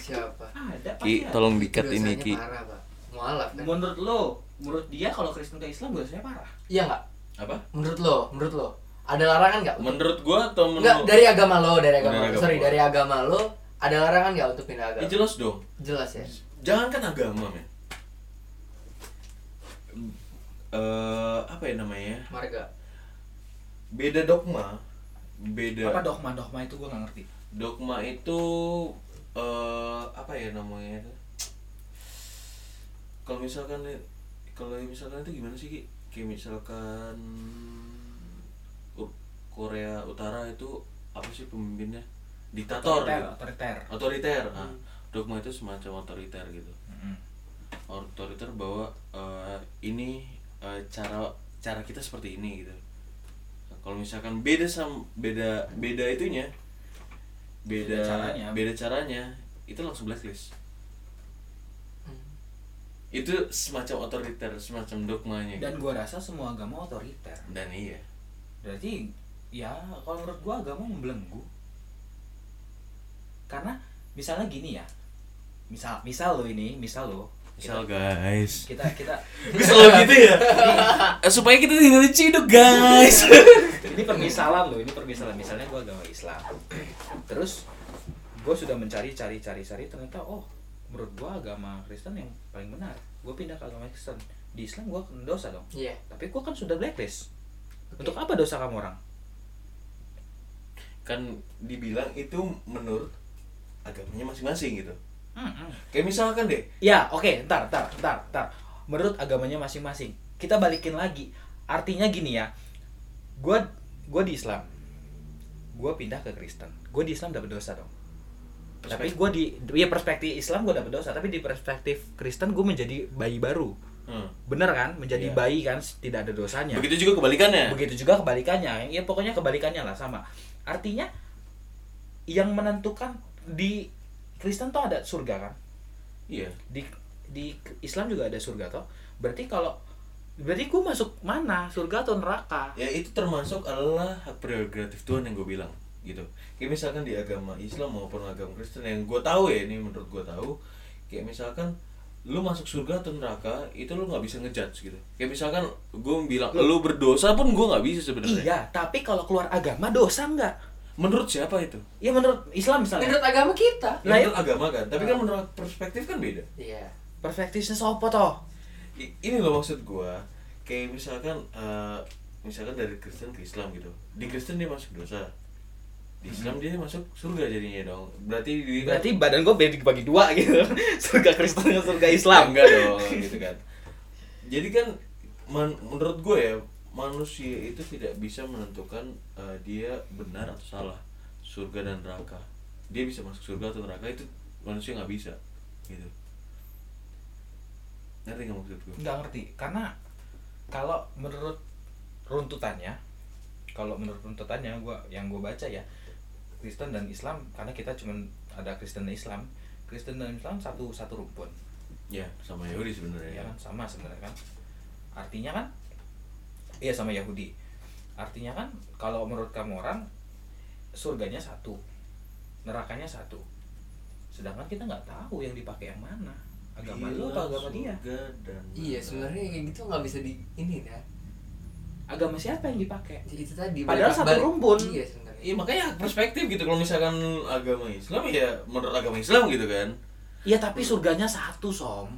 [SPEAKER 1] Siapa?
[SPEAKER 3] ada pasti
[SPEAKER 2] ki
[SPEAKER 3] ada.
[SPEAKER 2] tolong dikat
[SPEAKER 1] Itu
[SPEAKER 2] ini
[SPEAKER 1] dosanya
[SPEAKER 2] ki
[SPEAKER 1] Parah, Pak. Mualaf kan?
[SPEAKER 3] menurut lo menurut dia kalau Kristen ke Islam biasanya parah
[SPEAKER 1] Iya nggak?
[SPEAKER 2] apa
[SPEAKER 1] Menurut lo, menurut lo, ada larangan nggak?
[SPEAKER 2] menurut gua atau menurut
[SPEAKER 1] Nggak dari agama lo, dari agama.
[SPEAKER 2] Dari
[SPEAKER 1] lo.
[SPEAKER 2] agama
[SPEAKER 1] Sorry,
[SPEAKER 2] gua.
[SPEAKER 1] dari agama lo ada larangan nggak untuk pindah
[SPEAKER 2] Ya
[SPEAKER 1] agama?
[SPEAKER 2] jelas dong.
[SPEAKER 1] Jelas ya.
[SPEAKER 2] Jangankan agama, men. Eh, apa ya namanya?
[SPEAKER 1] Marga.
[SPEAKER 2] Beda dogma. Beda
[SPEAKER 3] apa dogma dogma itu gua nggak ngerti
[SPEAKER 2] dogma itu eh apa ya namanya itu? Kalau misalkan kalau misalkan itu gimana sih, Ki? Kayak misalkan U- Korea Utara itu apa sih pemimpinnya? Diktator.
[SPEAKER 3] Otoriter,
[SPEAKER 2] gitu.
[SPEAKER 3] otoriter Hmm.
[SPEAKER 2] Otoriter. Nah, dogma itu semacam otoriter gitu. otoriter bahwa eh, ini eh, cara cara kita seperti ini gitu kalau misalkan beda sam beda beda itunya beda
[SPEAKER 3] Beda caranya.
[SPEAKER 2] beda caranya itu langsung blacklist
[SPEAKER 1] Hmm.
[SPEAKER 2] itu semacam otoriter semacam dogmanya
[SPEAKER 3] dan
[SPEAKER 2] gitu.
[SPEAKER 3] gua rasa semua agama otoriter
[SPEAKER 2] dan iya
[SPEAKER 3] berarti ya kalau menurut gua agama membelenggu karena misalnya gini ya misal misal lo ini misal lo
[SPEAKER 2] misal guys
[SPEAKER 3] kita kita
[SPEAKER 2] gue selalu gitu *laughs* ya supaya kita tidak diciduk guys
[SPEAKER 3] ini permisalan loh ini permisalan misalnya gue agama Islam terus gue sudah mencari cari cari cari ternyata oh menurut gue agama Kristen yang paling benar gue pindah ke agama Kristen di Islam gue dosa dong
[SPEAKER 1] Iya.
[SPEAKER 3] tapi gue kan sudah blacklist untuk apa dosa kamu orang
[SPEAKER 2] kan dibilang itu menurut agamanya masing-masing gitu
[SPEAKER 3] Mm-mm.
[SPEAKER 2] kayak misalkan deh
[SPEAKER 3] ya oke ntar ntar ntar ntar menurut agamanya masing-masing kita balikin lagi artinya gini ya gue gue di Islam gue pindah ke Kristen gue di Islam dapat dosa dong tapi gue di ya perspektif Islam gue dapet dosa tapi di perspektif Kristen gue menjadi bayi baru
[SPEAKER 2] Hmm.
[SPEAKER 3] bener kan menjadi
[SPEAKER 2] Iya.
[SPEAKER 3] bayi kan tidak ada dosanya begitu,
[SPEAKER 2] begitu juga kebalikannya
[SPEAKER 3] juga kebalikannya ya pokoknya kebalikannya lah sama artinya yang menentukan di Kristen tuh ada surga kan
[SPEAKER 2] Iya.
[SPEAKER 3] di di Islam juga ada surga toh berarti kalau berarti gue masuk mana surga atau neraka
[SPEAKER 2] Ya itu termasuk adalah hak prerogatif Tuhan yang gue bilang gitu. Kayak misalkan di agama Islam maupun agama Kristen yang gue tahu ya ini menurut gue tahu kayak misalkan lu masuk surga atau neraka itu lu nggak bisa ngejudge gitu. Kayak misalkan gue bilang lu berdosa pun gue nggak bisa sebenarnya.
[SPEAKER 3] iya tapi kalau keluar agama dosa nggak
[SPEAKER 2] Menurut siapa itu?
[SPEAKER 5] Iya,
[SPEAKER 3] ya menurut Islam misalnya
[SPEAKER 1] Menurut agama kita.
[SPEAKER 2] Ya,
[SPEAKER 3] Nah,
[SPEAKER 2] menurut agama kan, tapi kan menurut perspektif kan beda.
[SPEAKER 1] Iya.
[SPEAKER 3] perspektifnya sopo toh
[SPEAKER 2] I- ini loh maksud gua kayak misalkan eh, misalkan dari Kristen ke Islam gitu di Kristen dia masuk dosa di Islam dia masuk surga jadinya dong berarti dia kan-
[SPEAKER 3] Hmm. Berarti *laughs*
[SPEAKER 2] Ya,
[SPEAKER 3] badan gue beda dibagi dua gitu. Surga Kristen dan surga Islam.
[SPEAKER 2] enggak dong gitu kan jadi kan men- menurut gue ya manusia itu tidak bisa menentukan eh, dia benar atau salah surga dan neraka dia bisa masuk surga atau neraka itu manusia nggak bisa gitu ngerti nggak maksud
[SPEAKER 3] Hmm.
[SPEAKER 2] gue
[SPEAKER 5] nggak ngerti karena kalau menurut runtutannya kalau menurut runtutannya gua yang gue baca ya Kristen dan Islam karena kita cuman ada Kristen dan Islam Kristen dan Islam satu satu rumpun
[SPEAKER 2] ya sama Yahudi
[SPEAKER 5] ya
[SPEAKER 2] sebenarnya ya.
[SPEAKER 5] kan sama sebenarnya kan artinya kan iya sama Yahudi artinya kan kalau menurut kamu orang surganya satu nerakanya satu sedangkan kita nggak tahu yang dipakai yang mana agama
[SPEAKER 3] Iya,
[SPEAKER 5] lu atau
[SPEAKER 2] Bila
[SPEAKER 5] agama dia
[SPEAKER 2] surga dan
[SPEAKER 1] Iya sebenarnya kayak gitu nggak bisa di ini dah.
[SPEAKER 3] agama siapa yang dipakai
[SPEAKER 1] Itu tadi.
[SPEAKER 3] Padahal
[SPEAKER 1] balik-
[SPEAKER 3] satu
[SPEAKER 1] balik-
[SPEAKER 3] rumpun.
[SPEAKER 1] Iya sebenarnya.
[SPEAKER 2] Iya makanya perspektif gitu kalau misalkan agama Islam ya menurut agama Islam gitu kan.
[SPEAKER 3] Iya tapi surganya satu som.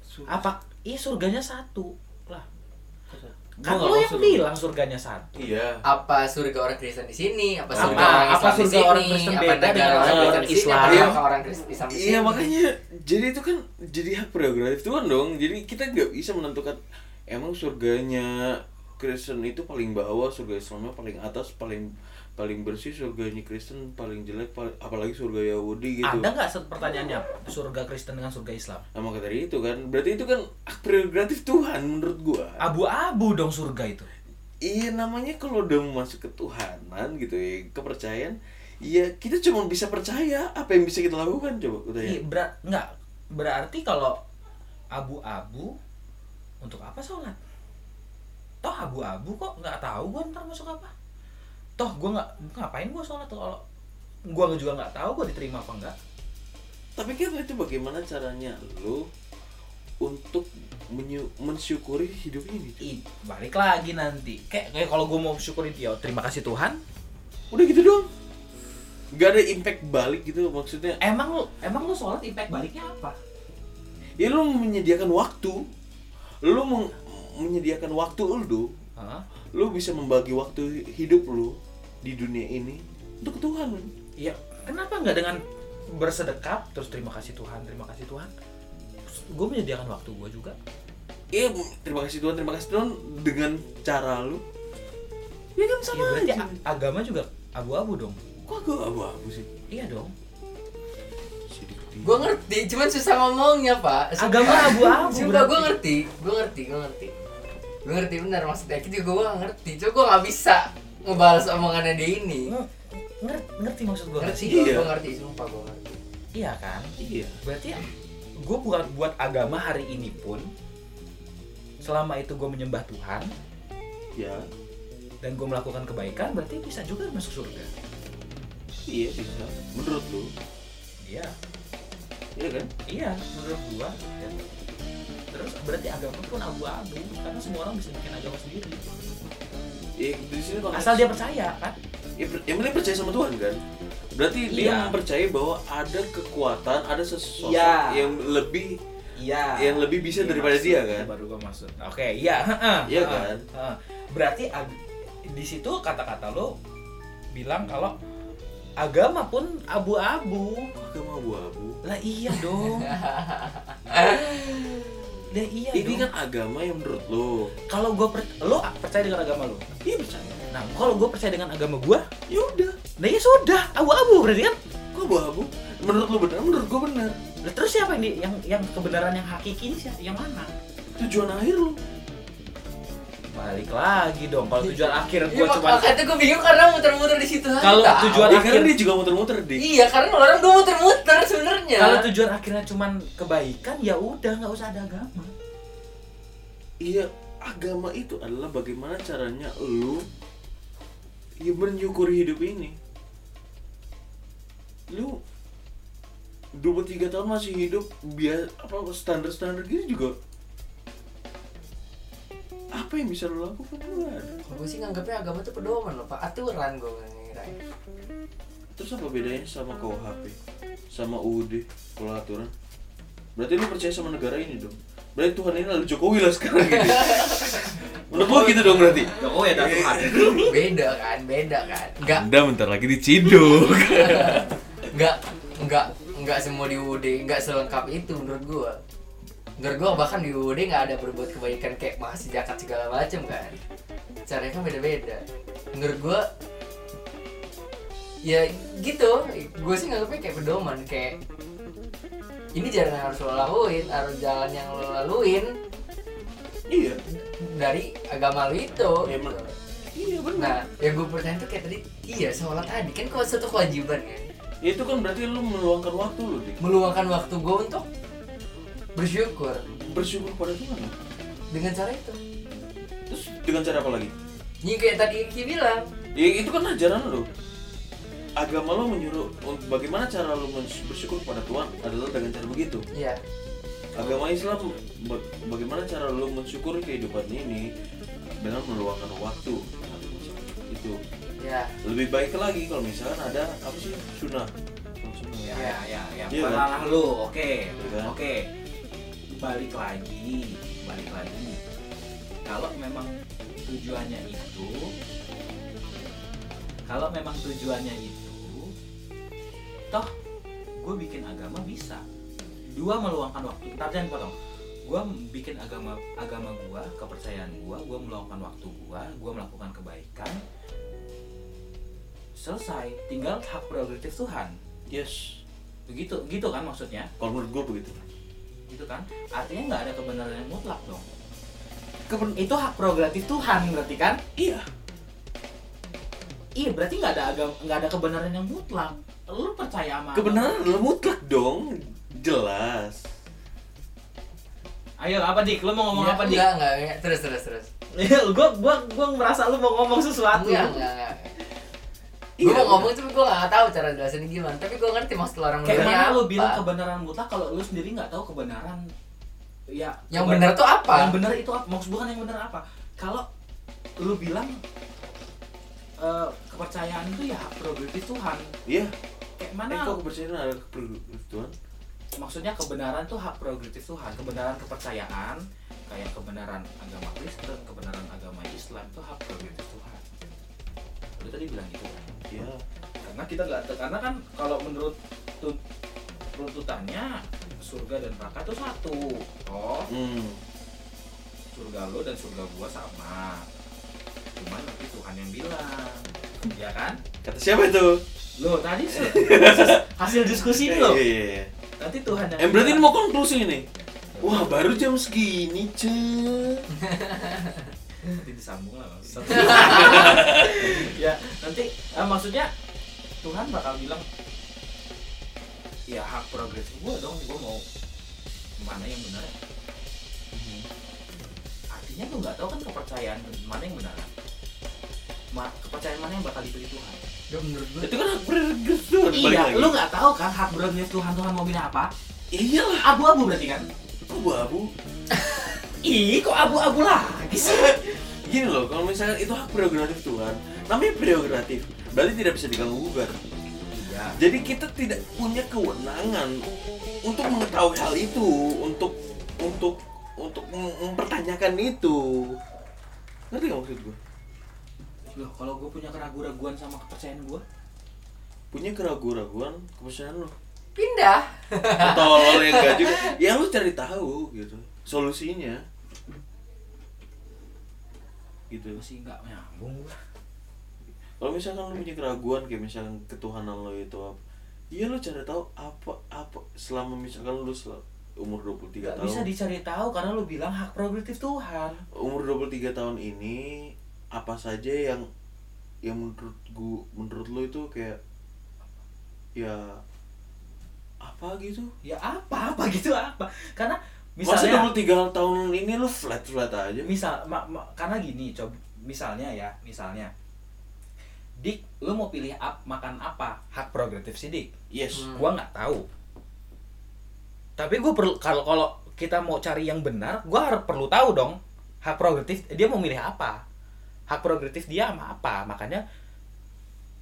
[SPEAKER 2] Sur-
[SPEAKER 3] Apa? Iya surganya satu lah.
[SPEAKER 2] Gua
[SPEAKER 3] Kan
[SPEAKER 2] nggak
[SPEAKER 3] lo yang
[SPEAKER 2] maksud-
[SPEAKER 3] bilang surganya satu.
[SPEAKER 2] Iya.
[SPEAKER 1] Apa surga orang Kristen di sini? Apa
[SPEAKER 2] Apa-
[SPEAKER 1] surga orang
[SPEAKER 3] apa
[SPEAKER 1] Islam di
[SPEAKER 3] surga
[SPEAKER 1] sini?
[SPEAKER 3] orang Kristen
[SPEAKER 1] apa
[SPEAKER 3] beda
[SPEAKER 1] negara
[SPEAKER 3] dengan
[SPEAKER 1] orang
[SPEAKER 2] orang
[SPEAKER 1] Kristen di sini?
[SPEAKER 3] Islam? Iya.
[SPEAKER 1] Apa neraka orang Kristen Islam di sini?
[SPEAKER 2] Iya makanya jadi itu kan jadi hak prerogatif Tuhan dong. Jadi kita nggak bisa menentukan emang surganya Kristen itu paling bawah, surga Islamnya paling atas, paling paling bersih surganya Kristen paling jelek, paling- apalagi surga Yahudi gitu.
[SPEAKER 3] Ada nggak set- pertanyaannya surga Kristen dengan surga Islam?
[SPEAKER 2] Nah, maka dari itu kan berarti itu kan hak prerogatif Tuhan menurut gua.
[SPEAKER 3] Abu-abu dong surga itu.
[SPEAKER 2] Iya namanya kalau udah mau masuk ketuhanan gitu ya kepercayaan ya kita cuma bisa percaya apa yang bisa kita lakukan coba udah ya
[SPEAKER 3] Iya ber nggak berarti kalau abu-abu untuk apa sholat? Toh abu-abu kok nggak tahu gue ntar masuk apa? Toh gue nggak ngapain gue sholat tuh kalau gue juga nggak tahu gue diterima apa enggak.
[SPEAKER 2] tapi kan itu bagaimana caranya lo untuk menyu- mensyukuri hidup ini coba.
[SPEAKER 3] Ih, balik lagi nanti kayak, kayak kalau gue mau syukurin dia oh, terima kasih Tuhan
[SPEAKER 2] udah gitu doang nggak ada impact balik gitu maksudnya
[SPEAKER 3] emang lu emang lu sholat impact baliknya apa
[SPEAKER 2] ya lo menyediakan waktu lo meng- menyediakan waktu lo
[SPEAKER 3] Hah?
[SPEAKER 2] lo bisa membagi waktu hidup lo di dunia ini untuk ketuhanan
[SPEAKER 3] iya kenapa nggak dengan bersedekap terus terima kasih Tuhan terima kasih Tuhan gue menyediakan waktu gue juga
[SPEAKER 2] Iya, Bu. terima kasih Tuhan, terima kasih Tuhan dengan cara lu. Ya kan
[SPEAKER 3] Iya,
[SPEAKER 2] sama
[SPEAKER 3] berarti
[SPEAKER 2] aja.
[SPEAKER 3] a- agama juga abu-abu dong
[SPEAKER 2] Kok gue abu-abu sih?
[SPEAKER 3] iya dong
[SPEAKER 2] Sidik di-
[SPEAKER 1] Gue ngerti, cuman susah ngomongnya pak. Sumpah.
[SPEAKER 3] agama abu-abu
[SPEAKER 1] Sumpah
[SPEAKER 3] berarti.
[SPEAKER 1] gue ngerti, gue ngerti, gue ngerti. Gue ngerti benar maksudnya. Kita juga gue ngerti. Coba gue nggak bisa ngebalas omongannya dia ini.
[SPEAKER 3] Nge- ngerti, ngerti maksud gue
[SPEAKER 1] Ngerti,
[SPEAKER 2] Iya.
[SPEAKER 1] gue ngerti, sumpah gue ngerti.
[SPEAKER 3] iya kan
[SPEAKER 2] Iya.
[SPEAKER 3] berarti gue buat buat agama hari ini pun selama itu gue menyembah Tuhan
[SPEAKER 2] Ya,
[SPEAKER 3] dan gue melakukan kebaikan berarti bisa juga masuk surga
[SPEAKER 2] iya bisa. Menurut lu,
[SPEAKER 3] iya
[SPEAKER 2] iya kan?
[SPEAKER 3] iya menurut gua ya. terus berarti agama pun abu-abu karena semua orang bisa bikin agama sendiri
[SPEAKER 2] Iya, di sini kalau
[SPEAKER 3] asal dia percaya kan
[SPEAKER 2] ya, per- yang penting percaya sama Tuhan kan. Berarti dia
[SPEAKER 3] Iya.
[SPEAKER 2] mempercayai bahwa ada kekuatan, ada sesuatu
[SPEAKER 3] Iya.
[SPEAKER 2] yang lebih
[SPEAKER 3] iya
[SPEAKER 2] yang lebih bisa daripada dia kan.
[SPEAKER 3] baru gua maksud oke iya heeh,
[SPEAKER 2] Iya
[SPEAKER 3] heeh,
[SPEAKER 2] kan?
[SPEAKER 3] heeh. berarti ag- di situ kata-kata lo bilang kalau agama pun abu-abu
[SPEAKER 2] Agama abu-abu.
[SPEAKER 3] lah iya *laughs* dong lah iya
[SPEAKER 2] Ini
[SPEAKER 3] dong.
[SPEAKER 2] kan agama yang menurut lo.
[SPEAKER 3] kalau gue lo percaya dengan agama lo
[SPEAKER 2] Iya percaya.
[SPEAKER 3] nah kalau gue percaya dengan agama gue
[SPEAKER 2] Ya udah,
[SPEAKER 3] nah ya sudah abu-abu berarti kan
[SPEAKER 2] kok abu-abu? Menurut lu benar, menurut gua benar.
[SPEAKER 3] Lah, terus siapa yang di- yang yang kebenaran yang hakiki ini siapa yang mana
[SPEAKER 2] Tujuan akhir lu.
[SPEAKER 3] balik lagi dong kalau tujuan
[SPEAKER 1] Iya,
[SPEAKER 3] akhir gue
[SPEAKER 1] mak-
[SPEAKER 3] cuma
[SPEAKER 1] makanya gue bingung karena muter-muter di situ.
[SPEAKER 3] Kalau
[SPEAKER 1] aja.
[SPEAKER 3] tujuan-
[SPEAKER 2] Ya,
[SPEAKER 3] akhir.
[SPEAKER 2] karena dia juga muter-muter di.
[SPEAKER 1] Iya, karena orang gue muter-muter sebenarnya.
[SPEAKER 3] kalau tujuan akhirnya cuman kebaikan ya udah nggak usah ada agama
[SPEAKER 2] Iya, agama itu adalah bagaimana caranya lu ya menyukuri hidup ini. Lu 23 tahun masih hidup biar apa standar-standar gini juga apa yang bisa lu lakukan Lu nggak ada.
[SPEAKER 1] Gue sih nganggapnya agama tuh pedoman loh pak, aturan gue ngira.
[SPEAKER 2] terus apa bedanya sama KUHP sama UUD kalau aturan berarti lu percaya sama negara ini dong berarti Tuhan ini lalu Jokowi lah sekarang gitu menurut gua gitu dong berarti
[SPEAKER 3] oh ya ada Tuhan
[SPEAKER 1] Beda kan, beda kan. Enggak,
[SPEAKER 2] Anda bentar lagi diciduk
[SPEAKER 1] enggak, enggak, enggak semua di UUD, enggak selengkap itu menurut gue. Menurut gua bahkan di UUD nggak ada berbuat kebaikan kayak masih zakat segala macem kan. Caranya kan beda-beda. Menurut gua ya gitu. Gue sih nganggapnya kayak pedoman kayak ini jalan yang harus lo lakuin, harus jalan yang lo laluin
[SPEAKER 2] iya
[SPEAKER 1] dari agama lo itu.
[SPEAKER 2] Ya, emang.
[SPEAKER 1] gitu.
[SPEAKER 2] iya benar
[SPEAKER 1] Nah, yang gue pertanyaan tuh kayak tadi, iya sholat tadi kan kok satu kewajiban kan.
[SPEAKER 2] itu kan berarti lu meluangkan waktu lu dik
[SPEAKER 1] Meluangkan waktu gue untuk bersyukur
[SPEAKER 2] bersyukur pada Tuhan
[SPEAKER 1] dengan cara itu.
[SPEAKER 2] terus dengan cara apa lagi
[SPEAKER 1] Ini kayak tadi Ki bilang,
[SPEAKER 2] ya itu kan ajaran lu agama lu menyuruh un- bagaimana cara lu mens- bersyukur pada Tuhan adalah dengan cara begitu
[SPEAKER 1] ya
[SPEAKER 2] agama Islam ba- bagaimana cara lu mensyukuri kehidupan ini dengan meluangkan waktu itu
[SPEAKER 1] ya
[SPEAKER 2] lebih baik lagi kalau misalkan ada apa sih sunnah Sunnah.
[SPEAKER 3] ya ya ya, ya.
[SPEAKER 2] Iya,
[SPEAKER 3] bukan
[SPEAKER 2] kan?
[SPEAKER 3] ranah lu oke
[SPEAKER 2] Iya, kan?
[SPEAKER 3] oke balik lagi balik lagi kalau memang tujuannya itu kalau memang tujuannya itu toh gue bikin agama bisa dua meluangkan waktu ntar jangan potong gue bikin agama agama gue kepercayaan gue gue meluangkan waktu gue gue melakukan kebaikan selesai tinggal hak prerogatif Tuhan
[SPEAKER 2] yes
[SPEAKER 3] begitu gitu kan maksudnya
[SPEAKER 2] kalau menurut gue begitu
[SPEAKER 3] gitu kan artinya nggak ada kebenaran yang mutlak dong Keben- itu hak prerogatif Tuhan berarti kan
[SPEAKER 2] iya
[SPEAKER 3] iya berarti nggak ada agam nggak ada kebenaran yang mutlak lu percaya sama
[SPEAKER 2] kebenaran adalah mutlak dong jelas
[SPEAKER 3] ayo apa dik lu mau ngomong
[SPEAKER 1] Ya,
[SPEAKER 3] apa dik *laughs* Iya,
[SPEAKER 1] enggak, enggak, enggak. terus terus terus.
[SPEAKER 3] gua gua gua merasa lu mau ngomong sesuatu
[SPEAKER 1] Enggak, enggak, enggak.
[SPEAKER 2] Iya,
[SPEAKER 1] Gue mau ngomong tapi gue gak tahu cara jelasinnya gimana Tapi gue ngerti maksud orang
[SPEAKER 3] kayak
[SPEAKER 1] benernya
[SPEAKER 3] mana lu
[SPEAKER 1] apa.
[SPEAKER 3] bilang kebenaran mutlak kalau lu sendiri nggak tahu kebenaran ya
[SPEAKER 1] Yang
[SPEAKER 3] keben-
[SPEAKER 1] bener tuh apa?
[SPEAKER 3] yang benar itu apa maksud bukan yang benar apa kalau lu bilang eh, kepercayaan itu ya hak prerogatif Tuhan
[SPEAKER 2] iya
[SPEAKER 3] kayak
[SPEAKER 2] eh
[SPEAKER 3] mana
[SPEAKER 2] kok kepercayaan ada keperluan Tuhan
[SPEAKER 3] maksudnya kebenaran tuh hak prerogatif Tuhan kebenaran kepercayaan kayak kebenaran agama Kristen kebenaran agama Islam tuh hak prerogatif Tuhan lu tadi bilang gitu kan
[SPEAKER 2] iya
[SPEAKER 3] karena kita nggak karena kan kalau menurut tut, runtutannya surga dan neraka tuh satu oh
[SPEAKER 2] hmm.
[SPEAKER 3] surga lo dan surga gua sama cuman nanti Tuhan yang bilang ya kan
[SPEAKER 2] kata siapa itu
[SPEAKER 3] lo tadi
[SPEAKER 2] *laughs*
[SPEAKER 3] su- hasil diskusi
[SPEAKER 2] Iya,
[SPEAKER 3] lo
[SPEAKER 2] iya, iya, iya.
[SPEAKER 3] nanti Tuhan yang
[SPEAKER 2] Eh berarti ini
[SPEAKER 3] bilang. Iya.
[SPEAKER 2] mau konklusi nih. Wah baru jam segini cuy.
[SPEAKER 3] nanti disambung lah Bang. ya nanti ah, maksudnya Tuhan bakal bilang ya hak progresif gue dong gue mau mana yang benar ya." artinya lu nggak tahu kan kepercayaan mana yang benar Ma- kepercayaan mana yang bakal diberi Tuhan
[SPEAKER 1] Ya, menurut gue
[SPEAKER 2] Itu kan hak prerogatif Tuhan. balik
[SPEAKER 3] iya
[SPEAKER 2] lagi.
[SPEAKER 3] lu nggak tahu kan hak progresif Tuhan Tuhan mau bilang apa
[SPEAKER 2] Iyalah.
[SPEAKER 3] abu-abu berarti kan
[SPEAKER 2] Abu-abu.
[SPEAKER 3] ih kok abu-abu lagi sih
[SPEAKER 2] Gini loh, kalau misalkan itu hak prerogatif Tuhan, namanya prerogatif, berarti tidak bisa diganggu gugat.
[SPEAKER 3] iya
[SPEAKER 2] Jadi kita tidak punya kewenangan untuk mengetahui hal itu, untuk untuk untuk mem- mempertanyakan itu. Ngerti nggak maksud gue?
[SPEAKER 3] loh kalau gue punya keraguan-keraguan sama kepercayaan gue
[SPEAKER 2] Punya keraguan-raguan kepercayaan lo.
[SPEAKER 1] pindah
[SPEAKER 2] Tolol yang enggak juga. Ya lu cari tahu gitu. Solusinya. Gitu.
[SPEAKER 3] masih nggak nyambung gua.
[SPEAKER 2] Kalau misalkan lu punya keraguan kayak misalkan ketuhanan lo itu apa? Ya lu cari tahu apa apa selama misalkan lu sel- umur 23
[SPEAKER 3] Gak
[SPEAKER 2] tahun.
[SPEAKER 3] bisa dicari tahu karena lu bilang hak prerogatif Tuhan.
[SPEAKER 2] umur 23 tahun ini apa saja yang yang menurut gua menurut lu itu kayak ya apa gitu?
[SPEAKER 3] Ya apa apa gitu apa? Karena
[SPEAKER 2] Misalnya,
[SPEAKER 3] misalnya
[SPEAKER 2] Masa 23 tahun ini lu flat-flat aja?
[SPEAKER 3] misal ma- ma- karena gini coba misalnya ya misalnya Dik, lu mau pilih ap- makan apa? Hak prerogatif si Dik.
[SPEAKER 2] Yes.
[SPEAKER 1] Hmm.
[SPEAKER 5] gua nggak tahu tapi gua perlu kalau kalau kita mau cari yang benar gua harus perlu tahu dong hak prerogatif dia mau milih apa hak prerogatif dia sama apa makanya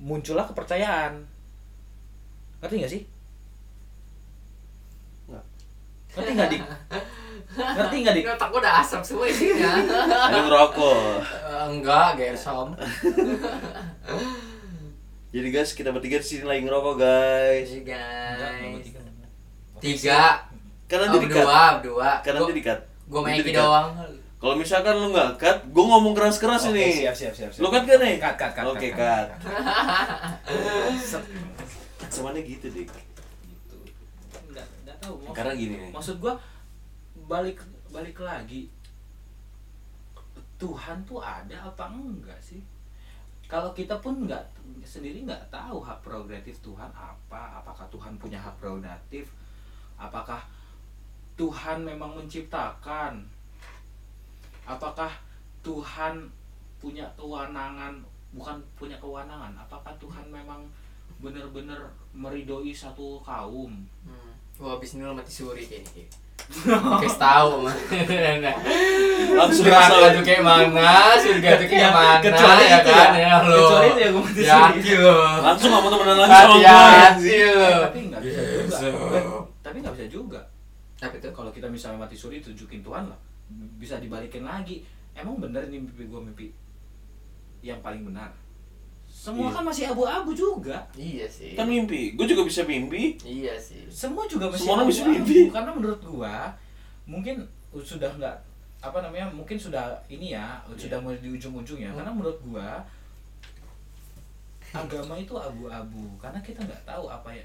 [SPEAKER 5] muncullah kepercayaan ngerti nggak sih
[SPEAKER 2] Nggak.
[SPEAKER 5] ngerti nggak dik ngerti nggak dik
[SPEAKER 1] Ini otak gue udah asap semua
[SPEAKER 3] *laughs*
[SPEAKER 1] isinya
[SPEAKER 2] Ada ngerokok.
[SPEAKER 1] Eh, Enggak, gesom
[SPEAKER 2] Jadi guys, kita bertiga di sini lagi ngerokok guys.
[SPEAKER 1] Hey
[SPEAKER 3] Enggak, nomor
[SPEAKER 1] guys
[SPEAKER 3] tiga.
[SPEAKER 1] Tiga
[SPEAKER 2] Karena
[SPEAKER 1] Oh,
[SPEAKER 2] nanti di-cut.
[SPEAKER 1] berdua, berdua.
[SPEAKER 2] Karena
[SPEAKER 1] Gua-
[SPEAKER 2] nanti di-cut.
[SPEAKER 1] Gua
[SPEAKER 2] Nanti
[SPEAKER 1] maiki
[SPEAKER 2] di-cut.
[SPEAKER 1] doang.
[SPEAKER 2] Kalau misalkan lu nggak cut, gue ngomong keras-keras
[SPEAKER 5] Oke,
[SPEAKER 2] ini.
[SPEAKER 5] siap, siap, siap, siap.
[SPEAKER 2] Lu cut gak nih?
[SPEAKER 5] Cut, cut, cut,
[SPEAKER 2] Oke,
[SPEAKER 5] cut,
[SPEAKER 2] cut.
[SPEAKER 5] cut.
[SPEAKER 3] Sep,
[SPEAKER 2] Semuanya gitu, Dik.
[SPEAKER 3] gitu nggak nggak tahu maksud-
[SPEAKER 2] Karena gini nih.
[SPEAKER 3] maksud gua balik balik lagi Tuhan tuh ada apa enggak sih kalau kita pun nggak sendiri nggak tahu hak prerogatif Tuhan apa apakah Tuhan punya hak prerogatif apakah Tuhan memang menciptakan apakah Tuhan punya kewenangan bukan punya kewenangan apakah Tuhan memang benar-benar meridoi satu kaum
[SPEAKER 1] Hmm. Wah, abis ini lo mati suri kayaknya. Kasih tahu *laughs* mah.
[SPEAKER 2] Langsung
[SPEAKER 1] Neraka
[SPEAKER 2] asal.
[SPEAKER 1] tuh kayak mana, surga tuh kayak mana,
[SPEAKER 3] kecuali
[SPEAKER 1] ya
[SPEAKER 3] itu
[SPEAKER 1] kan?
[SPEAKER 3] ya.
[SPEAKER 1] Ya, lo.
[SPEAKER 3] Kecuali itu ya, gua mati
[SPEAKER 1] Yakin lo.
[SPEAKER 2] Langsung sama temenan langsung.
[SPEAKER 1] Hati-hati lo.
[SPEAKER 3] Eh, tapi nggak bisa
[SPEAKER 2] Eh,
[SPEAKER 3] juga
[SPEAKER 2] Yesus. Eh.
[SPEAKER 3] Bukan, tapi nggak bisa juga
[SPEAKER 1] Tapi tuh,
[SPEAKER 3] kalau kita misalnya mati suri tunjukin Tuhan lah bisa dibalikin lagi emang bener nih mimpi gua mimpi yang paling benar semua
[SPEAKER 2] Iya.
[SPEAKER 3] kan masih abu-abu juga
[SPEAKER 1] iya sih.
[SPEAKER 2] Kan mimpi. Gue juga bisa mimpi.
[SPEAKER 1] Iya sih.
[SPEAKER 3] semua juga masih
[SPEAKER 2] Semua orang bisa
[SPEAKER 3] abu-abu.
[SPEAKER 2] mimpi.
[SPEAKER 3] karena menurut gua mungkin sudah nggak apa namanya mungkin sudah ini ya
[SPEAKER 2] Iya.
[SPEAKER 3] sudah mau di ujung-ujungnya
[SPEAKER 2] Hmm.
[SPEAKER 3] karena menurut gua agama itu abu-abu karena kita nggak tahu apa ya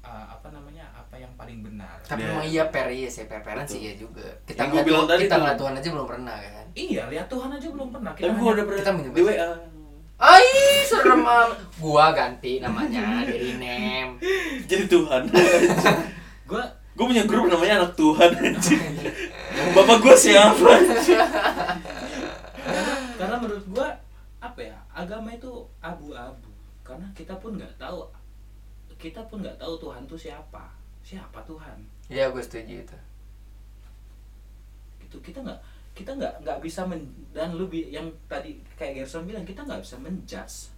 [SPEAKER 3] uh, apa namanya apa yang paling benar
[SPEAKER 1] Tapi
[SPEAKER 2] Ya.
[SPEAKER 1] memang iya per iya sih, per peran
[SPEAKER 2] Betul.
[SPEAKER 1] sih ya juga. Kita
[SPEAKER 2] Yang gua
[SPEAKER 1] ngeliat
[SPEAKER 2] bilang
[SPEAKER 1] Tuhan-
[SPEAKER 2] tadi
[SPEAKER 1] kita
[SPEAKER 2] tuh.
[SPEAKER 1] ngeliat Tuhan aja belum pernah kan.
[SPEAKER 3] Iya, lihat Tuhan aja belum pernah.
[SPEAKER 2] Tapi
[SPEAKER 3] Kita
[SPEAKER 2] gue
[SPEAKER 3] hanya-
[SPEAKER 2] udah
[SPEAKER 1] kita
[SPEAKER 2] pernah
[SPEAKER 1] menyebut-
[SPEAKER 2] di WA.
[SPEAKER 1] Ai, serem amat. Gua ganti *laughs* namanya dari Nem.
[SPEAKER 2] Jadi Tuhan.
[SPEAKER 5] *laughs*
[SPEAKER 3] gua
[SPEAKER 2] gue punya grup namanya anak Tuhan. anjing. Bapak gue siapa?
[SPEAKER 3] karena menurut gua apa ya? Agama itu abu-abu. Karena kita pun nggak tahu kita pun nggak tahu Tuhan tuh siapa. Siapa Tuhan?
[SPEAKER 1] Iya, gue setuju itu.
[SPEAKER 3] Itu Gitu. kita nggak kita nggak nggak bisa men- dan lu bi- yang tadi kayak Gerson bilang kita nggak bisa menjas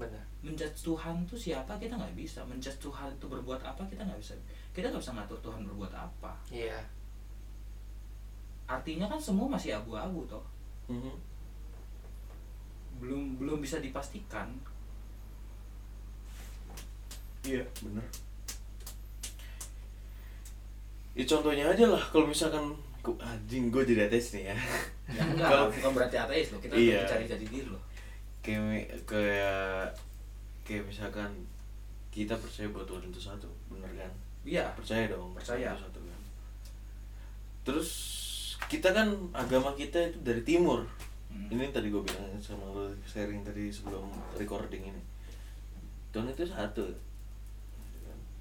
[SPEAKER 1] Benar.
[SPEAKER 3] menjudge Tuhan tuh siapa kita nggak bisa menjudge Tuhan itu berbuat apa kita nggak bisa kita nggak bisa ngatur Tuhan berbuat apa
[SPEAKER 1] Iya.
[SPEAKER 3] artinya kan semua masih abu-abu toh
[SPEAKER 2] Mhm.
[SPEAKER 3] belum belum bisa dipastikan
[SPEAKER 2] Iya, bener. Ya contohnya aja lah, kalau misalkan ku- anjing gue jadi ateis nih ya.
[SPEAKER 3] Ya enggak,
[SPEAKER 2] Kalau-
[SPEAKER 3] bukan berarti ateis loh. Kita
[SPEAKER 2] Iya.
[SPEAKER 3] cari jadi diri loh.
[SPEAKER 2] Kayak mi- kayak kayak misalkan kita percaya bahwa Tuhan itu satu, bener kan?
[SPEAKER 3] Iya.
[SPEAKER 2] Percaya dong.
[SPEAKER 3] Percaya.
[SPEAKER 2] Tuhan itu satu kan. Terus kita kan agama kita itu dari timur.
[SPEAKER 3] Hmm.
[SPEAKER 2] Ini tadi gue bilang sama lo sharing tadi sebelum recording ini. Tuhan itu satu.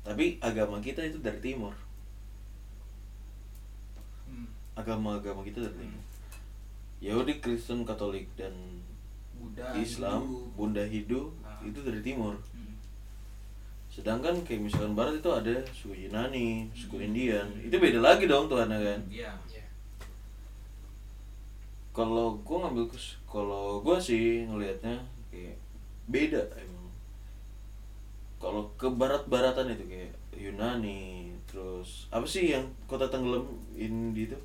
[SPEAKER 2] Tapi agama kita itu dari timur.
[SPEAKER 3] Hmm.
[SPEAKER 2] agama-agama kita dari timur. Yahudi, Kristen, Katolik dan
[SPEAKER 3] Buddha,
[SPEAKER 2] Islam,
[SPEAKER 3] Hindu.
[SPEAKER 2] Bunda Hindu
[SPEAKER 3] Ah.
[SPEAKER 2] itu dari timur.
[SPEAKER 3] Hmm.
[SPEAKER 2] Sedangkan kayak misalkan barat itu ada suku Yunani,
[SPEAKER 3] Hmm.
[SPEAKER 2] suku Indian. Itu beda lagi dong Tuhan kan.
[SPEAKER 3] Iya.
[SPEAKER 1] Iya.
[SPEAKER 2] Kalau gua ngambil kes- kalau gua sih ngelihatnya kayak beda emang. Kalau ke barat-baratan itu kayak Yunani, terus apa sih yang kota tenggelam ini itu?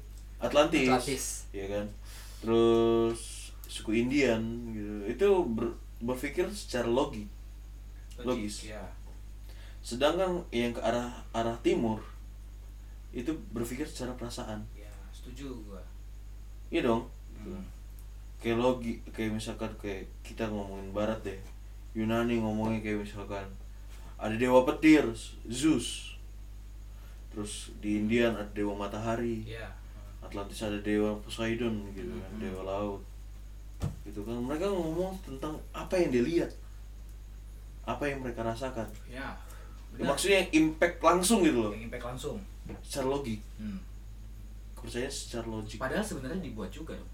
[SPEAKER 2] Atlantis.
[SPEAKER 1] Atlantis.
[SPEAKER 2] Iya kan? Terus suku Indian gitu. Itu ber- berpikir secara logik. Logis.
[SPEAKER 3] Iya.
[SPEAKER 2] Sedangkan yang ke arah arah timur itu berpikir secara perasaan.
[SPEAKER 3] Iya, setuju gua.
[SPEAKER 2] Iya dong.
[SPEAKER 3] Hmm.
[SPEAKER 2] Kayak logi, kayak misalkan kayak kita ngomongin barat deh. Yunani ngomongnya kayak misalkan ada dewa petir, Zeus. Terus di Indian ada dewa matahari.
[SPEAKER 3] Iya.
[SPEAKER 2] Atlantis ada dewa Poseidon gitu kan,
[SPEAKER 3] Mhm.
[SPEAKER 2] dewa laut. Gitu kan mereka ngomong tentang apa yang dia lihat. Apa yang mereka rasakan.
[SPEAKER 3] Iya.
[SPEAKER 2] Ya, maksudnya yang impact langsung gitu loh,
[SPEAKER 3] yang impact langsung.
[SPEAKER 2] secara logik.
[SPEAKER 3] Hmm.
[SPEAKER 2] Kepercayaan secara logik.
[SPEAKER 3] Padahal sebenarnya dibuat juga dong.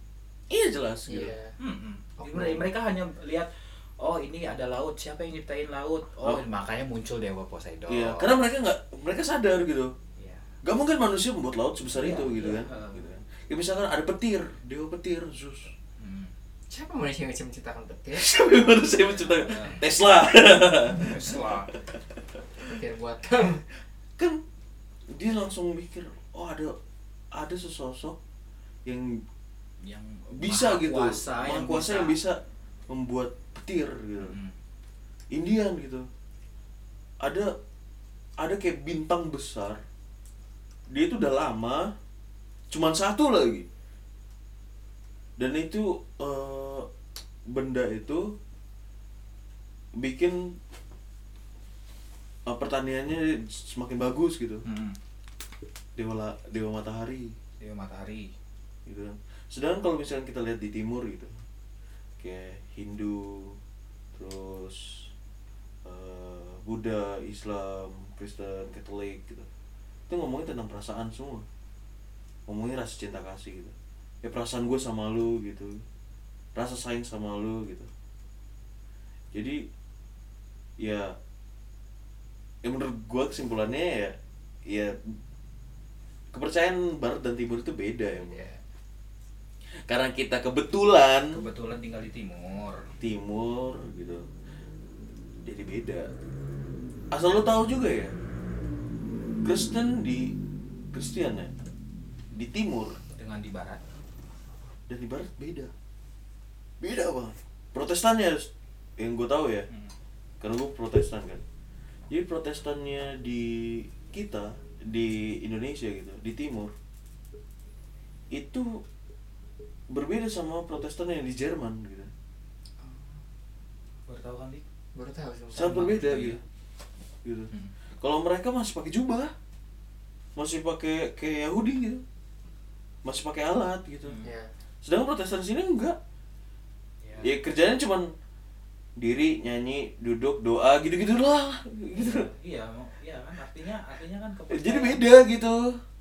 [SPEAKER 2] Iya jelas gitu.
[SPEAKER 1] Iya.
[SPEAKER 3] Hmm. hmm.
[SPEAKER 1] Oknum.
[SPEAKER 3] Mereka, mereka hanya lihat Oh ini ada laut, siapa yang nyiptain laut? Oh,
[SPEAKER 2] Oh.
[SPEAKER 3] makanya muncul Dewa Poseidon
[SPEAKER 2] Iya, karena mereka nggak mereka sadar gitu.
[SPEAKER 3] Iya.
[SPEAKER 2] Gak mungkin manusia membuat laut sebesar
[SPEAKER 3] Iya,
[SPEAKER 2] itu gitu
[SPEAKER 3] iya,
[SPEAKER 2] kan.
[SPEAKER 3] heeh.
[SPEAKER 2] Gitu kan. Ya misalkan ada petir, dewa petir, Zeus.
[SPEAKER 3] Hmm.
[SPEAKER 1] Siapa manusia yang bisa menciptakan petir?
[SPEAKER 2] *laughs* Siapa yang manusia menciptakan?
[SPEAKER 3] Iya.
[SPEAKER 2] Tesla. *laughs*
[SPEAKER 3] Tesla.
[SPEAKER 1] Petir buat
[SPEAKER 2] kan dia langsung mikir, oh ada ada sesosok yang
[SPEAKER 3] yang
[SPEAKER 2] bisa
[SPEAKER 3] maha
[SPEAKER 2] gitu,
[SPEAKER 3] kuasa,
[SPEAKER 2] Maha
[SPEAKER 3] yang,
[SPEAKER 2] kuasa
[SPEAKER 3] bisa.
[SPEAKER 2] yang bisa membuat petir gitu.
[SPEAKER 3] Hmm.
[SPEAKER 2] Indian gitu ada ada kayak bintang besar dia itu udah lama cuman satu lagi dan itu eh, benda itu bikin eh, pertaniannya semakin bagus gitu
[SPEAKER 3] Hmm.
[SPEAKER 2] dewa la- dewa matahari
[SPEAKER 3] Dewa matahari.
[SPEAKER 2] gitu kan sedangkan kalau misalnya kita lihat di timur gitu kayak Hindu terus eh, Buddha Islam Kristen Katolik gitu itu ngomongin tentang perasaan semua ngomongin rasa cinta kasih gitu ya perasaan gue sama lu gitu rasa sayang sama lu gitu jadi ya ya menurut gue kesimpulannya ya ya kepercayaan barat dan timur itu beda ya Bro
[SPEAKER 1] Iya.
[SPEAKER 2] karena kita kebetulan
[SPEAKER 3] Kebetulan tinggal di timur.
[SPEAKER 2] timur gitu jadi beda asal lo tahu juga ya Kristen di Kristen ya di timur
[SPEAKER 3] Dengan di barat.
[SPEAKER 2] dan di barat beda beda banget protestannya yang gue tahu ya
[SPEAKER 3] Hmm.
[SPEAKER 2] karena gue protestan kan jadi protestannya di kita di Indonesia gitu di timur itu berbeda sama protestan yang di Jerman gitu
[SPEAKER 3] Baru tahu kan, Dik?
[SPEAKER 1] baru tahu sih
[SPEAKER 2] sangat
[SPEAKER 3] Sama,
[SPEAKER 2] berbeda
[SPEAKER 3] iya.
[SPEAKER 2] gitu. Gitu.
[SPEAKER 3] Hmm.
[SPEAKER 2] Kalau mereka masih pakai jubah, masih pakai kayak Yahudi gitu, masih pakai alat gitu.
[SPEAKER 1] ya
[SPEAKER 2] Sedangkan Protestan sini enggak.
[SPEAKER 3] Iya.
[SPEAKER 2] Ya kerjanya cuman diri, nyanyi, duduk, doa gitu-gitu lah. Gitu.
[SPEAKER 3] Iya, mau- iya kan artinya artinya kan kepercayaan.
[SPEAKER 2] Jadi beda gitu.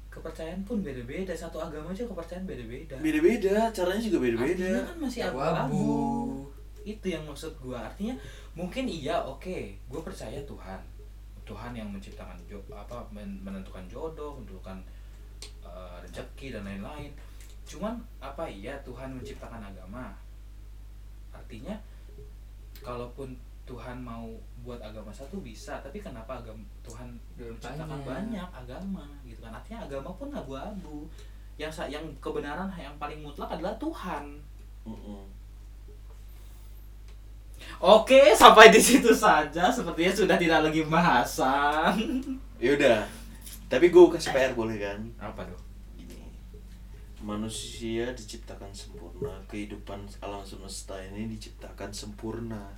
[SPEAKER 3] Kepercayaan pun beda-beda. Satu agama aja kepercayaan
[SPEAKER 2] Ya.
[SPEAKER 3] beda-beda.
[SPEAKER 2] Beda-beda, caranya juga
[SPEAKER 3] Artinya
[SPEAKER 2] beda-beda.
[SPEAKER 3] kan masih
[SPEAKER 1] Abu-abu.
[SPEAKER 3] abu-abu. Itu yang maksud gua. Artinya mungkin iya, oke. Gua percaya Tuhan. Tuhan yang menciptakan jo- apa men- menentukan jodoh, menentukan eh, rezeki dan lain-lain. Cuman apa iya Tuhan menciptakan agama? Artinya kalaupun Tuhan mau buat agama satu bisa, tapi kenapa agama Tuhan
[SPEAKER 1] Biar
[SPEAKER 3] menciptakan
[SPEAKER 1] banyak.
[SPEAKER 3] banyak agama gitu kan? Artinya agama pun abu-abu. Yang sa- yang kebenaran yang paling mutlak adalah Tuhan.
[SPEAKER 2] Mm-mm.
[SPEAKER 3] Oke, sampai di situ saja. Sepertinya sudah tidak lagi pembahasan.
[SPEAKER 2] Ya udah. Tapi gue kasih PR boleh kan?
[SPEAKER 3] Apa tuh?
[SPEAKER 2] Gini, manusia diciptakan sempurna kehidupan alam semesta ini diciptakan sempurna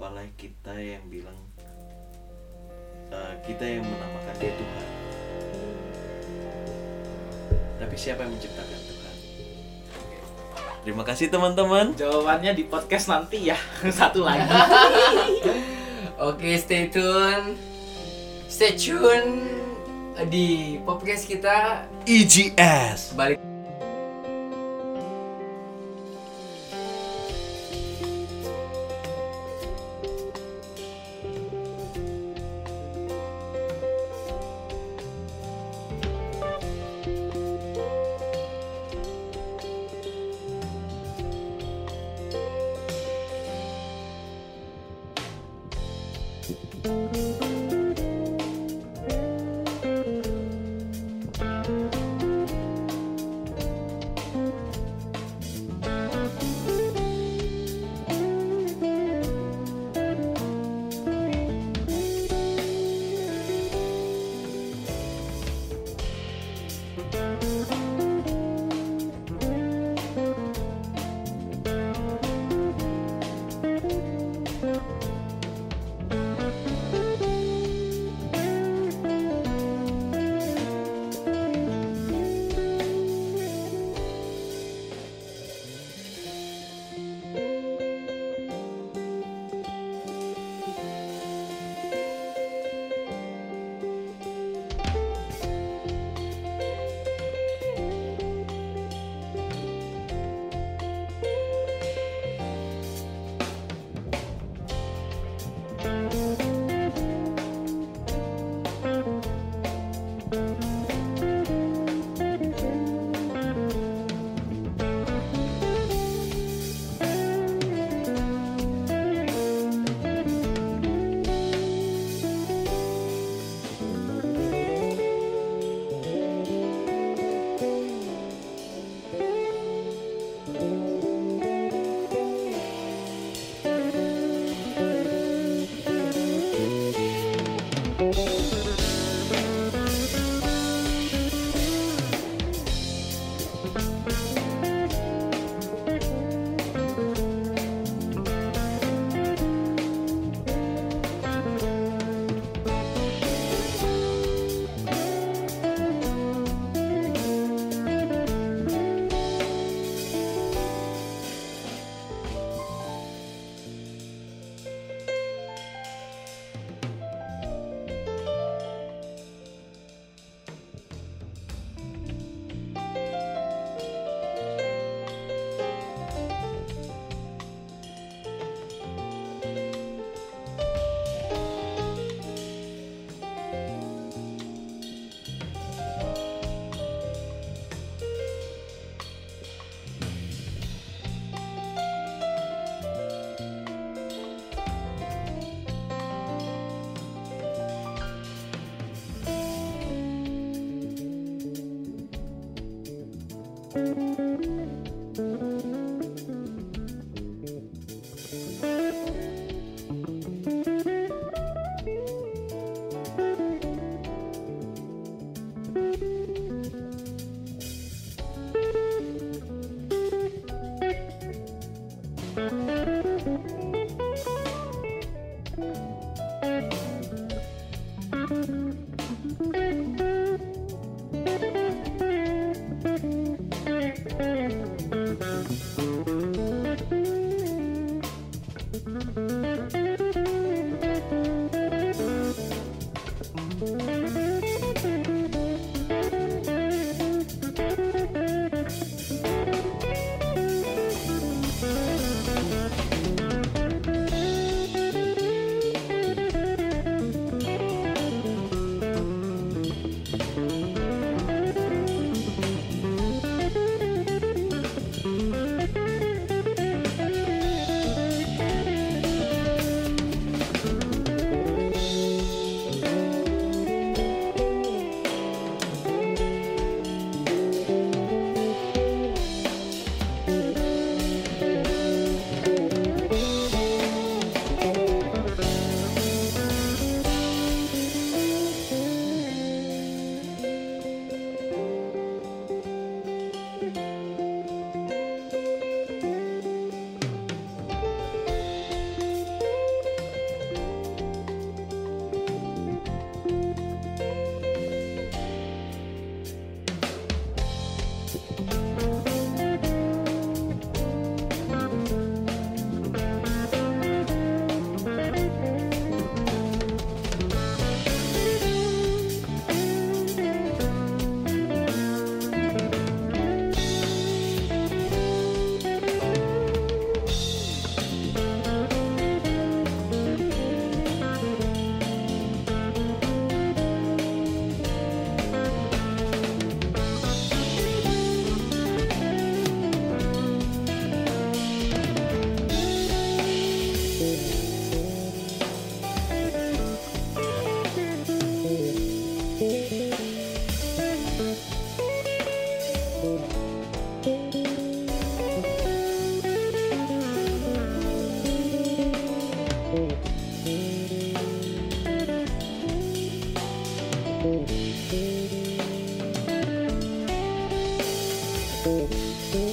[SPEAKER 2] oleh kita yang bilang eh, kita yang menamakan dia Tuhan tapi siapa yang menciptakan Tuhan terima kasih teman-teman
[SPEAKER 3] Jawabannya di podcast nanti ya. *laughs* Satu lagi.
[SPEAKER 1] oke stay tune stay tune di podcast kita
[SPEAKER 2] E
[SPEAKER 4] EGS
[SPEAKER 1] balik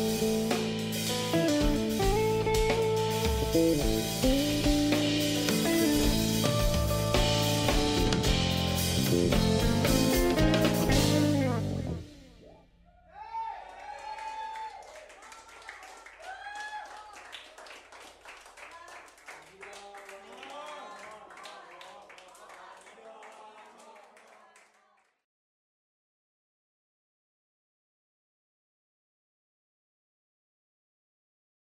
[SPEAKER 6] Thank you.